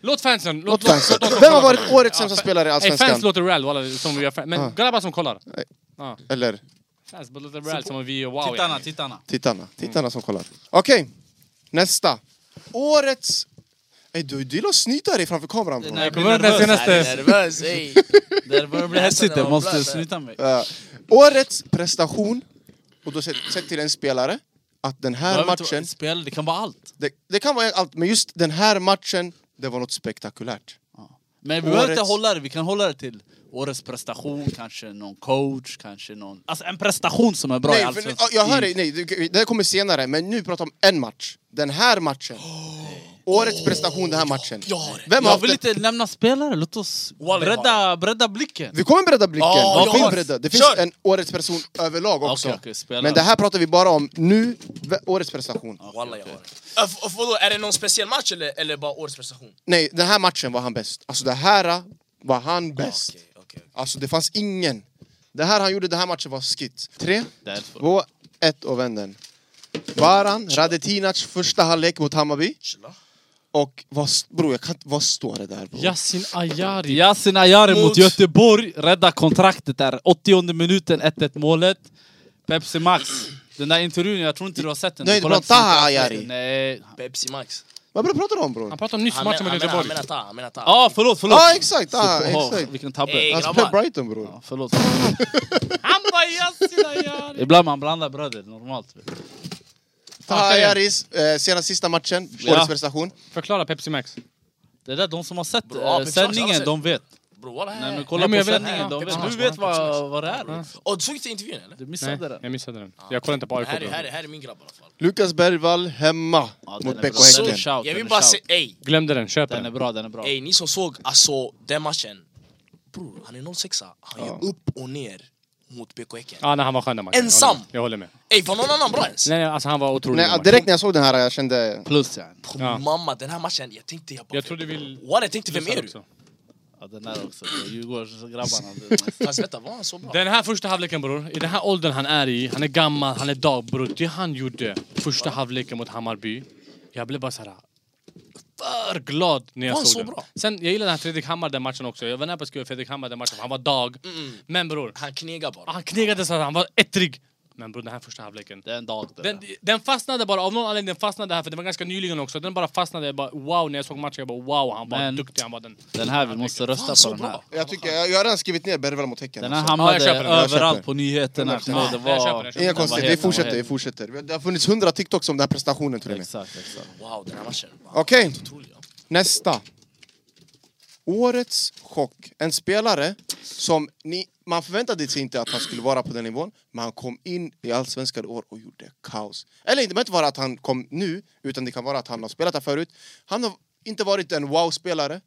B: låt fansen, låt,
A: Låt
B: låt,
A: fans. Vem har varit årets sämsta spelare i
B: Ey, fans
A: Allsvenskan?
B: låter Real, walla, som vi gör fan- Men
A: Ah.
B: grabbar som kollar.
A: Eller
B: Fans låter Real som vi är wow.
C: Tittarna, tittarna.
A: tittarna? Tittarna som kollar. Okej, nästa. Årets... Ey, du, du gillar att snyta dig framför kameran bror.
C: Nej,
B: Kommer du ihåg den
C: Nervös.
D: Han är
B: senaste...
D: nervös ey.
C: Det börjar bli hetsigt, jag måste snyta mig.
A: Ja, Eh, årets prestation, och då sett, sett till en spelare, att den här
C: Behöver inte vara
A: matchen,
C: ett Spel, det kan vara allt.
A: det, det kan vara allt, men just den här matchen, det var något spektakulärt.
C: Men vi behöver inte
A: Årets-
C: hålla det, vi kan hålla det till årets prestation, kanske någon coach, kanske någon... Alltså en prestation som är bra i
A: nej, för,
C: Allsvenskan.
A: ja, jag hör dig, nej, det- det här kommer senare, men nu pratar vi om en match. Den här matchen. Årets prestation, den här matchen. Vem har
C: Jag
A: haft
C: vill
A: det?
C: inte nämna spelare, låt oss
D: Wally
C: bredda, bredda blicken.
A: Vi kommer bredda blicken.
D: Ja,
A: Vi kommer
D: jag-
A: bredda. Det
D: Kör!
A: finns en årets prestation överlag också.
C: Okej, okej, spelare.
A: Men det här pratar vi bara om nu, v- årets prestation.
D: Walla jag har det. Äh, f- Vadå, är det någon speciell match eller, eller bara årets prestation?
A: Nej, den här matchen var han bäst. Alltså det här var han bäst.
D: Okej, okej.
A: Alltså det fanns ingen. Det här han gjorde den här matchen var skit. Tre,
C: Därför.
A: två, ett och vänd den. Varan, Radetinac första halvlek mot Hammarby.
D: Chilla.
A: Och vad, bror jag kan inte- vad står det där? Bro?
B: Yasin Ayari.
C: Yasin Ayari mot,
D: Mot-
C: Göteborg, rädda kontraktet där. 80 minuten, 1-1 målet. Pepsi Max. Den där intervjun, jag tror inte du har sett den.
A: Nej,
C: Du
A: det
C: kollar
A: var
C: inte så mycket
A: Taha
C: avsnitt.
A: Ayari.
C: Nej.
D: Pepsi Max.
A: Vad bra pratar du om bror?
B: Han pratar om nyss
D: Han
B: matchen med
D: men- han
B: Göteborg.
D: menar ta, han menar ta.
C: Ja, ah, förlåt, förlåt.
A: Ja exakt, ah,
C: Åh,
A: exakt.
C: vilken tabbe.
D: Ey,
A: Han
D: grabbar.
A: spelar Brighton bror.
C: Ja, förlåt. Han bara Yasin Ayari. Ibland man blandar bröder, normalt.
A: Taha Ayaris, eh, senaste sista matchen, årets
C: Ja.
A: prestation.
B: Förklara Pepsi Max.
C: Det där, de som har sett
D: Bra,
C: eh,
D: Pepsi Max, alla
C: sändningen,
D: sett.
C: de vet.
D: Bro, walla
C: Nej, men
D: här.
C: kolla
B: Nej, men
C: på
B: jag vet-
C: sändningen, de
D: Ja,
C: vet.
D: Pepsi
C: Du
D: Max,
C: vet vad, vad det är.
B: Ja.
D: Åh, du såg inte intervjun eller?
C: Du
B: Nej,
C: missade den.
B: jag missade den. Jag kollar inte på AIK.
D: Här är,
B: bro.
D: här, är, här är min grabb i alla fall.
A: Lukas Bergvall hemma
C: Ja, den
A: mot
C: är
A: BK
C: bra. Så-
A: Häcken.
C: Shout,
D: Jag
C: den
D: vill
C: är
D: bara
C: shout.
D: säga, ey,
B: Glömde den, köp
C: Den är
B: den.
C: bra, den är bra.
D: ey, ni som såg alltså den matchen. Bror, han är 06 Han gör upp och ner mot BK Häcken.
B: Ja, nej, han var skön den matchen.
D: Ensam.
B: Jag håller med.
D: Ey, var någon annan bra ens?
B: Nej, nej, alltså han var otrolig. den
A: Nej,
B: matchen.
A: direkt när jag såg den här jag kände...
C: Plus yani.
D: På
B: Ja.
D: mamma, den här matchen, jag tänkte jag bara...
B: Jag trodde vi-
D: Walla, jag tänkte, vem är du?
B: Också.
C: Ja, den där också. det är Djurgårdsgrabbarna. det är mest-
D: Fast vänta, var han så bra?
B: Den här första halvleken bror, i den här åldern han är i, han är gammal, han är dag bror. Det han gjorde första halvleken mot Hammarby, jag blev bara såhär för glad när jag
D: Var han
B: såg
D: så
B: den.
D: bra?
B: Sen, jag gillade den här Fredrik Hammar den matchen också. Jag var nära på att skriva Fredrik Hammar den matchen, för han var dag.
D: Mm.
B: Men bror,
D: Han knegar bara.
B: han knegade så att han var ettrig. Men bror, den här första halvleken.
C: Det är en dag. det
B: Den,
C: där.
B: den fastnade bara, av någon anledning den fastnade här, för det var ganska nyligen också. Den bara fastnade, jag bara wow, när jag såg matchen, jag bara wow, han var
C: Men-
B: duktig, han var den.
C: Den här, vi måste
D: Fan,
C: rösta
D: så
C: på den här.
D: bra.
A: Jag, tycker, jag, jag har redan skrivit ner Bergvall mot Häcken.
C: Den här
A: alltså.
B: Ja, jag
C: hamnade
B: köper den, jag
A: köper.
C: överallt på nyheterna. Kommer ihåg, Det
B: den köper jag, jag
C: var...
B: köper
A: Inga
B: den.
A: konstigheter, vi
C: helt-
A: fortsätter, vi fortsätter. Det har funnits hundra TikToks om den här prestationen till och med.
C: Exakt, exakt.
D: Wow, den här matchen. Wow,
A: Okej.
D: helt otrolig, ja.
A: Nästa. Årets chock. En spelare som ni, man förväntade sig inte att han skulle vara på den nivån, men han kom in i Allsvenskan i år och gjorde kaos. Eller det behöver inte vara att han kom nu, utan det kan vara att han har spelat där förut. Han har inte varit en wow-spelare,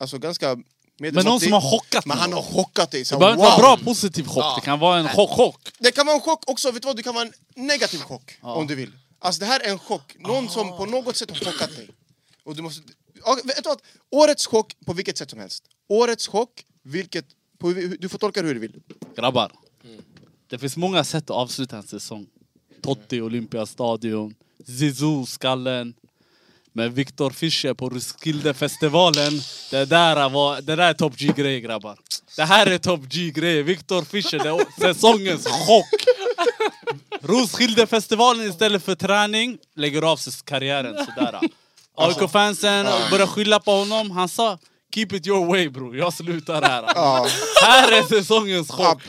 A: alltså ganska
C: Men någon som har chockat
A: Men han har chockat dig. så
C: Det behöver
A: wow.
C: inte vara bra positiv chock, det kan vara en chock. chock.
A: Det kan vara en chock också, vet du vad? Det kan vara en negativ chock om du vill. Alltså det här är en chock, någon
D: Ah.
A: som på något sätt har chockat dig. Och du måste... Ja, vet du vad? Årets chock på vilket sätt som helst. Årets chock, vilket... På, hur- du får tolka det hur du vill.
C: Grabbar, det finns många sätt att avsluta en säsong. Totti, Olympiastadion, Zizou, skallen. Men Viktor Fischer på Roskildefestivalen, det där, var, det där är top G-grejer grabbar. Det här är top G-grejer. Viktor Fischer, det är säsongens chock. Roskildefestivalen istället för träning lägger av sig karriären sådär. AIK-fansen börjar skylla på honom. Han sa Keep it your way bror, jag slutar här.
A: Ja.
C: Här är säsongens chock.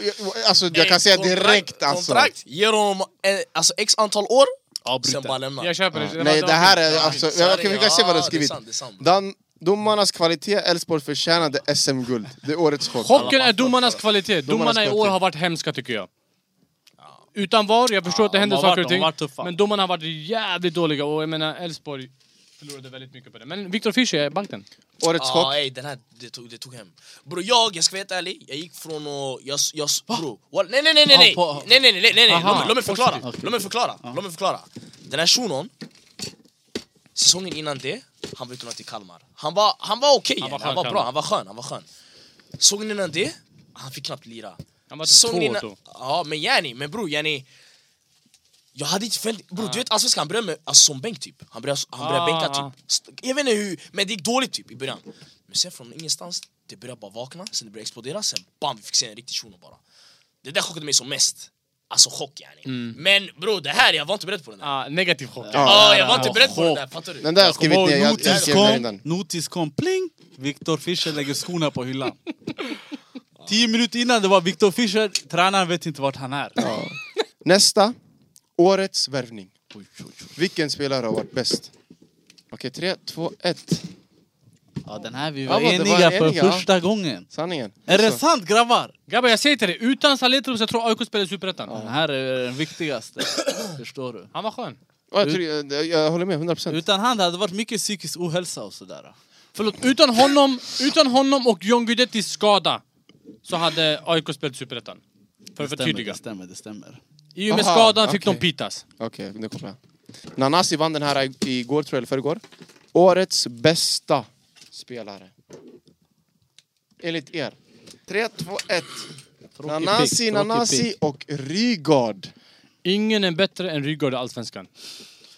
A: Alltså jag kan
D: Ey,
A: säga
D: kontrakt-
A: direkt alltså.
D: Kontrakt, ge dem eh, alltså, x antal år,
C: Avbryta.
D: sen bara lämna.
B: Jag köper den.
A: Nej det här är
D: Ja,
A: alltså...
D: sorry,
A: Jag, vi kan se vad du har
D: ja, det är
A: skrivit.
D: sant, det är sant.
A: Dan, domarnas kvalitet, Elfsborg förtjänade SM-guld. Det är årets chock.
B: Chocken är domarnas kvalitet.
A: Domarnas
B: Domarna i år
A: kvalitet.
B: har varit hemska tycker jag. Utan VAR, jag förstår att det
C: de
B: händer
C: har varit-
B: saker
C: de har
B: och
C: varit
B: ting.
C: tuffa.
B: Men domarna har varit jävligt dåliga och jag menar Elfsborg förlorade väldigt mycket på det. Men Viktor Fischer är banken.
A: Årets chock.
D: Ja, ey, Ah, den här, det tog, det tog hem. Bro, jag, jag ska vara helt ärlig, jag gick från och... Jag, jag, bro, wall, nej, nej, nej, nej, nej,
C: Ah, på-
D: nej, nej, nej, nej, nej, nej.
C: Aha,
D: Låt, mig- låt mig förklara,
C: positivt.
D: låt mig förklara,
B: Ah.
D: låt mig förklara. Den här shunon, säsongen innan det, han var utlånad till Kalmar. Han var, han var okej,
B: Han var
D: han
B: skön,
D: var,
B: Kalmar.
D: bra, han var skön, han var skön. Säsongen innan det, han fick knappt lira.
B: Han var typ
D: Säsongen
B: två
D: innan-
B: då.
D: Ja, men yani, men bror, yani. Jag hade inte följt... Bror, du vet allsvenskan, han började med, alltså, som bänk typ. Han började, han började
B: Ah,
D: bänka
B: ah.
D: typ. St- Jag vet inte hur, men det gick dåligt typ i början. Men sen från ingenstans, det började bara vakna, sen det började explodera, sen bam, vi fick se en riktig shuno bara. Det där chockade mig som mest. Alltså chock yani. Men bror, det här, jag var inte beredd på det där.
B: Ah, negativ chock.
D: Ja, jag var inte beredd på det där,
C: chock.
D: fattar du?
A: Den där har jag skrivit ner. Jag, jag
C: Notis
A: skrev ner
C: kom,
A: den.
C: notis kom, pling! Viktor Fischer lägger skorna på hyllan. Tio minuter innan det var Victor Fischer, tränaren vet inte vart han är.
A: Nästa. Årets värvning. Vilken spelare har varit bäst? Okej, tre, två, ett.
C: Ja, den här vi
A: Ja,
C: var
A: vad, det
C: eniga
A: var
C: för
A: eniga.
C: första gången.
A: Sanningen.
C: Är det
A: Så.
C: sant grabbar?
B: Grabbar jag säger till dig, utan Saletros jag tror AIK spelar i Superettan.
C: Den här är den viktigaste, förstår du.
B: Han var skön.
A: Ja, jag, tror, jag, jag håller med, 100 procent.
C: Utan han hade det varit mycket psykisk ohälsa och sådär.
B: Förlåt, utan honom, utan honom och John Guidettis skada så hade AIK spelat i Superettan. För att
C: Det stämmer, det
B: förtydliga.
C: stämmer, det stämmer.
B: I och med
A: Aha,
B: skadan fick
A: okej.
B: de pitas.
A: Okej, nu kommer jag. Nanasi vann den här i- igår, tror jag, eller förrgår. Årets bästa spelare. Enligt er. Tre, två, ett.
C: pick,
A: Nanasi,
C: tråkig
A: Nanasi och Rygaard.
B: Ingen är bättre än Rygaard i Allsvenskan.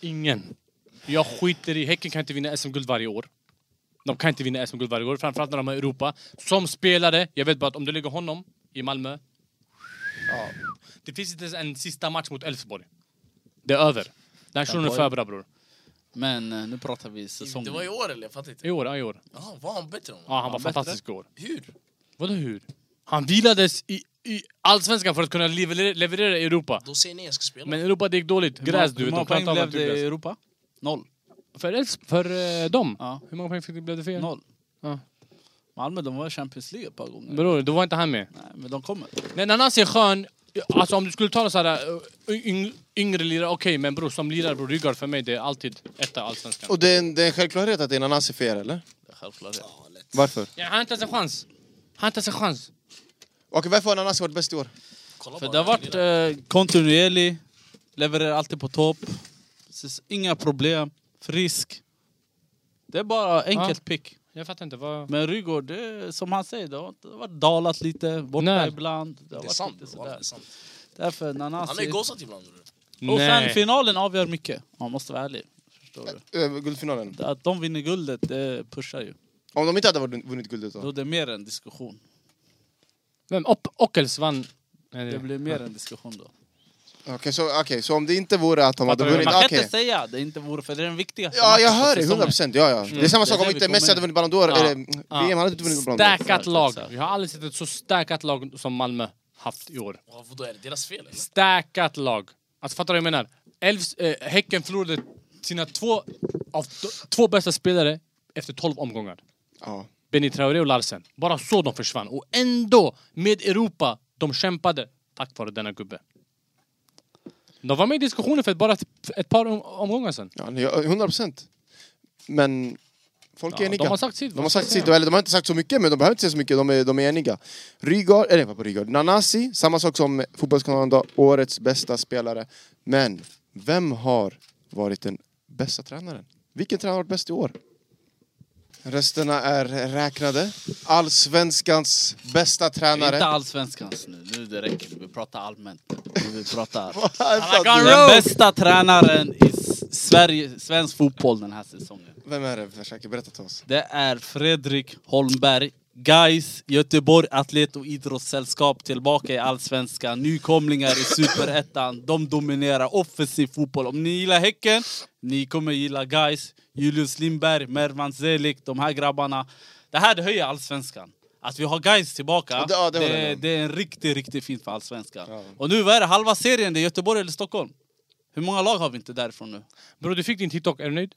B: Ingen. Jag skiter i... Häcken kan inte vinna SM-guld varje år. De kan inte vinna SM-guld varje år, framförallt när de är i Europa. Som spelare, jag vet bara att om du lägger honom i Malmö... Det finns inte ens en sista match mot Elfsborg. Det är över. Den här shunon är för bra bror.
C: Men eh, nu pratar vi säsong.
D: Det var i år eller? Jag fattar inte.
B: I år, ja i år.
D: Jaha, var han bättre? än honom?
B: Ja, han var fantastisk i år.
D: Hur?
B: Vadå hur? Han vilades i, i Allsvenskan för att kunna leverera, leverera i Europa.
D: Då säger ni jag ska spela.
B: Men Europa, det gick dåligt. Gräs du
C: Hur
B: vet,
C: många
B: de
C: poäng
B: klarar inte av
C: blev det i
B: naturgräs.
C: Europa? Noll.
B: För, Elfs- för eh, dem?
C: Ja.
B: Hur många poäng fick det, blev det för er?
C: Noll.
B: Ja.
C: Malmö, de var i Champions League ett par gånger.
B: Bror, då var inte han med.
C: Nej, men de kommer.
B: Men Nanasi är skön. Alltså om du skulle ta någon sån här eh, yng, yngre lirare, okej. men bror, som lirare, bror, Rygaard för mig, det är alltid etta i Allsvenskan.
A: Och det är, en, det är en självklarhet att det är Nanasi för er, eller?
C: Självklart.
A: Varför?
B: Ja, han har inte ens en chans. Han har inte ens en chans.
A: Okej, varför har Nanasi varit bäst i år?
D: Kolla
C: För
D: bara,
C: det har
D: han
C: varit
D: lirar.
C: eh, kontinuerlig, levererar alltid på topp. Precis, Inga problem, frisk. Det är bara enkelt pick.
B: Jag fattar inte. Vad...
C: Men Rygaard, det, är som han säger, det har, det har varit dalat lite, borta
B: Nej.
C: ibland. Det, har
D: Det är
C: varit
D: sant.
C: lite
D: bror,
C: sådär.
D: Det är sant.
C: Därför
D: Han har ju
C: Nanasi...
D: gåsat ibland. bror.
C: Och sen finalen avgör mycket, man måste vara ärlig. Förstår du?
A: Ö, Eh, guldfinalen.
C: Det- Att de vinner guldet, det pushar ju.
A: Om de inte hade vunnit vunnit guldet då?
C: Då är det mer en diskussion.
B: Vem? Opp- Ockels vann. Nej,
C: Det blir mer en diskussion då.
A: Okej, så, okej, så om det inte vore att de hade
B: Fattar du?
A: vunnit...
C: Man kan
A: Okej.
C: inte säga det inte vore för det är den viktigaste
A: Ja, jag
C: matchen på
A: hör det. 100
C: säsongen.
A: procent. Ja, ja. Det är samma
C: Mm. Det är
A: sak
C: det
A: om
C: vi
A: inte
C: kommer
A: Messi hade
C: in.
A: vunnit Ballon d'Or.
B: Ja.
A: Eller mm, VM
B: Ja.
A: hade inte vunnit Ballon d'Or.
B: Stackat lag.
C: exakt.
B: Jag har aldrig sett ett så stackat lag som Malmö haft i år.
D: Ja, Ah, Vadå, är det deras fel eller?
B: Stackat lag. Alltså fattar du vad jag menar? Elfs, eh, häcken förlorade sina två, av, två bästa spelare efter 12 omgångar.
A: Ja.
B: Benny Traoré och Larsen. Bara så de försvann. Och ändå, med Europa, de kämpade tack vare denna gubbe. De var med i diskussionen för ett- bara ett, för ett par om- omgångar sedan.
A: Ja, nej, 100 procent. Men folk är
B: Ja,
A: eniga.
B: de har sagt sitt.
A: De har sagt sitt. Eller de har inte sagt så mycket, men de behöver inte säga så mycket. De är, de är eniga. Rygaard, eller vad på Rygaard. Nanasi, samma sak som Fotbollskanalen då. Årets bästa spelare. Men vem har varit den bästa tränaren? Vilken tränare har varit bäst i år? Resterna är räknade. Allsvenskans bästa tränare.
C: Inte allsvenskans nu, nu det räcker. Vi pratar allmänt. Vi pratar.
B: rogue!
C: Den bästa tränaren i s- Sverige, svensk fotboll den här säsongen.
A: Vem är det? Försöker berätta till oss.
C: Det är Fredrik Holmberg. Guys, Göteborg Atlet och Idrottssällskap tillbaka i Allsvenskan. Nykomlingar i Superettan. De dominerar offensiv fotboll. Om ni gillar Häcken, ni kommer gilla Guys, Julius Lindberg, Mervan Celik, de här grabbarna. Det här det höjer Allsvenskan. Att vi har Guys tillbaka,
A: Ja, det- ja, det håller jag med
C: det,
A: om.
C: det är en riktigt, riktigt fint för Allsvenskan. Och nu, vad är det? Halva serien, det är Göteborg eller Stockholm. Hur många lag har vi inte därifrån nu?
B: Bror, du fick din TikTok. Är du nöjd?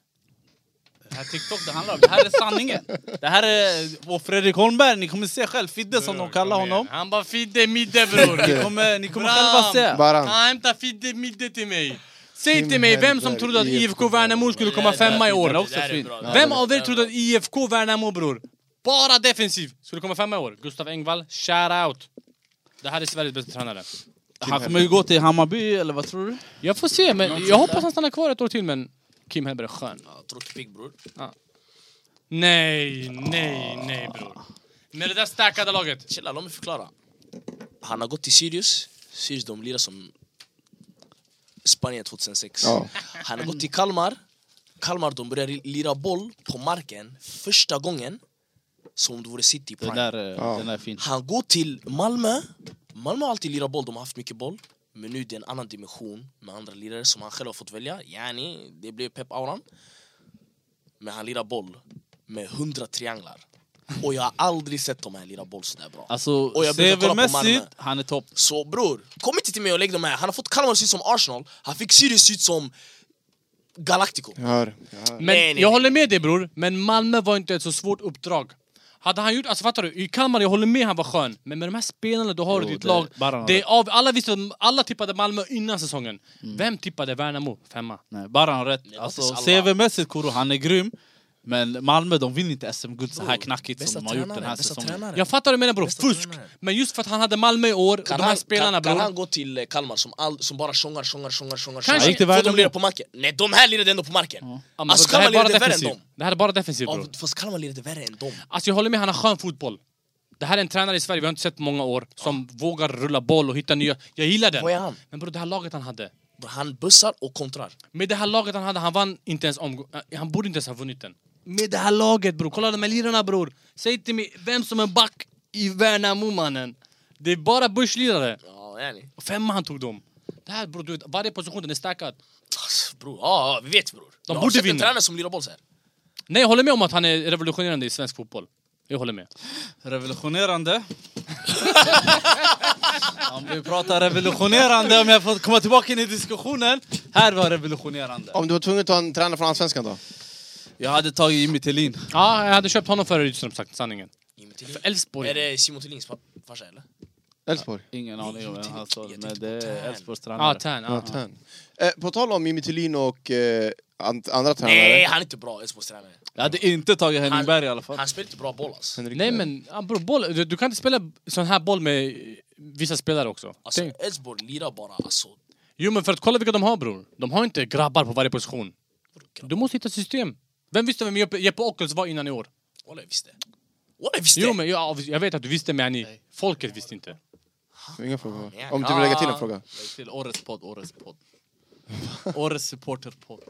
C: Det här TikTok det handlar om, det här är sanningen. Det här är och Fredrik Holmberg, ni kommer se själv, Fidde som de kallar honom.
B: Han bara “Fidde, midde bror”.
C: Ni kommer, ni kommer själva se.
A: Baran.
B: Han hämtar Fidde Midde till mig. Säg till mig vem som trodde att IFK Värnamo skulle komma femma i
C: Den är
B: år.
C: också fin.
B: Vem av er trodde att IFK Värnamo bror, bara defensiv, skulle komma femma i år? Gustav Engvall, shout out. Det här är Sveriges bästa tränare.
C: Han kommer ju gå till Hammarby, eller vad tror du?
B: Jag får se, men jag hoppas han stannar kvar ett år till men Kim Hellberg är skön.
D: Ja, Tråkig pigg bror.
B: Nej, nej, nej bror. Med det där stackade laget.
D: Chilla, låt mig förklara. Han har gått till Sirius. Sirius de lirar som Spanien 2006.
A: Ja.
D: Han har gått till Kalmar. Kalmar de börjar lira boll på marken första gången som om det vore City
C: Den
D: Prime.
C: där, eh,
A: Ja.
C: den där är fin.
D: Han går till Malmö. Malmö har alltid lirat boll, de har haft mycket boll. Men nu är det en annan dimension med andra lirare som han själv har fått välja. Yani, det blev Pep Auran. Men han lirar boll med 100 trianglar. Och jag har aldrig sett de här lira boll sådär bra.
C: Alltså,
D: Och jag brukar kolla på Malmö.
C: CV-mässigt, han är topp.
D: Så bror, kom inte till mig och lägg de här. Han har fått Kalmar att se ut som Arsenal, han fick Sirius se ut som Galactico.
A: Jag hör. Jag hör.
B: Men
D: Nej, nej,
B: jag
D: nej.
B: håller med dig bror, men Malmö var inte ett så svårt uppdrag. Hade han gjort, alltså fattar du? I Kalmar, jag håller med, han var skön. Men med de här spelarna du har i
C: Jo,
B: ditt
C: det-
B: lag,
C: Baran
B: det är
C: hade-
B: av, alla, visste, alla tippade Malmö innan säsongen. Vem tippade Värnamo? Femma.
C: Nej, bara han har rätt.
D: det
C: Alltså,
D: finns alla.
C: CV-mässigt, Koro, han är grym. Men Malmö, de vinner inte SM-guld så här
D: Bror,
C: knackigt
D: bästa
C: som de har gjort den
D: tränaren,
C: här
D: bästa
C: säsongen.
D: tränaren.
B: Jag fattar vad du menar bror,
D: Bästa
B: fusk!
D: tränare.
B: Men just för att han hade Malmö i år, och
D: Kan,
B: de här
D: han,
B: spelarna
D: kan, kan han
B: bror.
D: gå till eh, Kalmar som, all, som bara sjunger, sjunger, sjunger, sjunger,
B: Kanske.
D: sjunger.
B: Gick det
D: Får de
B: Värnamo?
D: lira på marken? Nej, de här lirade ändå på marken!
B: Ja, men
D: Alltså
B: det, här
D: Kalmar
B: är bara
D: lirade värre än
B: defensivt.
D: dem!
B: det här är bara defensivt bror.
D: Ja, fast Kalmar lirade värre än dem.
B: Alltså jag håller med, han har skön fotboll. Det här är en tränare i Sverige vi har inte sett på många år som vågar rulla boll och hitta nya... Jag gillar den!
D: Vad är han?
B: Men bror, det här laget han hade.
D: Bror, Han bussar och kontrar.
B: Med det här laget han hade, han vann inte ens omgång... Han borde inte ens ha vunnit den. Med det här laget bror, kolla de här lirarna bror! Säg till mig, vem som är back i Värnamo mannen? Det är bara Bush-lirare!
D: Ja, är ni?
B: Och Femma han tog dem! Det här bror, du vet, varje position den är stackad.
D: Alltså, bror, ja, ja, vi vet bror.
B: De
D: jag har
B: borde
D: sett en
B: vinna.
D: tränare som lirar boll så här.
B: Nej jag håller med om att han är revolutionerande i svensk fotboll. Jag håller med.
C: Revolutionerande. om vi pratar revolutionerande, om jag får komma tillbaka in i diskussionen. Här var revolutionerande.
A: Om du var tvungen att ta en tränare från Allsvenskan då?
C: Jag hade tagit Jimmy Tillin.
B: Ja, jag hade köpt honom före Rydström sagt sanningen.
D: Jimmy Tillin.
B: För Elfsborg.
D: Är det Simon Tillins fa- farsa eller?
A: Elfsborg?
C: Ingen aning om vem han står,
D: Jag
C: men
D: tänkte
C: det
D: på
C: är
D: Tern.
C: Elfsborgs
B: Ja,
C: tränare.
B: Tern.
A: Ja,
B: Ja.
A: Tern. Eh, på tal om Jimmy Tillin och eh, an- andra tränare.
D: Nej, han är inte bra Elfsborgs tränare.
C: Jag hade inte tagit Henning
D: Han-
C: Berg i alla fall.
D: Han spelar inte bra boll alltså.
A: Henrik
B: Nej
A: Berg.
B: men ja, bror, boll, du, du kan inte spela sån här boll med eh, vissa spelare också.
D: Alltså
B: Tänk-
D: Elfsborg lirar bara alltså.
B: Jo men för att kolla vilka de har bror. De har inte grabbar på varje position. Du måste hitta system. Vem visste vem Jeppe, Jeppe Ockels var innan i år?
D: Walla jag visste. Walla jag visste!
B: Jo men jag, jag vet att du visste men ni, folket visste inte.
A: Inga frågor. Om du vill lägga till en fråga.
C: Lägg till årets podd, årets podd. årets supporterpodd.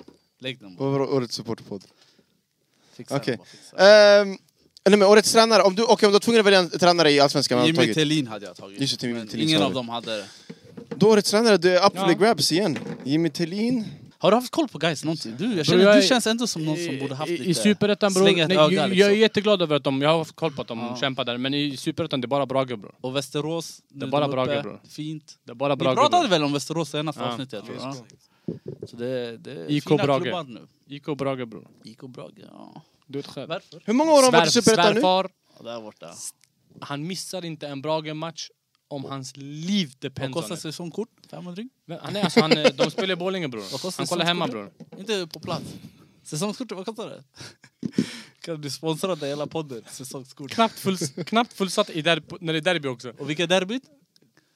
C: Lägg den bara.
A: Vad var årets supporterpodd?
C: Fixa
A: Okej.
C: den bara. Fixa.
A: Ehm, nej men årets tränare, om du, okej, om du var tvungen att välja en tränare i Allsvenskan, vem hade du
C: Jimmy
A: tagit?
C: Tillin hade jag tagit.
A: Just det, Jimmy
C: Men
A: Tillin
C: ingen
A: sa
C: av
A: du.
C: dem hade det.
A: Då årets tränare, det är up for
B: Ja.
A: the grabs igen. Jimmy Tillin.
C: Har du haft koll på guys någonsin? Du, jag
B: Bro,
C: känner,
B: jag
C: du
B: är-
C: känns ändå som någon som borde haft
B: I,
C: lite...
B: i Superettan bror,
C: slänga ett
B: nej,
C: öga,
B: jag,
C: liksom.
B: jag är jätteglad över att de, jag har haft koll på att de
C: Ja.
B: kämpar där men i Superettan det är bara Brage bror.
C: Och Västerås, nu
B: Det är bara
C: de
B: Brage,
C: uppe.
B: bro.
C: Fint.
B: Det är bara
C: Vi
B: Brage
C: pratade
B: bror.
C: väl om Västerås senaste
B: Ja.
C: avsnittet? Jag tror. Ja. Så det, det är
B: IK
C: fina
B: Brage.
C: klubbar nu.
B: IK Brage bror.
C: IK Brage, ja.
B: Du vet själv.
C: Varför?
A: Hur många år har han varit i
B: Svär-
A: Superettan nu?
B: svärfar,
C: Ja, Där borta.
B: han missar inte en Brage-match om hans liv
C: Vad
B: depends on
C: kostar
B: it.
C: säsongskort? 500 ring?
B: Men Han är, alltså, han, är- de spelar i Borlänge
C: Vad
B: bror.
C: kostar
B: Han kollar hemma bror.
C: säsongskortet? Inte på plats. Säsongskort, vad kostar det? kan du sponsra den hela podden? Säsongskort.
B: Knappt, full, knappt fullsatt i derb, när det är derby också.
C: Och vilka derbyt?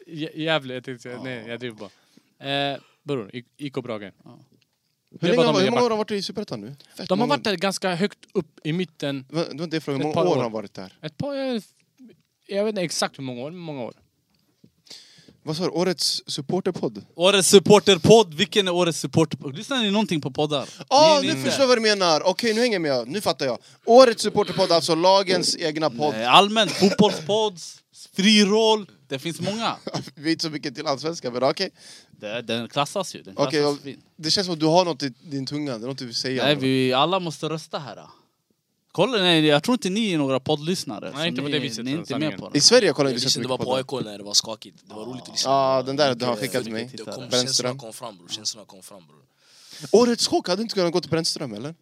B: Jä- Gävle, jag tänkte säga. Nej, jag driver bara. Eh, bror, I- IK Brage.
A: Hur,
B: Det är
A: länge,
B: bara
A: har-
B: de
A: hur många år
B: jag back-
A: har han varit i Superettan nu? Fett
B: De har
A: många-
B: varit där ganska högt upp i mitten.
A: Va- Det var inte det frågan,
B: Ett
A: hur
B: par
A: många år
B: år.
A: har han varit där?
B: Ett par... Jag, jag vet inte exakt hur många år, men många
C: Alltså,
B: år.
A: Vad sa du? Årets supporterpodd?
C: Årets supporterpodd, vilken är årets supporterpodd? Lyssnar ni någonting på poddar?
A: Ja,
C: Ni- ni
A: Ah, nu
C: inte?
A: förstår jag vad du menar! Okej, nu hänger jag med. Nu fattar jag. Årets supporterpodd, alltså lagens egna podd.
C: Nej, Allmänt, Eh, fotbollspodds, friroll, det finns många.
A: Vi vet inte så mycket till allsvenskan, men okej.
C: Det, den klassas ju, den klassas
A: Okej, och-
C: fint.
A: det känns som att du har något i din tunga, det är något du vill säga.
C: Nej, vi alla måste rösta här. då. Kolla, nej, jag tror inte ni är några poddlyssnare.
B: Nej,
C: så
B: inte på
C: ni,
B: det viset,
C: Ni är inte med
B: sanningen.
C: på
A: I
C: det.
A: Sverige kollar
D: Jag
A: vi inte så
D: lyssnade
A: mycket
D: bara på
A: på det.
D: AIK när det var skakigt, det var roligt att lyssna
A: Ja, den där du har
C: Okej,
A: skickat till
C: jag
A: mig.
C: tycker
D: Det
C: Titta.
D: kom,
A: Brännström.
D: känslorna kom fram bror, känslorna kom fram bror.
A: Årets chock, hade inte kunnat gå till Brännström eller?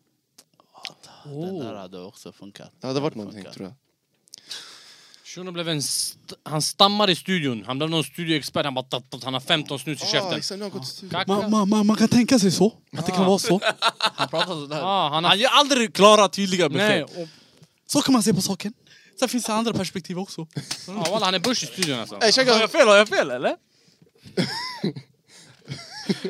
B: Oh.
C: Den där hade också funkat.
A: Det hade varit någonting tror jag.
B: Shunon blev en... St- han stammar i studion. Han blev någon studioexpert. Han bara... tat- tat- Han har 15 snus i
A: Ah,
B: käften.
A: exakt, nu har jag gått till
B: Kaka.
F: Man, man, man, man kan tänka sig så, att det kan vara så.
C: Han pratar sådär.
B: Ja, han har-
C: Alltså, Han ger aldrig klara, tydliga
B: Nej,
C: besked.
B: och,
F: Så kan man se på saken. Sen finns det andra perspektiv också.
B: ja, walla, han är börs i studion alltså.
A: Ey,
C: Har
A: käka!
C: jag fel? Har jag fel, eller?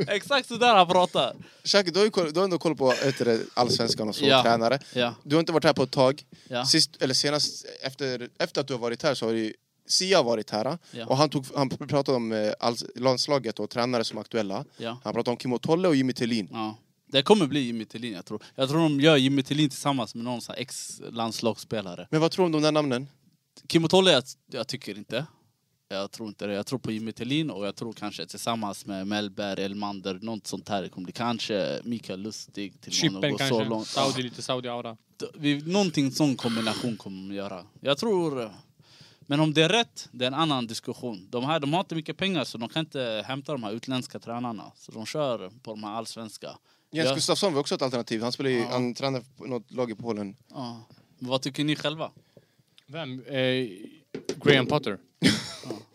C: Exakt sådär han pratar.
A: Shaki, du har ju koll- du har ändå koll på heter det, allsvenskan och så,
C: Ja.
A: tränare.
C: Ja,
A: Du har inte varit här på ett tag.
C: ja.
A: Sist, eller senast, efter, efter att du har varit här så har ju Sia varit här.
C: Ja.
A: Och han, tog, han pratade om eh, alls- landslaget och tränare som är aktuella.
C: ja.
A: Han pratade om Kim Tolle och Jimmy Tillin.
C: Ja. Det kommer bli Jimmy Tillin, jag tror. Jag tror de gör Jimmy Tillin tillsammans med någon sån här ex-landslagsspelare.
A: Men vad tror du om de där namnen?
C: Kim och Tolle, jag, jag tycker inte. Jag tror inte det. Jag tror på Jimmy Tillin och jag tror kanske tillsammans med Mellberg, Elmander, något sånt här. Det kommer bli kanske Mikael Lustig till någon
B: Cypern
C: går så
B: kanske.
C: långt.
B: Saudi, lite Saudi-aura.
C: d- vi, någonting sån kombination kommer de göra. Jag tror... eh, Men om det är rätt, det är en annan diskussion. De här de har inte mycket pengar så de kan inte hämta de här utländska tränarna. Så de kör på de här allsvenska.
A: Jens
C: Ja.
A: Gustafsson var också ett alternativ. Han spelar ju,
C: Ja.
A: han tränar på något lag i Polen.
C: Ja. Men Vad tycker ni själva?
B: Vem? Eh, Graham Potter.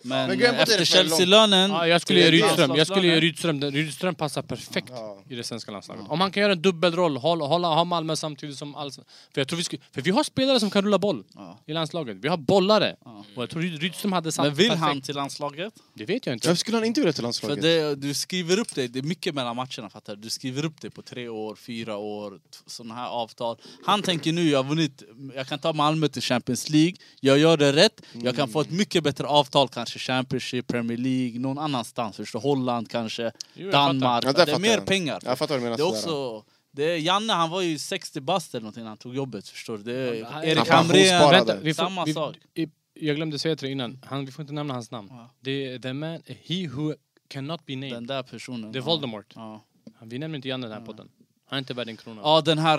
C: Men,
A: Men Graham Potter är
C: efter
A: för lång.
C: Chelsea-lönen...
B: Ja, jag skulle ge Rydström. Jag skulle ge
C: landslagslönen.
B: Rydström. den- Rydström passar perfekt
A: Ja.
B: i det svenska landslaget.
C: Mm.
B: Om han kan göra en dubbelroll, hålla, hålla, ha Malmö samtidigt som allsvenskan. För jag tror vi skulle, För vi har spelare som kan rulla boll
C: Ja.
B: i landslaget. Vi har bollare. Och jag tror Ryd- Rydström hade satt
C: Men vill
B: perfekt.
C: han till landslaget?
B: Det vet jag inte.
A: Varför skulle han inte vilja till
C: För
A: landslaget?
C: det, du skriver upp det, det är mycket mellan matcherna fattar du? Du skriver upp det på tre år, fyra år, sådana här avtal. Han tänker nu, jag har vunnit, jag kan ta Malmö till Champions League, jag gör det rätt, jag kan få ett mycket bättre avtal kanske, Championship, Premier League, någon annanstans, förstår du? Holland kanske,
B: Jo, jag
C: Danmark.
B: fattar.
A: Ja, där
C: det är
A: fattar
C: mer
A: jag.
C: pengar.
A: Jag fattar vad du menar.
C: Det är
A: sådär.
C: också... Det är Janne han var ju 60 bast eller någonting när han tog jobbet förstår du. Det är
B: Han-
C: Erik
A: han pensionssparade.
C: Hamrén.
B: Vänta, vi får,
C: Samma
B: vi,
C: sak.
B: i- Jag glömde säga till dig innan. Han, vi får inte nämna hans namn.
C: Ja.
B: Det är the man, he who cannot be
C: Den
B: named.
C: där personen.
B: Det är Voldemort.
C: Ja.
B: Vi nämner inte Janne i den här podden. Han är inte värd en krona.
C: Ja, den här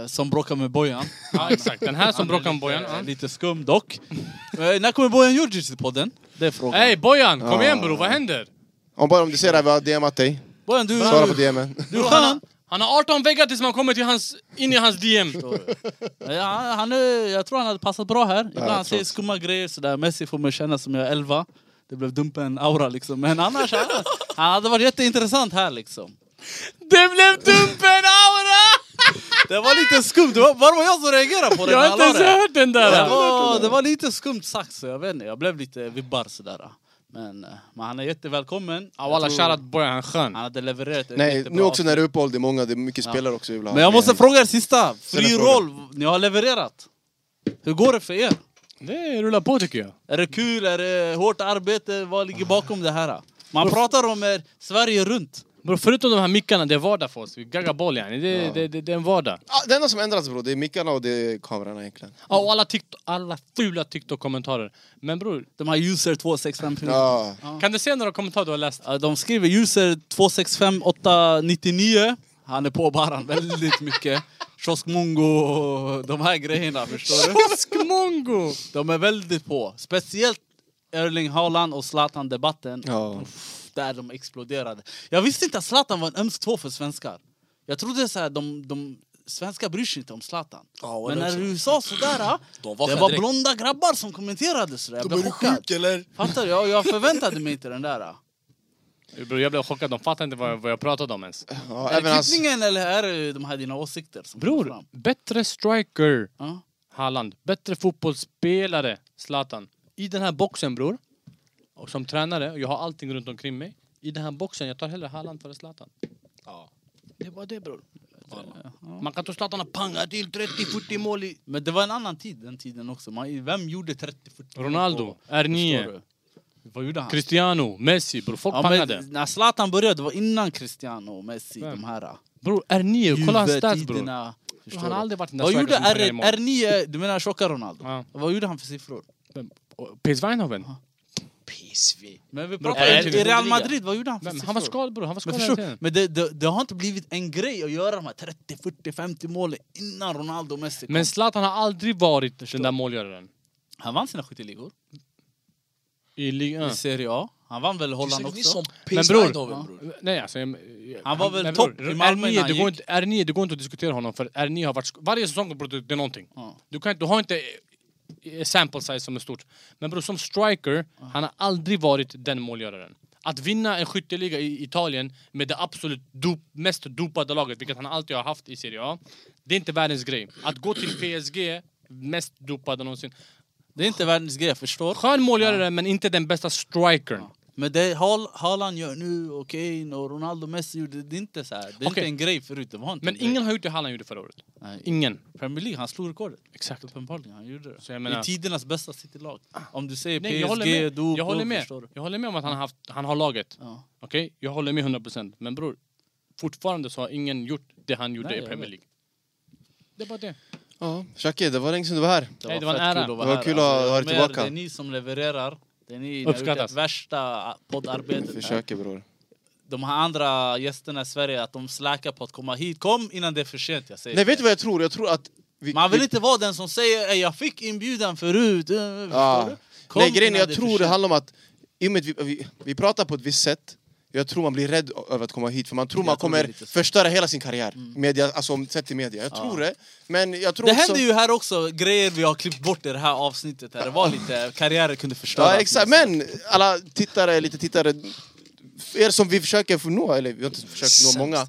C: eh, som bråkar med Bojan.
B: Ja, exakt. Den här som
C: Han är
B: bråkar med
C: lite-
B: Bojan. Ja.
C: Lite skum dock. Eh, när kommer Bojan Djurdjic till podden? Det är frågan. Ah.
B: Hej Bojan! Kom
A: Ja.
B: igen bror, vad händer?
A: Om bara om du ser det här, vi har DMat dig.
C: Bojan, du,
A: Svara på DMen.
C: du är
B: Han har,
C: skön.
B: han har 18 väggar tills man kommer till hans, in i hans DM.
C: Ja, han är, jag tror han hade passat bra här. Ibland
A: jag
C: han säger skumma grejer sådär. Messi får mig känna som jag är 11. Det blev Dumpen-aura liksom. Men annars, han, han hade varit jätteintressant här liksom.
B: Det blev Dumpen-aura!
C: Det var lite skumt. Det var bara jag som reagerade på det.
B: Jag har
C: när
B: inte
C: han
B: ens
C: la det.
B: hört den
C: Det
B: där!
C: var, det var lite skumt sagt, så jag vet inte. Jag blev lite vibbar sådär. Men, eh, men han är jättevälkommen.
B: Ja walla,
C: Jag tror
B: shoutout Bojan, han är skön.
C: Han hade levererat ett
A: Nej,
C: jättebra
A: nu också
C: avsnitt.
A: när det är uppehåll, det är många, det är mycket spelare också vi vill ha.
C: Men jag måste
A: med.
C: fråga er sista. Fri
A: Ställ en
C: roll, ni har levererat. Hur går det för er?
B: Det rullar på tycker jag.
C: Är det kul? Är det hårt arbete? Vad ligger bakom det här? Man pratar om er Sverige runt.
B: Bro, förutom de här mickarna, det är vardag för oss. Vi gaggar boll yani. Det, det, det, det är en vardag.
A: Ah, det enda som ändrats bror, det är mickarna och det är kamerorna egentligen.
B: Ja, och alla, TikTok, alla fula TikTok-kommentarer. Men bror,
C: De här user 265
A: Ja.
B: kan du se några kommentarer du har läst?
C: Ja, De skriver user 265899. Han är på baran väldigt mycket. Kioskmongo och de här grejerna, förstår du?
B: Skmongo!
C: De är väldigt på. Speciellt Erling Haaland och Zlatan-debatten.
A: Ja.
C: Uff, Där de exploderade. Jag visste inte att Zlatan var en öm tå för svenskar. Jag trodde så här, de, de svenskar bryr sig inte om Zlatan.
D: Ja, och
C: Men
D: det
C: när
D: också.
C: du sa sådär,
D: De
C: det
D: vaknade
C: var
D: direkt.
C: blonda grabbar som kommenterade sådär. Jag
D: De
C: blev
D: är
C: chockad.
D: sjuk eller?
C: Fattar du? Jag, jag förväntade mig inte den där.
B: Bror jag blev chockad, de fattar inte vad jag, vad jag pratade om ens.
A: Ja,
C: Är
A: även
C: det
A: hans...
C: klippningen eller är det de här dina åsikter som kommer
B: alltså- Bror,
C: fram?
B: bättre striker
C: Ja.
B: Haaland. Bättre fotbollsspelare, Zlatan. I den här boxen, bror. Och som tränare, och jag har allting runt omkring mig. I den här boxen, jag tar hellre Haaland före Zlatan.
D: Ja.
B: Det var det, bror. Man kan tro Zlatan har pangat till 30-40 mål i...
C: Men det var en annan tid den tiden också. Man, vem gjorde 30-40 mål
B: Ronaldo,
C: på-
B: R9,
C: förstår du? Vad gjorde han?
B: Cristiano, Messi, bror. Folk
C: Ja,
B: pangade.
C: men när Zlatan började, det var innan Cristiano och Messi.
B: Vem?
C: De här.
B: Bror, R9, kolla hans stats, bror.
C: Juve-tiderna. Förstår
B: Han har
C: du?
B: aldrig varit den där
C: Vad gjorde
B: strikern som
C: R,
B: pangar i mål.
C: R9, du menar tjocka Ronaldo?
B: Ja.
C: Vad gjorde han för siffror?
B: Och P.S. Weinhoven?
D: PSV.
C: Men vi
B: pratar
C: pratar
B: om
C: i
B: Juve.
C: Real Madrid, vad gjorde han för
B: Vem?
C: siffror?
B: Han var skadad, bror. Han var skadad
C: men
B: hela
C: förstår, du?
B: tiden.
C: men det, det, det har inte blivit en grej att göra de här 30, 40, 50 målen innan Ronaldo och Messi kom.
B: Men Zlatan har aldrig varit den där målgöraren.
C: Han vann sina skytteligor
B: I ligan.
C: i Serie A. Han vann väl Holland
D: Ni
C: också?
D: som PSV
B: bror-
D: Eindhoven bror.
B: Nej alltså, jag,
C: Han var väl
B: men
C: topp
B: bror,
C: i Malmö när
B: R9,
C: han
B: det går
C: gick.
B: inte, R9, det går inte att diskutera honom för R9 har varit... sk- Varje säsong bror, det det är någonting.
C: Ja.
B: Du, kan, inte- du har inte eh, sample size som är stort. Men bror, som striker, han har aldrig varit den målgöraren. Att vinna en skytteliga i Italien med det absolut dop, mest dopade laget, vilket han alltid har haft i Serie A, det är inte världens grej. Att gå till PSG, mest dopade någonsin.
C: Det är inte världens grej, jag förstår.
B: Skön målgörare, men inte den bästa strikern.
C: Men det Hal- Haaland gör nu, och Kane och Ronaldo och Messi gjorde, det är inte så här. Det är inte
B: Okej.
C: en grej förut. Det var inte
B: Men
C: en grej.
B: ingen har gjort det Haaland gjorde förra året.
C: Nej.
B: Ingen.
C: Premier League, han slog rekordet.
B: Exakt.
C: Uppenbarligen, han gjorde det.
B: Så jag menar-
C: I tidernas bästa citylag. Om du säger
B: Nej, jag
C: PSG,
B: håller med.
C: Dope,
B: jag, håller med.
C: Förstår du?
B: jag håller med om att han har, haft, han har laget.
C: Ja.
B: Okej, jag håller med 100%. Men bror, fortfarande så har ingen gjort det han gjorde
C: Nej,
B: i
C: jag
B: Premier League. Det var det.
A: Ja, Shaki, det var länge sedan du var här.
B: Nej, det var en ära.
C: att alltså.
A: Det var kul att
C: jag
A: ha
C: håller
A: dig
C: med.
A: tillbaka.
C: Det är ni som levererar. Det är ni ni har gjort
B: Uppskattas.
C: det värsta
A: Jag
C: poddarbetet. här.
A: försöker bror.
C: de här andra gästerna i Sverige att de släkar på att komma hit. Kom innan det är för sent, jag säger
A: Nej,
C: det.
A: vet du vad jag tror? Jag tror att... Vi,
C: Man vill
A: vi-
C: inte vara den som säger "Ey, jag fick inbjudan förut. eh, förstår
A: Ja.
C: du? Kom
A: Nej, grejen är,
C: innan
A: jag
C: det är
A: tror
C: för
A: det
C: sent.
A: handlar om att... I och med att vi, vi, vi pratar på ett visst sätt, jag tror man blir rädd ö- över att komma hit för man tror
C: Jag
A: man
C: tror det är
A: kommer
C: lite så. Mm.
A: förstöra hela sin karriär. Media, alltså om- sett till media. Jag tror det. Men jag tror
C: Det
A: också...
C: händer ju här också grejer vi har klippt bort i det här avsnittet. Där det var lite karriärer kunde förstöras.
A: Ja, exakt. Men alla tittare, lite tittare... Er som vi försöker få nå, eller vi har inte försökt nå många.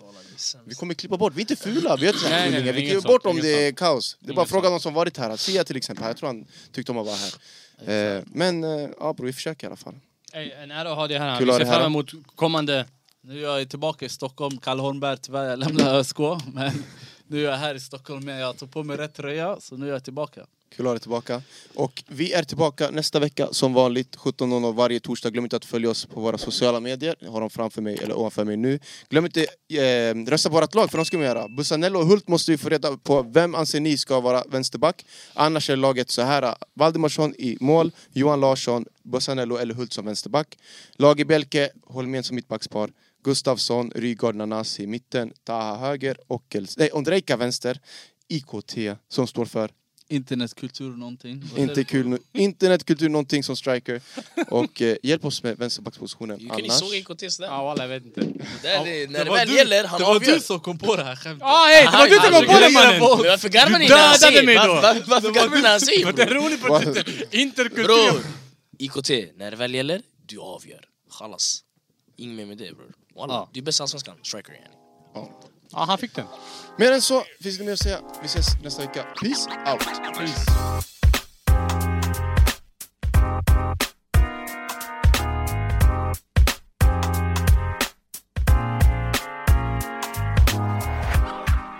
A: Vi kommer klippa bort, vi är inte fula, vi är inte så
B: Nej,
A: här
B: nej,
A: fulingar.
B: nej,
A: Vi
B: inget
A: klipper bort
B: sånt,
A: om
B: inget
A: det är kaos. Det är bara
B: Inget
A: fråga någon som varit här. Sia till exempel, jag tror han tyckte om att vara här. Eh, Men eh, ja bror, vi försöker i alla fall.
B: Ey, en ära att ha dig här.
A: Kul
B: Vi
A: att ha
B: ser
A: dig här.
B: fram emot kommande...
C: Nu är jag tillbaka i Stockholm. Kalle Holmberg tyvärr, jag lämnade ÖSK. Men nu är jag här i Stockholm men Jag tog på mig rätt tröja, så nu är jag tillbaka.
A: Kul att ha dig tillbaka. Och vi är tillbaka nästa vecka som vanligt 17.00 varje torsdag. Glöm inte att följa oss på våra sociala medier. Jag har dem framför mig, eller ovanför mig nu. Glöm inte eh, rösta på vårt lag, för de ska vi göra. Bussanello och Hult måste vi få reda på. Vem anser ni ska vara vänsterback? Annars är laget så här. Valdemarsson i mål, Johan Larsson, Bussanello eller Hult som vänsterback. Lagerbjälke, Holmén som mittbackspar. Gustafsson, Rygaard, Nanasi i mitten, Taha höger, Ockels, nej, Ondrejka vänster, IKT som står för
C: Internetkultur och någonting. Vad säger
A: inte
C: du?
A: kul, internetkultur någonting som striker. Och eh, hjälp oss med vänsterbackspositionen
D: Kan ni
A: annars.
D: såga IKTs där?
B: Ja, walla, jag vet inte.
D: Där det- När det
C: var
D: väl
C: du-
D: gäller, han
C: Det var
D: avgör.
C: du som kom på det här skämtet.
B: Ah, hej, det var du som
D: Alltså,
B: kom på det
D: grejen är
B: mannen!
D: Men Varför garvar ni
B: Du
D: när han
B: dödade
D: säger?
B: mig
D: Var-
B: då.
D: var- Varför garvar ni när han säger?
B: Det är
D: bror?
B: roligt på
A: Vad-
B: riktigt. Interkultur.
D: Bror, IKT, när det väl gäller, du avgör. Chalas. Inget mer med det bror. Walla,
B: Ja.
D: du är bäst i Allsvenskan. Striker yani.
B: Ja, han fick den.
A: Mer än så finns det mer att säga. Vi ses nästa vecka. Peace out!
B: Peace.